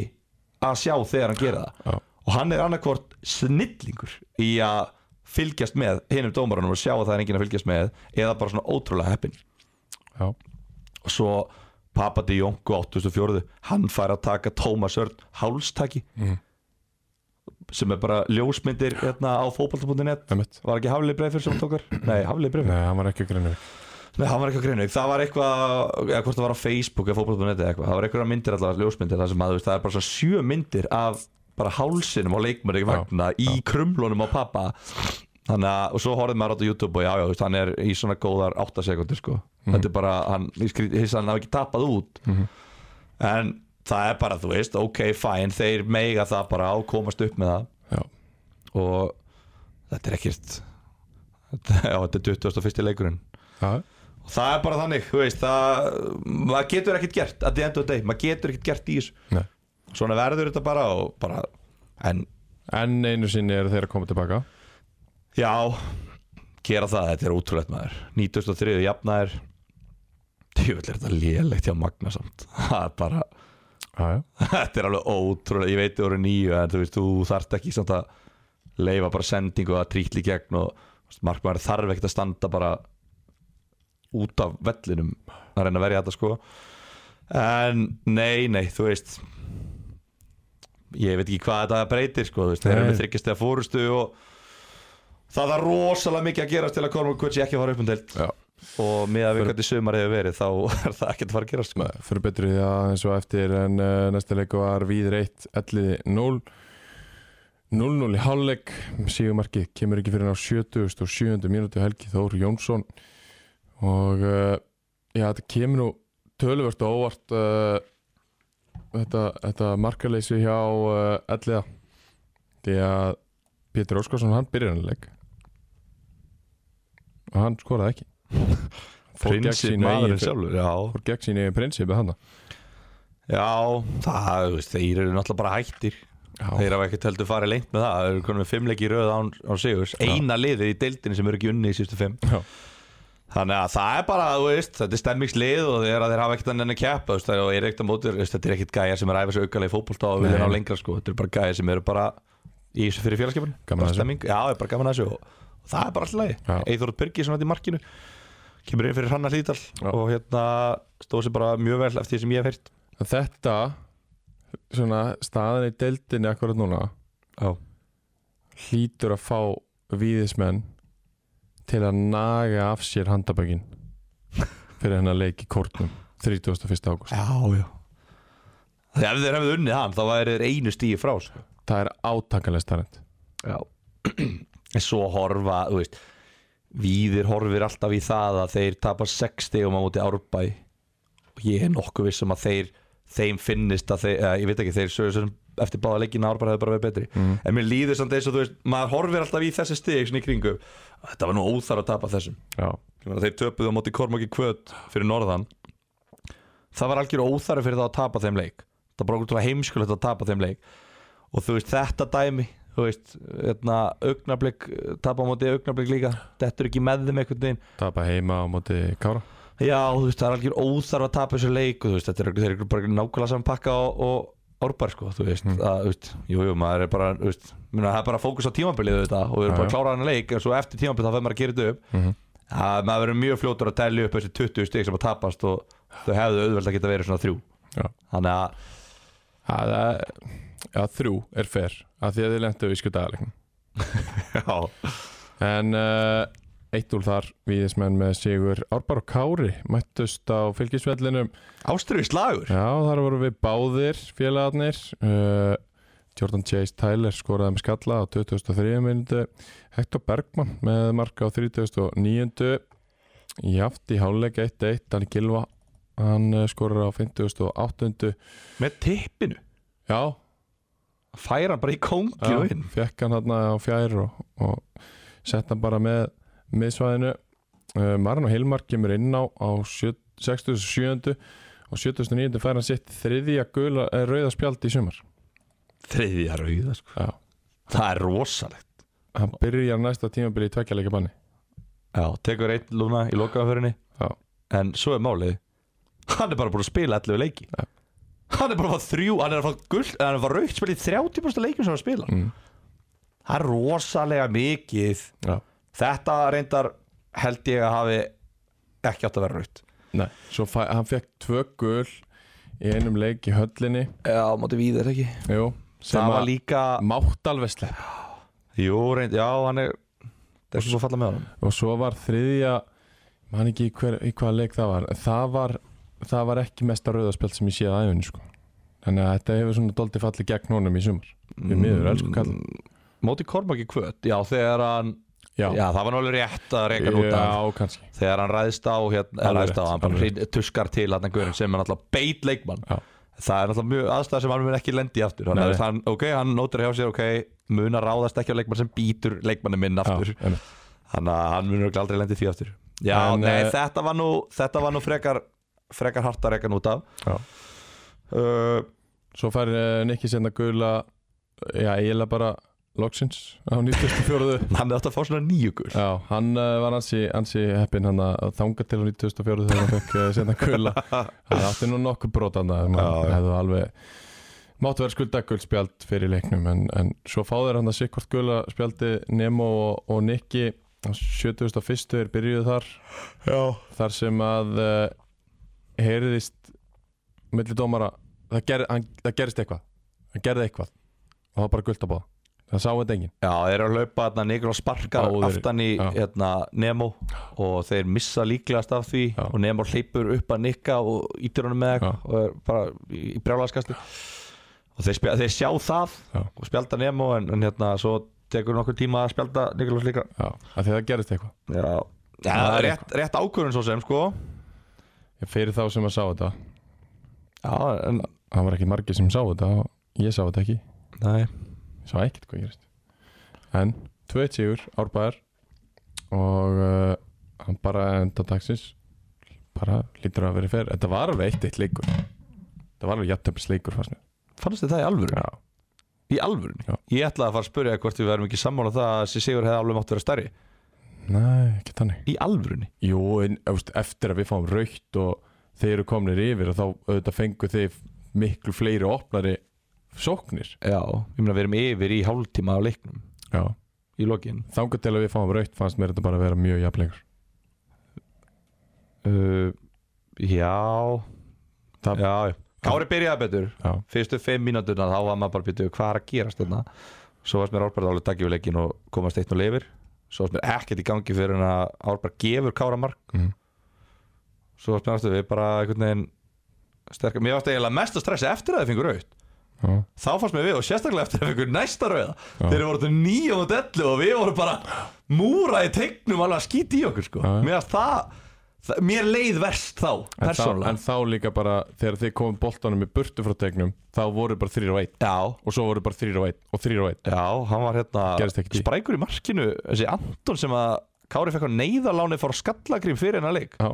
S2: að sjá þegar hann gera það
S1: Já.
S2: Og hann er annarkvort snillingur Í að fylgjast með hinum dómarunum Og sjá að það er enginn að fylgjast með Eða bara svona ótrúlega heppin
S1: Já,
S2: og svo Papa de Jonko 2004 hann fær að taka Tómas Örn hálstaki sem er bara ljósmyndir hérna, á fótbolta.net
S1: emmitt
S2: var ekki Hafli Breifur sem hann tókar nei, Hafli Breifur
S1: Nei, hann var ekki greinur
S2: nei, hann var ekki á greinu það var eitthvað eða hvort það var á Facebook eða fótbolta.net eða eitthvað það var eitthvað myndir allavega ljósmyndir það sem að þú veist það er bara svona sjö myndir af bara hálsinum á leikmöri vagna í krumlunum á pappa þannig að og svo horfðum maður á þetta á YouTube og já já þú veist hann er í svona góðar 8 sekundir sko þetta er bara hann ég skrýt- ég hissa að hann hafi ekki tappað út en það er bara þú veist ok fine þeir mega það bara á komast upp með það
S1: Já,
S2: og þetta er ekkert já þetta er 21. leikurinn
S1: það
S2: og það er bara þannig, þú veist það, maður getur ekkert gert að the end of the day, maður getur ekkert gert í þessu
S1: Nei.
S2: svona verður þetta bara og bara, en
S1: En einu sinni eru þeir að koma tilbaka
S2: já gera það, þetta er ótrúlegt maður 93. jafnaðir djúvill er þetta lélegt hjá Magna samt það er bara,
S1: Já, já,
S2: þetta er alveg ótrúlegt ég veit þú eru nýju, en þú veist, þú þarft ekki samt að leifa bara sendingu að trítli gegn og þú veist, markmaður þarf ekkert að standa bara út af vellinum að reyna að verja þetta sko en nei, nei, þú veist ég veit ekki hvað þetta breytir sko, þú veist, þeir eru
S1: Nei.
S2: með þryggjast eða fórustu og það er rosalega mikið að gerast til að Cormac Quincy ekki að fara upp um deild
S1: já.
S2: og með að við hvernig sumar hefur verið þá er það ekkert að fara að gerast sko.
S1: Nei, fyrir betri því að eins og eftir en uh, næsta leik var Víðir 1, 11, 0 0-0 í hálfleik sígumarkið kemur ekki fyrir á 70 og 7. mínúti Helgi Þór Jónsson og uh, já, þetta kemur nú töluvert og óvart uh, þetta, þetta markaleysi hjá uh, 11 því að Pétur Óskarsson hann byrjar hann leik og hann skoraði ekki Fór gegn
S2: prinsip
S1: sínu eigin
S2: maðurinn
S1: fe-
S2: sjálfur já,
S1: fór gegn sín eigin prinsipi hann
S2: já það, þú veist, þeir eru náttúrulega bara hættir
S1: já,
S2: Þeir hafa ekkert heldur farið lengt með það Þeir eru konum með fimmleiki í röð án, án sigurs Eina liðið í deildinni sem eru ekki unni í sístu fimm
S1: Já.
S2: Þannig að það er bara, þú veist Þetta er stemmingslið og þeir, þeir hafa ekkert að nenni keppa þú veist, og er ekkert að móti, þú veist, Þetta er ekkert gæja sem er æfa svo aukalegi fótbolta og vilja
S1: Nei.
S2: ná lengra sko. Þetta er bara gæja sem eru bara í þessu fyrir félagskipun
S1: Gaman að þessu.
S2: Já, er bara gaman að þessu og, og það er bara
S1: Já.
S2: alltaf leið Eithorð Pyrki sem þetta í markinu Kemur inn fyrir Hanna Hlítal
S1: Já.
S2: og hérna stóð sér bara mjög vel eftir því sem ég hef heyrt
S1: En þetta svona staðan í deildinni akkurat núna
S2: Já.
S1: hlýtur að fá víðismenn til að naga af sér handabökin fyrir hennar leik í kórnum 31. ágúst
S2: Já, já Þegar þeir hefðu unnið hann, þá væri þeir einu stíi frá sko.
S1: það er átakalega starrend
S2: Já En svo horfa, þú veist Víðir horfir alltaf í það að þeir tapa 6 stegum á móti árbæ og ég er nokkuð vissum að þeir þeim finnist að þeir, eða, ég veit ekki, þeir sögur sem eftir báða leikina ár bara hefur bara verið betri en mér líður samt eins og þú veist, maður horfir alltaf í þessi stig svona í kringum, þetta var nú óþar að tapa þessum
S1: já,
S2: Ég meina, þeir töpuðu á móti Kormáki Kvöt fyrir norðan það var algjör óþarfi fyrir það að tapa þeim leik það var bara ótrúlega heimskulegt að tapa þeim leik og þú veist þetta dæmi þú veist, hérna, augnablik tapa á móti augnablik líka, þetta er ekki með þeim einhvern veginn,
S1: tapa heima á móti Kára
S2: já, þú veist, það er algjör óþarfi að tapa þessu leik og þú veist, þetta er, þeir eru bara nákvæmlega saman pakka og, og árbar, sko, þú veist, að, þú veist jú, jú, maður er bara, þú veist, minna, það er bara fókus á tímabilið, þú veist, og við erum
S1: Já,
S2: bara
S1: já.
S2: að klára hann leik, en svo eftir tímabilið þá fer maður að gera þetta upp Það, maður verður mjög fljótur að telja upp þessi 20 stík sem að tapast og þau hefðu auðveld að geta verið svona þrjú
S1: Já.
S2: þannig að,
S1: Það er, já, þrjú er fer að því að þið lendu í skjöldagalegn
S2: já,
S1: en uh, eitt úr þar viðismenn með Sigur Árbar og Kári mættust á fylgisvellinum
S2: ástriðu slagur
S1: já, þar voru við báðir félagarnir uh, Jordan Chase Tyler skoraði með skalla á 2003 minútu Hector Bergman með marka á 39 í aft í háluleik 1-1 Danny Gilva hann eh, skorar á 58
S2: með tippinu,
S1: já,
S2: færa hann bara í kóngju inn
S1: fekk hann hann á fjær og, og sett hann bara með miðsvæðinu uh, Marino Hilmar kemur inn á á sjö- 67. og 79. fær hann sitt þriðja gula, eh, rauða spjald í sumar
S2: þriðja rauða, sko
S1: Já.
S2: það er rosalegt
S1: hann byrjar næsta tímabili í tveggjarleika banni
S2: já, tekur einn lúna í lokaðaförinni
S1: Já.
S2: en svo er málið hann er bara búin að spila allu leiki
S1: Já.
S2: hann er bara að fá þrjú, hann er að fá gull hann er að fá raukt spila í 30% leikum sem hann spila
S1: Mm.
S2: það er rosalega mikið
S1: Já.
S2: Þetta reyndar held ég að hafi ekki átt að vera raut
S1: Nei. svo fæ, hann fekk tvö gul í einum leik í höllinni
S2: Já, mátu við þetta ekki
S1: Jú, sem
S2: Það var
S1: að
S2: líka
S1: mátt alveg slepp
S2: Jú, reynd, já, hann er Það er svo falla með honum
S1: og svo var þriðja mann ekki í, hver, í hvaða leik það var en það var, það var ekki mesta rauðaspjald sem ég séð aðeins sko. þannig að þetta hefur svona doldið fallið gegn honum í sumar
S2: Mm,
S1: við miður, elsku kall
S2: Móti Kormaki kvöt Já, þegar hann Já, það var náttúrulega rétt að reyka nút af
S1: já kannski
S2: Þegar hann ræðist á hérna eða
S1: Alveg
S2: Ræðist á,
S1: rétt,
S2: hann bara
S1: alveg rétt.
S2: hrein- tuskar til hann guðurinn sem er náttúrulega beit leikmann
S1: Já.
S2: Það er náttúrulega mjög aðstæða sem hann mun ekki lendi í aftur
S1: Nei.
S2: Þannig að þú veist, hann, ok, hann nótir hjá sér, ok Mun að ráðast ekki á leikmann sem býtur leikmanni minn aftur
S1: já, einmitt.
S2: Þannig að hann munur aldrei lendi því aftur Já,
S1: En,
S2: nei,
S1: eh,
S2: þetta var nú Þetta var nú frekar Frekar hart að reka nút af
S1: Já.
S2: uh,
S1: svo fær uh, Nikki senda gula já, eiginlega bara loksins á 94.
S2: Hann er átt að fá svona nýju gul
S1: já, hann uh, var ansi, ansi heppin hann að þanga til á 94. þegar hann fekk uh, senda gula hann átti nú nokkuð brot hann að
S2: Já,
S1: hann
S2: já.
S1: hefði alveg máttu vera skulda guldspjald fyrir leiknum en, en svo fá þeir hann að sikkvort gula spjaldi Nemo og, og Nikki á 71. er byrjuð þar
S2: Já
S1: þar sem að uh, heyriðist milli dómara það, ger, hann, það gerist eitthvað hann gerði eitthvað og það var bara guld að bóða það sá þetta enginn
S2: Já, þeir eru að laupa hérna Nikon sparkar
S1: Báðir,
S2: aftan í
S1: já.
S2: hérna, Nemo og þeir missa líklegast af því
S1: Já.
S2: og Nemo hleypur upp að Nikka og ítir honum með eitthvað og er bara í, í brjálaskasti og þeir, spjá, þeir sjá það
S1: Já.
S2: og spjalda Nemo en, en hérna svo tekur nokkuð tíma að spjalda Nikon líka
S1: já, af því það gerist eitthvað
S2: Já,
S1: það
S2: það
S1: er
S2: er rétt, rétt ákvörðun svo sem sko
S1: Ég- fyrir þá sem að sá þetta
S2: Já, en
S1: það var ekki margir sem sá þetta og ég sá þetta ekki
S2: Nei
S1: Ég sá ekkert hvað gerist En 2-1 sigur árbæðar Og uh, hann bara enda dagsins Bara lítur að vera fyrir Þetta var alveg eitt eitt leikur Þetta var alveg jafntöfis leikur fannst mér
S2: Fannst þið það í alvöru?
S1: Já
S2: Í alvöru?
S1: Já.
S2: Ég ætlaði að fara að spyrja hvort við verðum ekki sammála um það að þessi sigur hefði alveg mátt vera stærri
S1: Nei, ekki þannig
S2: Í alvörunni?
S1: Jú, en efst, eftir að við fáum raukt og þeir eru komnir yfir og þá auðvitað fengu þeir miklu fleiri opnari sóknir
S2: Já Ég meina við erum yfir í hálftíma á leiknum
S1: Já
S2: Í lokin
S1: Þangar til að við fáum raukt fannst mér þetta bara að vera mjög jafnleikur
S2: uh, Já
S1: Það-
S2: Já, já Kári byrjaði betur
S1: Já,
S2: Fyrstu fimm mínúturna þá var maður bara býtið hvað er að gerast þarna Svo varst mér Árberg alveg dagið við leikin og komast eitt og lifir Svo varst mér ekkert í gangi fyrir en að Árberg gefur Kára mark
S1: Mhm.
S2: Svo varst mér aftur við bara einhvern veginn sterkar Mér varst eiginlega mest að stressa eftir að þið fengur aukt
S1: já,
S2: Þá fannst mér við og sérstaklega eftir að þið fengur næsta rauða Þeir voru þetta nýjum og dellu og við vorum bara múra í teiknum alveg að skýti í okkur sko
S1: Já, já.
S2: Mér varst það Þa- Mér leið verst þá,
S1: En þá, en
S2: persónulega
S1: þá líka bara þegar þið komum boltanum í burtu frá tegnum þá voru bara þrýr og einn
S2: Já,
S1: og svo voru bara þrýr og einn og þrýr og einn
S2: já, hann var
S1: Gerðist
S2: hérna
S1: ekkert í.
S2: sprækur í markinu Þessi Anton sem að Kári fekk á neyðarláni fór skallagrým fyrir hennar leik
S1: Já.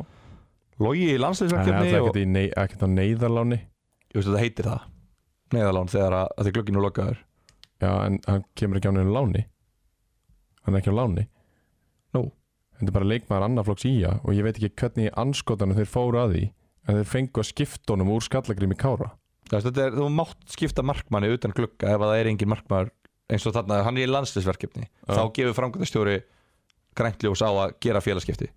S2: Logi í
S1: Það er
S2: landsleisverkefni
S1: alltaf
S2: og
S1: ekkert, í nei, ekkert á neyðarláni
S2: ég veist að það heitir það Neyðarlán þegar að, að þið glugginu lokaður
S1: Já, en hann kemur ekki á neyðan láni Hann er ekki á láni
S2: Nú.
S1: Þetta er bara leikmaður annarflokks í að og ég veit ekki hvernig í anskotanum þeir fóru að því en þeir fengu að skipta honum úr skallagrými kára
S2: Þú veist, þetta er, þú mátt skipta markmanni utan glugga ef að það er engin markmaður eins og þarna, hann er í landslisverkefni
S1: Já.
S2: þá gefur framkvæmdastjóri græntljós á að gera félagskipti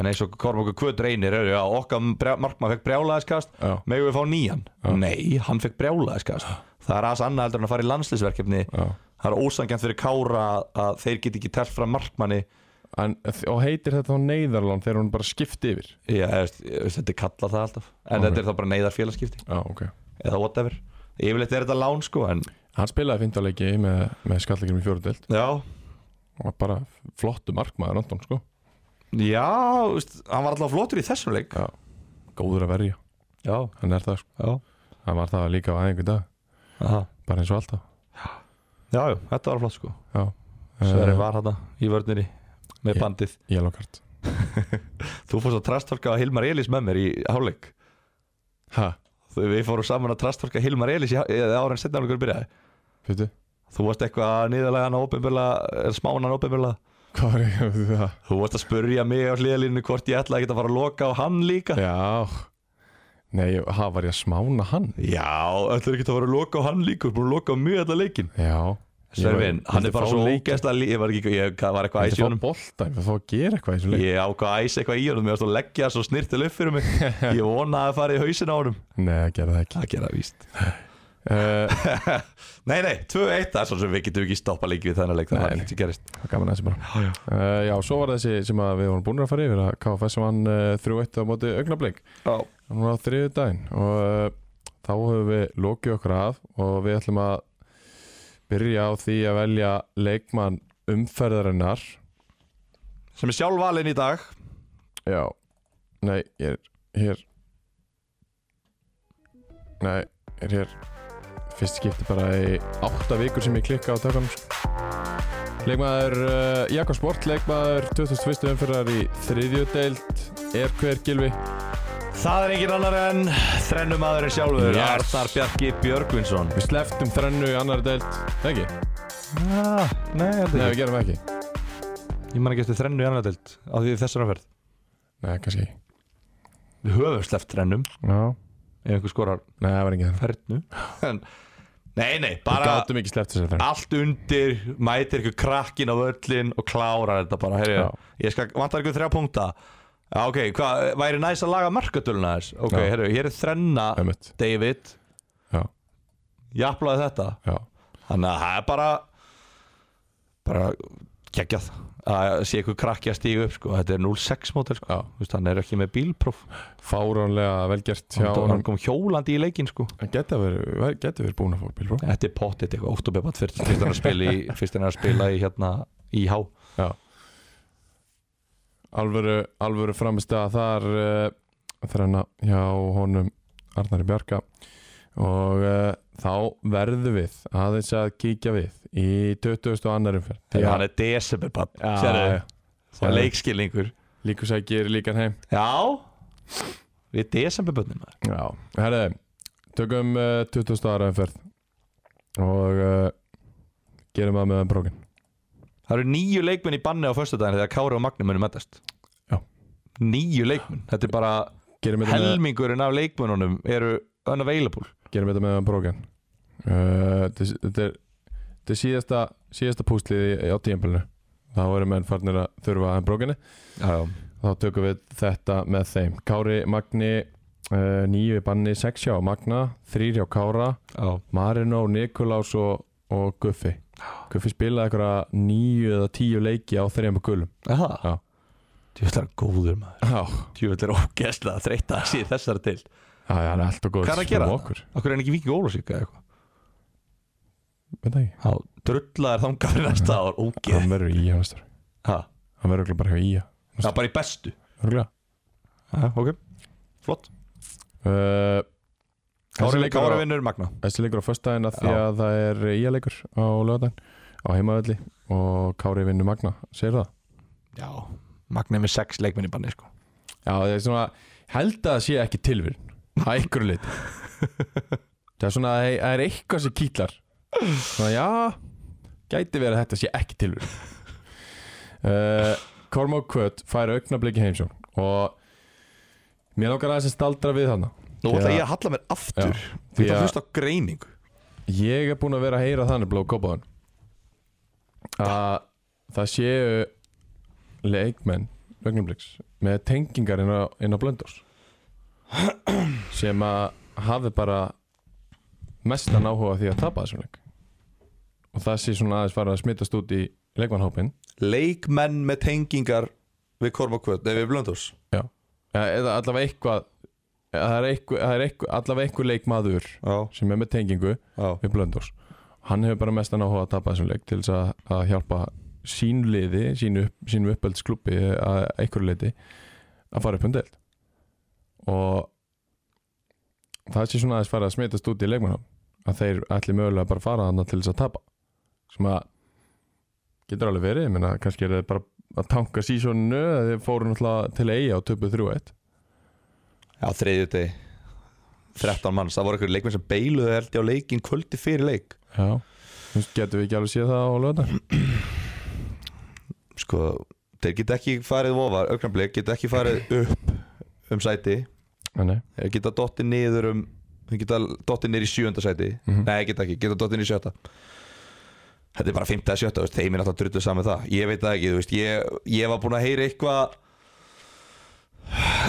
S2: en eins og Kormokur Kvöt reynir er, já, okkar brjá- markmaður fekk brjálaðiskast
S1: Já,
S2: megum við fá nýjan? Nei, hann fekk brjálaðiskast það er aðs annað heldur en að fara í landslisverkefni
S1: já
S2: það er ósangjant fyrir Kára að- að þeir get ekki telt fram markmanni
S1: en, Og heitir þetta á neyðarlán þegar hún bara skipti yfir
S2: já, þú veist, þú veist, þetta er kallað það alltaf en
S1: Ok.
S2: þetta er þá bara neyðar félagskipti
S1: Já, ok
S2: eða whatever, yfirleitt er þetta lán sko en
S1: Hann spilaði 15 leiki með, með skallagrými fjórudelt
S2: já,
S1: og var bara flottu markmaður Anton sko
S2: Já, þú veist, hann var alltaf flottur í þessum leik
S1: já. góður að verja,
S2: Já,
S1: hann er það sko.
S2: já,
S1: hann var það líka á aðeins dag,
S2: Aha.
S1: bara eins og alltaf
S2: já, já, þetta var flott sko
S1: já,
S2: Sverri
S1: Eh,
S2: var hann í vörninni með
S1: Ég-
S2: bandið
S1: yellow card
S2: Þú fórst að trastolka Hilmar Elís með mér í hálfleik
S1: ha,
S2: Þú- Við fórum saman að trastolka Hilmar Elís í há- eða ára en setna hálfleikur byrjaði
S1: veitu,
S2: Þú varst eitthvað að niðurlega hann ópenbjörlega smána hann ópenbjörlega
S1: hvað var ég veitu það?
S2: Þú varst að spurja mig á hliðalínu hvort ég ætlaði að geta að fara að loka á hann líka
S1: já, nei, ha, var ég að smána hann
S2: Já, ætlaði ekki að fara að loka á hann líka Þú ert búin að loka á mjög allan leikin
S1: já,
S2: Svervin, hann er bara svo ógeðslega lí- Ég var ekki, ég var eitthvað æs í
S1: æsjónum
S2: honum
S1: það bolta, ég fór að gera eitthvað í þessum leik
S2: Ég ákvað að æsa eitthvað í honum Ég varst að leggja svo snirtil upp fyrir mig Ég vonaði að fara í hausin á honum
S1: nei, það gerði það ekki
S2: Það gera víst
S1: uh,
S2: Nei, nei, 2-1 Það er svo sem við getum ekki stoppa leik við þennan leik Það
S1: Nei,
S2: var
S1: nei.
S2: ekki sem gerist
S1: gaman að þessi bara
S2: já.
S1: uh, já, svo var þessi sem að við vorum búin að fara yfir að KFS vann uh, 3-1 á móti augnablik
S2: Já,
S1: Núna á þriðu daginn og uh, þá höfum við lokið okkur af og við ætlum að byrja á því að velja leikmann umferðarinnar
S2: Sem er sjálf valinn í dag
S1: Já Nei, ég er hér Nei, ég er hér Fyrst skipti bara í átta vikur sem ég klikka á tökum Leikmaður uh, Jakob Sport, leikmaður 2001. umferðar í þriðju deild er hver gilvi
S2: Það er engin annar en Þrennum aðurinn sjálfur
S1: Yes.
S2: Arnar Bjarki Björgvinsson
S1: Við sleftum þrennu í annari deild Nei, Ekki?
S2: ah, Nei,
S1: Nei, við gerum ekki
S2: Ég man ekki eftir þrennu í annar delt Á því þessar áferð
S1: Nei, kannski ekki
S2: Við höfum sleppt þrennum
S1: Já
S2: Ef einhver skorar
S1: Nei, það var ekki þannig
S2: fernu En- Nei, nei,
S1: Við
S2: bara Ah.
S1: gátum ekki sleppt þessari þar
S2: allt undir, mætir ykkur krakkin á völlin og klárar þetta bara Heyri,
S1: Já.
S2: ég skal, vantar ykkur þrjá punkta já, ok, hvað, væri næst að laga markatöluna þess ok,
S1: Já.
S2: heyri, hér er þrenna
S1: Ömmut
S2: David,
S1: Já,
S2: jafnlaði þetta
S1: já
S2: þannig að það er bara bara geggjað að sé ykkur krakki að stíga upp sko. þetta er 0-6 mótel sko.
S1: Já.
S2: Þú veist, hann er ekki með bílpróf
S1: Fáránlega velgert hjá
S2: hann, hann
S1: honum
S2: kom hjólandi í leikin sko.
S1: Hann Geta verið ver- geta verið búin að fá bílbró
S2: þetta er pottit eitthvað, óttubebant fyrst fyrst hann er að spila í, fyrst hann er að spila í hérna í há
S1: Já Alvöru, alvöru framist að þar uh, þrenna hjá honum Arnari Bjarka og uh, þá verðum við aðeins að kíkja við í 20. annarum fyrir
S2: Þegar hann er desember bann
S1: já,
S2: Sérðu, það er leikskilningur
S1: Líku sækir líkan heim
S2: Já Við desember bönnum
S1: Já, herri, tökum uh, 20. aðraðumferð og uh, gerum það meðan brókin
S2: Það eru nýju leikmenn í banni á föstudaginn þegar Kári og Magni munum mettast
S1: Já.
S2: Nýju leikmenn Þetta er bara
S1: gerum þetta, með,
S2: helmingurinn af leikmennunum eru unavailable
S1: gerum þetta meðan brókin uh, þetta þetta er þetta er síðasta, síðasta púslið í- á tímpilinu þá eru menn farnir að þurfa að brókinni
S2: Já,
S1: þá tökum við þetta með þeim Kári, Magni, uh, nýju í banni 6 hjá Magna, 3 hjá Kára
S2: já
S1: Marino, Nikolás og, og Guffi Guffi spilaði eitthvað nýju eða tíu leiki á þrejum gulum
S2: Það
S1: Já.
S2: Djúvill er hann góður maður
S1: Já,
S2: Djúvill er ógeðslega að þreytta að sé þessar til
S1: Já, já, hann er alltaf góð
S2: Hvað er að gera?
S1: okkur,
S2: Akkur er hann ekki vikið ólusíka eða eitthvað
S1: veit það ekki
S2: Já, drullaðar þangað fyrir næsta ár Ógeð
S1: Hann verður í að næstur
S2: Já,
S1: Hann verður örugglega bara hjá í
S2: bara í bestu
S1: að
S2: Já, ok, flott
S1: uh, Þessi
S2: Kári,
S1: leikur
S2: Kári
S1: á-
S2: vinnur Magna
S1: Þessi leikur á föstudaginn að því
S2: Já.
S1: að það er íaleikur á lögadaginn á heimavelli og Kári vinnur Magna, segir það?
S2: Já, Magna er með sex leikminni banni sko
S1: Já, það er svona, held að það sé ekki tilvíðin að einhverju lit Það er svona, það er eitthvað sem kýtlar Svona, já gæti verið að þetta sé ekki tilvíðin uh, Kormák Kvöt fær augnabliki heimsjón og mér langar aðeins að staldra við þarna
S2: Nú
S1: Já.
S2: ætla ég að halla mér aftur
S1: Já.
S2: Þú ert
S1: Því
S2: að
S1: að-
S2: hlusta á greiningu
S1: Ég er búinn að vera að heyra þannig blóð kópaðan að það séu leikmenn augnabliks með tengingar inn á, inn á blöndós sem að hafi bara mestan áhuga á því að tapa þessum leik og það sé svona aðeins fara að smittast út í leikmannhópin
S2: Leikmenn með tengingar við Kormakvöld Nei, við Blöndós
S1: Já. eða eða allavega eitthvað eða það er, eitthvað, það er eitthvað, allavega eitthvað leikmaður
S2: Já,
S1: sem er með tengingu
S2: já
S1: við Blöndós hann hefur bara mestan áhuga að tapa þessum leik til þess að, að hjálpa sín liði sínu, sínu uppöldsklubbi að einhverju leiti að fara upp um deild og það sé svona aðeins fara að smitast út í leikmannum að þeir ætli mögulega bara að fara þarna til þess að tapa sem að getur alveg verið, ég meina kannski er það bara að tanka sísónu eða þeir fóru náttúrulega til eiga á töpu 3-1
S2: Já, þriðju degi 13 manns, það voru einhverjir leikmenn sem beiluðu held ég á leikin kvöldi fyrir leik
S1: já, þú veist, getum við ekki alveg séð það á lögðar
S2: Sko, þeir geta ekki farið ofar Ögnablik geta ekki farið upp um sæti
S1: nei,
S2: Þeir geta dottið niður um Þeir geta dottið niður í sjönda sæti
S1: Mhm.
S2: Nei, geta ekki, geta dottið niður í sjötta Þetta er bara fymta að sjötta veist, Þeim er alltaf druttu saman það Ég veit það ekki, þú veist Ég, ég var búinn að heyra eitthvað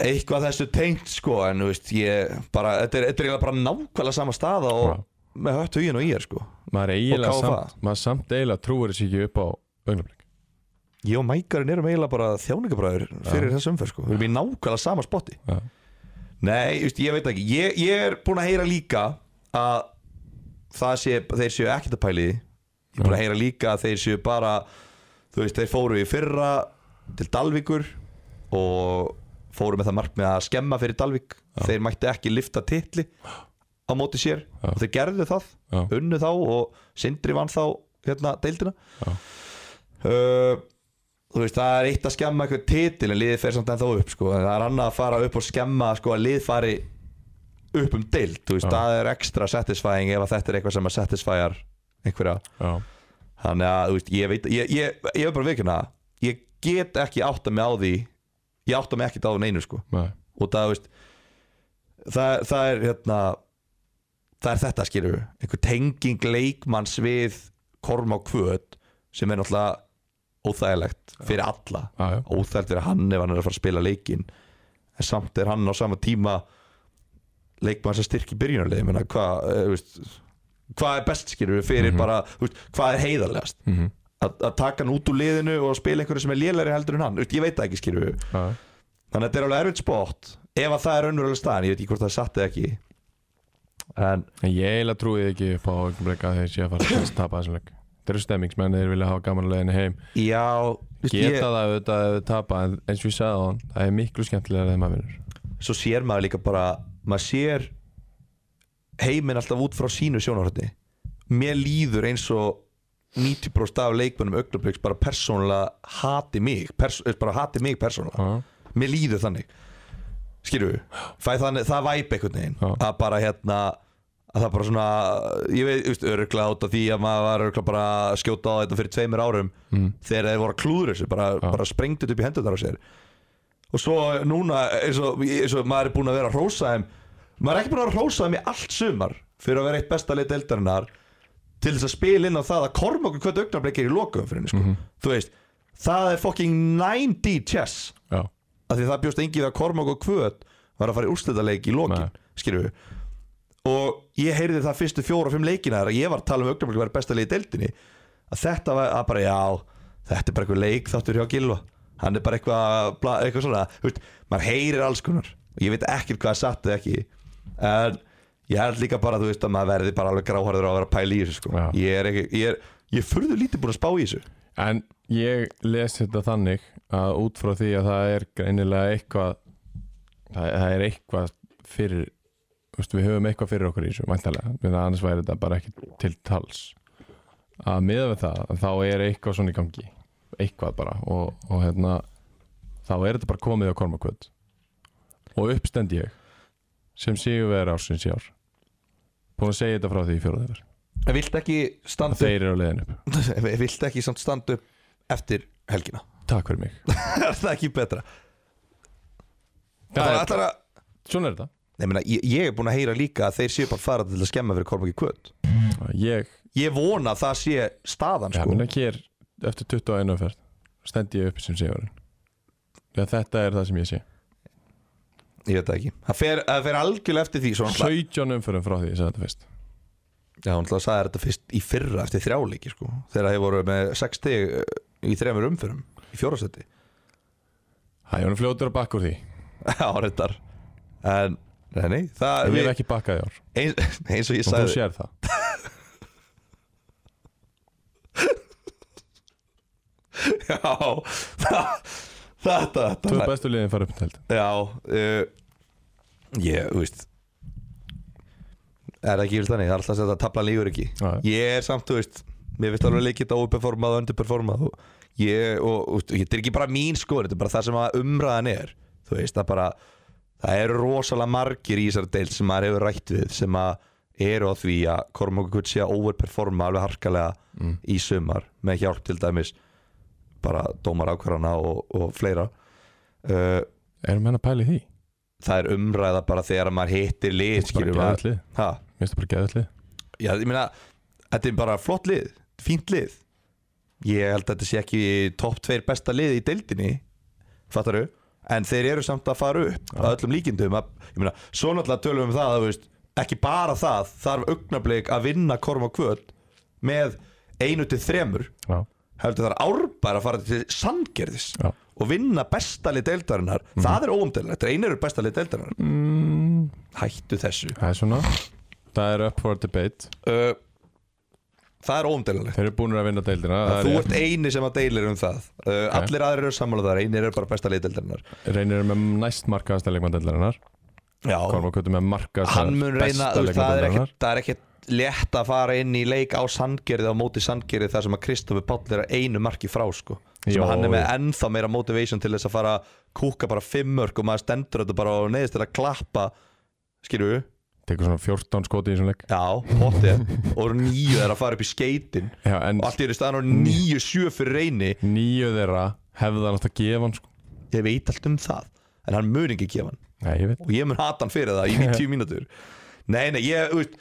S2: Eitthvað þessu tengt sko En þú veist, ég bara Þetta er, þetta er eiginlega bara nákvæmlega sama staða Og
S1: Já.
S2: með hött hugin og ég er sko
S1: maður eiginlega
S2: Og KFA.
S1: samt, maður samt eiginlega trúir þessi ekki upp á augnablik
S2: Ég og Mækarinn erum eiginlega bara þjáningabræður Fyrir þessu umferð sko Við erum í nákvæmlega sama spotti
S1: Já.
S2: Nei, just, ég veit ekki ég, ég er búinn að heyra líka að það sé, þeir séu ekkert að pæli því. Ég er búinn að heyra líka að þeir séu bara þú veist, þeir fóru í fyrra til Dalvíkur og fóru með það markmið að skemma fyrir Dalvík þeir mættu ekki lifta titli á móti sér og þeir gerðu það
S1: Já.
S2: unnu þá og Sindri vann þá hérna deildina uh, þú veist, það er eitt að skemma eitthvað titil en liðið fer samt ennþá upp sko. En það er annað að fara upp og skemma sko, að lið fari upp um deild þú veist, það er ekstra satisfying ef að þetta er eitthvað sem að satisfyar einhverja
S1: Já,
S2: þannig að, þú veist, ég veit ég, ég, ég er bara vikuna, ég get ekki átta mig á því ég átta mig ekkert á neinu sko
S1: nei,
S2: og það, þú veist það, það er hérna það er þetta skilur við einhver tenging leikmanns við korma og kvöt sem er náttúrulega óþægilegt fyrir alla
S1: já, já,
S2: óþægilegt fyrir hann ef hann er að fara að spila leikin en samt er hann á sama tíma leikmann sem styrki byrjunarlið menna, hvað, eh, þú veist, hvað er best skilur við fyrir bara, þú veist, hvað er heiðarlegast
S1: Mhm.
S2: að, að taka hann út úr liðinu og spila einhverju sem er lélæri heldur en hann Þú veist, ég veit það ekki skilur við
S1: já, já.
S2: Þannig að þetta er alveg erfitt sport Ef að það er önnurlega staðan, ég veit ekki hvort það er satt eða ekki En
S1: En ég eiginlega trúið ekki upp á augnablik að þeir sé að fara að tapa þessum leik Þeir eru stemmingsmenn, þeir vilja hafa gaman að leiðinni heim
S2: já veist,
S1: Geta
S2: ég,
S1: það auðvitað ef þeir tapa en eins og ég sagði á hann, það er miklu skemmtilega þegar maður vinnur
S2: Svo sér maður líka bara Maður sér heiminn alltaf út frá sínu sjónarhætti Mér líður eins og 90% af leikmönnum augnabliks bara persónulega hati mig pers eh, bara hati mig persónulega
S1: Já,
S2: Mér líður þannig Skilju, fæ þannig, það væp einhvern veginn
S1: Já.
S2: Að bara hérna Að það bara svona, ég veit, veist, örugla út af því að maður var örugla bara að skjóta á þetta fyrir tveimur árum Þegar þeir voru að klúður þessu, bara, bara sprengdu þetta upp í hendunar á sér Og svo núna, eins og, eins og maður er búinn að vera að hrósa þeim Maður er ekki búinn að vera að hrósa þeim í allt sumar Fyrir að vera eitt besta leið deildarinnar Til þess að spila inn á það að korma okkur hvað augnarblik er í lokum fyrir henni sko. Þú veist, það er fucking 9D chess
S1: já,
S2: af því það bjóst engi við að Kormák og Kvöt var að fara í úrslitaleik í lokin
S1: Nei.
S2: skilju og ég heyrði það fyrstu fjóra og fimm leikina þegar ég var að tala um augnablik verið besta leik í deildinni að þetta var að bara já þetta er bara eitthvað leik þáttur hjá Gilva hann er bara eitthvað, bla- eitthvað svona þú veist, maður heyrir alls konar og ég veit ekkert hvað er satt eða ekki en ég held líka bara þú veist að maður verði bara alveg gráharður á að vera að pæla í þessu sko.
S1: Já.
S2: ég er ekki, ég er, ég er furðu lítið búin að spá í þessu
S1: En ég les þetta þannig að út frá því að það er greinilega eitthvað það, það er eitthvað fyrir veist, við höfum eitthvað fyrir okkur í þessu væntalega, en annars væri þetta bara ekki til tals að miða við það þá er eitthvað svona í gangi eitthvað bara og, og hérna þá er þetta bara komið á kormakvöld og uppstend ég sem séu verið ársins í ár búin að segja þetta frá því í fjóruðar
S2: En vilt ekki standa
S1: að þeir eru á leiðin upp
S2: upp Vilt ekki samt standa upp eftir helgina
S1: takk fyrir mig
S2: Er það ekki betra?
S1: Það
S2: Það
S1: er-
S2: ætlar að
S1: svona er þetta
S2: Nei, meina, ég, ég er búin að heyra líka að þeir séu bara að fara til að skemma fyrir Kormaki Kvöt
S1: ég,
S2: Ég vona að það sé staðan
S1: sko.
S2: sko.
S1: minna hér eftir 21 umferð stend ég uppi sem sigurinn Já, þetta er það sem ég sé
S2: Ég veit það ekki Það fer, það fer algjörlega eftir því Svo hann
S1: 17 umferðum frá því ég sagði þetta fyrst
S2: Já, hann sagði þér þetta fyrst í fyrra eftir þrjáleiki sko, þegar þeir voru með 6 stig eh, í þremur umfyrum í fjórastætti
S1: Hæ, hann er fljótur að bakka úr því
S2: Já, reyndar En, nei, nei það,
S1: Við
S2: við,
S1: erum ekki bakkað í ár
S2: eins, eins og
S1: og
S2: ég
S1: þú
S2: sagði
S1: sér það
S2: Já, það, þetta,
S1: Tvö
S2: þetta
S1: bestu liðin fara upp til held
S2: Já, uh, ég, þú veist Er það ekki yfir þannig, það er alltaf að þetta tabla lígur ekki
S1: Já, já.
S2: Ég er samt, þú veist Mér finnst alveg leikið þetta óperformað og underperformað og ég, og, og, og þetta er ekki bara mín skoðun, þetta er bara það sem að umræðan er Þú veist, það bara Það eru rosalega margir í þessari deild sem maður hefur rætt við sem að eru á því að Kormokur Kutsi að overperforma alveg harkalega í sumar með hjálp til dæmis bara dómar ákvarðana og, og fleira uh,
S1: Erum henn að pæli því?
S2: það er umræða bara þegar maður hittir lið
S1: Þetta er
S2: skilur
S1: bara geðvægt
S2: maður
S1: lið
S2: ha,
S1: Mér finnst það bara geðvægt lið
S2: já, ég meina, þetta er bara flott lið fínt lið ég held að þetta sé ekki topp tveir besta lið í deildinni fattaru en þeir eru samt að fara upp að öllum líkindum að, ég meina, svo náttúrulega tölum við um það að, þú veist, ekki bara það þarf augnablik að vinna korma kvöld með einu til þremur
S1: Já,
S2: heldur það er árbæra að fara til sandgerðis
S1: já Mhm.
S2: og vinna bestalið deildarinnar það er óumdelinlegt, reynir eru bestalið deildarinnar
S1: mm,
S2: hættu þessu
S1: Það er svona Það er up for debate
S2: uh, það er óumdelinlegt
S1: Þeir eru búin að vinna deildina Það
S2: þú
S1: er
S2: ert eini sem að deilir um það uh, allir aðrir eru sammála þar, einir eru bara bestalið deildarinnar
S1: reynir með næst markaðasta leikmann deildarinnar
S2: já,
S1: Kormakötu með markaðasta
S2: hann mun reyna
S1: besta
S2: þú veist, það,
S1: leikmann
S2: er
S1: deildarinnar
S2: ekkit, það er ekkit létt að fara inn í leik á sandgerði á móti sandgerði þar sem að Kristofur Páll er að einu marki frá sko sem
S1: Jó,
S2: að hann er með
S1: jú.
S2: ennþá meira motivation til þess að fara að kúka bara fimm mörg og maður stendur þetta bara og neyðist til að klappa skilju,
S1: Tekur svona 14 skoti í svona leik
S2: já, hóttið og nýju er að fara upp í skeitin
S1: Já, en
S2: og allt í eru staðan og nýju sjö fyrir reyni
S1: nýju þeirra hefði það nátt að gefa hann sko
S2: ég veit allt um það en hann mun ekki gefa hann
S1: Nei, ég veit
S2: og ég mun hata hann fyrir það í 90 mínútur nei, nei, ég, þú veist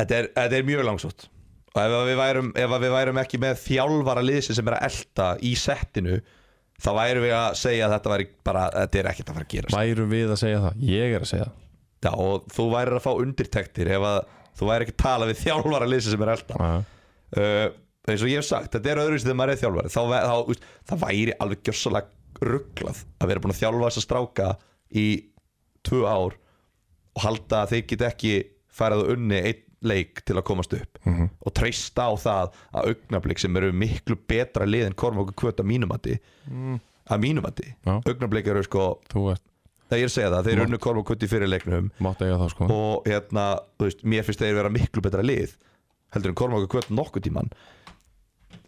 S2: þetta er, þetta er mjög langsótt og ef að við værum, ef að við værum ekki með þjálfara liðsi sem er að elta í settinu þá værum við að segja að þetta væri bara, þetta er ekkert að fara að gerast
S1: Væru við að segja það? Ég er að segja það
S2: Já, og þú værir að fá undirtektir ef að þú væri ekki að tala við þjálfara liðsi sem er að elta
S1: Já.
S2: uh, eins og ég hef sagt, þetta er öðruvísi þegar maður er þjálfari þá, væ- þá, úst, það væri alveg gjössalega rugglað að vera búin að þjálfa þessa stráka í tvö ár og halda að þeir get ekki færið og unni einn leik til að komast upp -hmm. og treysta á það að augnablik sem eru miklu betra lið en korma okkur kvöta mínumati mm. að mínumati,
S1: Já.
S2: augnablik eru sko
S1: Þú ert
S2: það ég er að segja það, þeir eru unnu korma okkur í fyrir leiknum
S1: mátt eiga þá sko
S2: og hérna, þú veist, mér finnst þeir vera miklu betra lið heldur en Kormáku Kvöt nokkuð tíman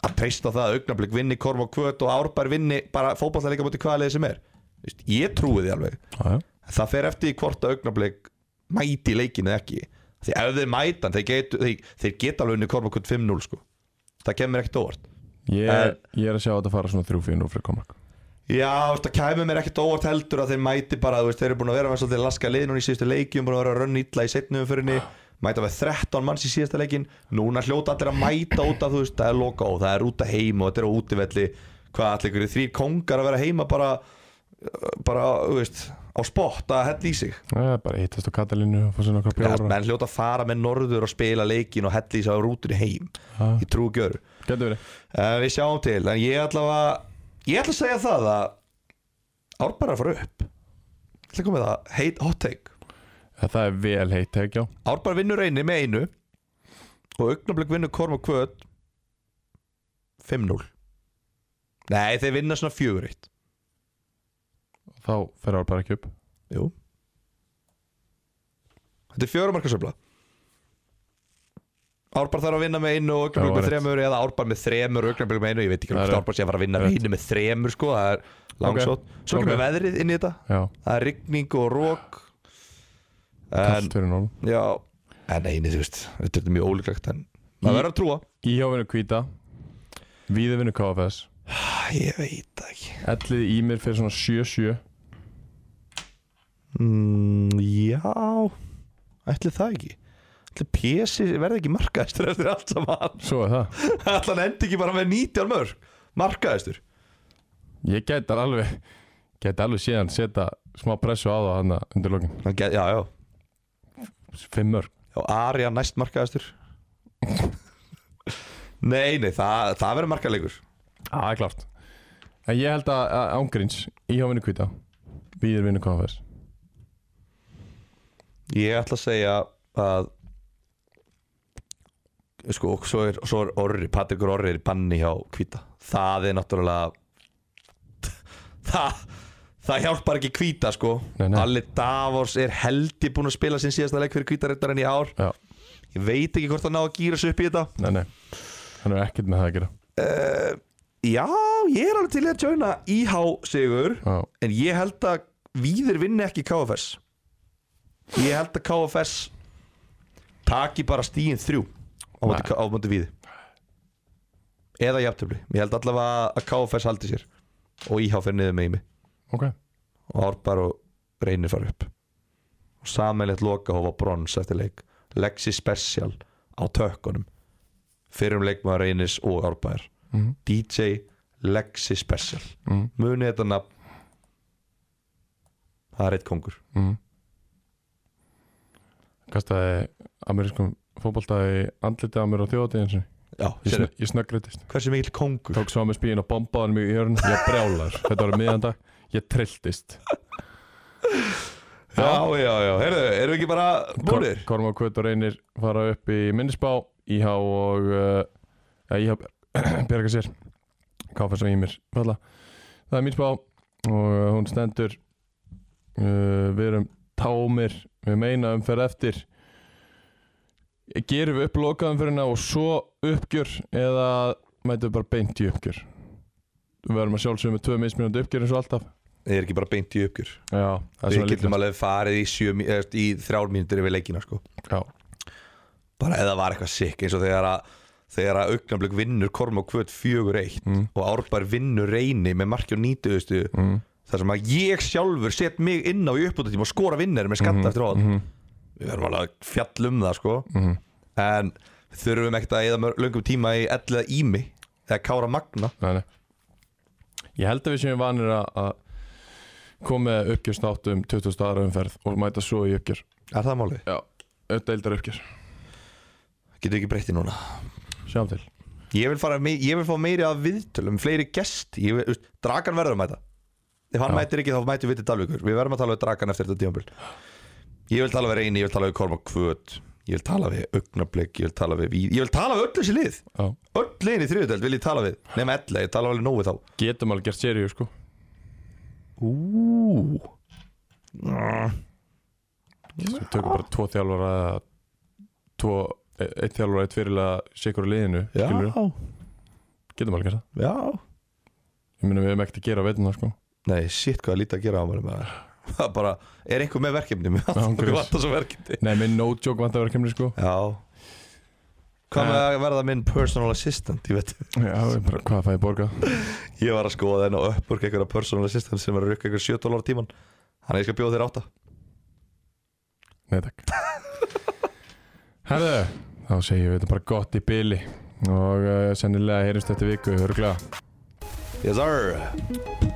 S2: að treysta það að augnablik vinni Kormáku Kvöt og Árbær vinni bara fótballleika mútið hvaða liðið sem er Þú veist, ég trúi því alveg
S1: Já, já.
S2: það fer eftir því hvort að augnablik mæti leikinu eða ekki því ef þeir mæta, hann, þeir, get, þeir, þeir geta alveg unni Kormáku Kvöt 5-0 sko það kemur ekkert óvart
S1: Ég,
S2: Eh.
S1: ég er að sjá þetta fara svona 3-4 fyrir komak
S2: Já, þú veist, það kæmi mér ekkert óvart heldur að þeir mæti bara, þú veist, þeir eru búin að vera með svolítið laska lið núna í síðustu leikjum, búin að vera að rönni illa í setni umfyrinni, mæta með 13 manns í síðasta leikin, núna hljóta allir að mæta út af, þú veist, það er loka og það er út að heima og þetta er á útivelli, hvað allir ykkur þrýr kongar að vera heima bara, bara, þú veist, á spott að hella í sig.
S1: Já, bara hittast á Katalínu og fá sér nokkra
S2: Ja,
S1: bjóra
S2: menn hljóta að fara með norður og spila leikin og hella í sig á rútunni heim,
S1: Já.
S2: ég trú ekki öru.
S1: Getur verið
S2: Uh, við sjáum til, en ég ætla að ég ætla að segja það að Árbæra fara upp Ég ætla að koma með það, heit hot take
S1: Þetta er vel heitt hegja
S2: Árbæra vinnur einni með einu og augnablik vinnur Korm og Kvöt 5-0 Nei, þeir vinna svona 4-1
S1: þá fer það bara ekki upp
S2: Jú Þetta er fjörumarkasöfla Árbar þarf að vinna með einu og augnablik
S1: Já,
S2: með
S1: rétt.
S2: þremur eða Árbar með þremur og augnablik með einu ég veit ekki
S1: Það er
S2: hvort
S1: rétt.
S2: Árbar sé að fara að vinna með
S1: Rétt.
S2: einu með þremur sko það er langsótt
S1: Ok.
S2: Svo kemur veðrið inn í þetta
S1: Já,
S2: það er rigning og rók en,
S1: kallt fyrir nóg
S2: já en eini þú veist þetta er mjög ólíklegt en maður verður að trúa
S1: Íhá vinnur Kvíta Víði vinnur KFS
S2: Æ, ég veit það ekki
S1: Ellið í mér fyrir svona 7-7
S2: mm, já ætli það ekki ætli PSI verði ekki markaðistur eftir allt saman
S1: Svo er það
S2: Ætla hann endi ekki bara með 19 mörg Markaðistur
S1: Ég gæti alveg Gæti alveg síðan setja smá pressu á það hann undir lokin
S2: Hann get- Já, já
S1: Fimm mörg
S2: Já, Arja næst markaðistur Nei, nei, það, það verður markaðleikur
S1: Já, það er klart En ég held að að ángríns Íhá vinnur Kvíta Víðir vinnur KFS
S2: Ég ætla að segja að Sko, og svo er, svo er Orri, Patrikur Orri er í banni hjá Kvíta Það er náttúrulega Það Það hjálpar ekki Kvíta, sko
S1: Nei, nei.
S2: Alli Davos er heldig búin að spila sinn síðasta leik fyrir Kvítarittarinn í ár
S1: Já,
S2: Ég veit ekki hvort hann ná að gýra sig upp í þetta
S1: nei, nei Hann er ekkert með það að gera
S2: Já, ég er alveg til í að tjóna IH sigur
S1: Já,
S2: En ég held að Víðir vinni ekki KFS Ég held að KFS Taki bara stíin þrjú Á móti,
S1: Nei.
S2: á móti Víði Eða jafntöfli Ég held allavega að KFS haldi sér Og IH fer niður með mig
S1: ok
S2: Og Árbar og Reynir fara upp Og samanlegt loka hófa brons eftir leik Lexi Special á tökkunum Fyrir um leikmaður Reynis og Árbær
S1: Mhm.
S2: DJ Lexi Special
S1: mm,
S2: munið þetta nafn það er eitt kongur
S1: mm. Kastaði amerískum fótbolta í andlitið á mér á þjóðatíðin sinni
S2: já,
S1: Ég, sn ég snöggriðtist
S2: hversu mikil kongur
S1: Tók svo að mér spíðin og bombaði hann mjög í hörn Ég brjálar, þetta var miðjandag Ég trilltist
S2: já, já, já, heyrðu, erum við ekki bara búinir?
S1: Korma og Kvöt og Reynir fara upp í minnisbá Íhá og uh, ja, Íhá bjarga sér Káfess og Ímir falla Það er minnisbá og uh, hún stendur uh, Við erum támir Við meina umferð eftir Gerum við upp lokaðumferðina og svo uppgjör eða mætum við bara beint í uppgjör Við verðum að sjálfsögum með tvö mismunandi uppgjör eins og alltaf
S2: er ekki bara beint í uppgjör
S1: Já, það er svona
S2: við getum
S1: líklegt
S2: alveg farið í, sjö, mí- eða, í þrjár mínútur yfir leikina sko.
S1: Já,
S2: bara eða var eitthvað sikk eins og þegar að þegar að augnablík vinnur Korm og Kvöt 4-1 og Árbær vinnur reyni með marki og 90 mm. þar sem að ég sjálfur set mig inn á í uppbútatíma og skora vinnir með skatta eftir hóðan við verðum alveg að fjalla um það sko mm. en við þurfum ekkert að eða löngum tíma í elliða ími eða kára magna
S1: nei, nei Ég held að við séum vanir að- að koma með uppgjörst um 20. aðra umferð og mæta svo í uppgjör
S2: er það málið?
S1: Já, auðveldar uppgjör
S2: getur ekki breytti núna
S1: Sjáum til
S2: ég vil, fara, me- ég vil fá meiri að viðtölum fleiri gest ég vil, veist, dragan verður að mæta ef hann
S1: Já.
S2: mætir ekki þá mætir við til Dalvíkur við verðum að tala við dragan eftir þetta tímabil ég vil tala við reyni, ég vil tala við Korma Kvöt ég vil tala við Augnablik, ég vil tala við Víð ég vil tala við öll þessi lið
S1: Já.
S2: öll liðin í þriðutöld vil ég tala við nema ella, ég tala alveg nógu við þá
S1: Getum alveg gert seríu sko
S2: Ú.
S1: Við tökum bara tvo þjálfara eða tvo, e- eitt þjálfara, eitt fyrirlega sikur á liðinu
S2: já,
S1: skilurðu. Getum alveg gert það
S2: já
S1: Ég meina við hefum ekkert að gera á veitina sko
S2: nei, shit hvað er lítið að gera á mér maður. það bara, er einhver með verkefni mér
S1: Ángurins.
S2: vantar svo verkefni
S1: Nei, minn no joke vantarverkefni sko
S2: Já Hvað með
S1: Eh.
S2: að verða minn personal assistant Ég, veit,
S1: Já, ég bara, hvað fæ ég borgað?
S2: ég var að skoða þenn og uppurk einhverja personal assistant sem var að rukka einhverja 7 dólar tíman Þannig að ég skal bjóða þér átta
S1: Nei takk Herðu, þá segjum við þetta bara gott í eh, byli og uh, sennilega heyrjumst eftir viku, örgulega
S2: Yes sir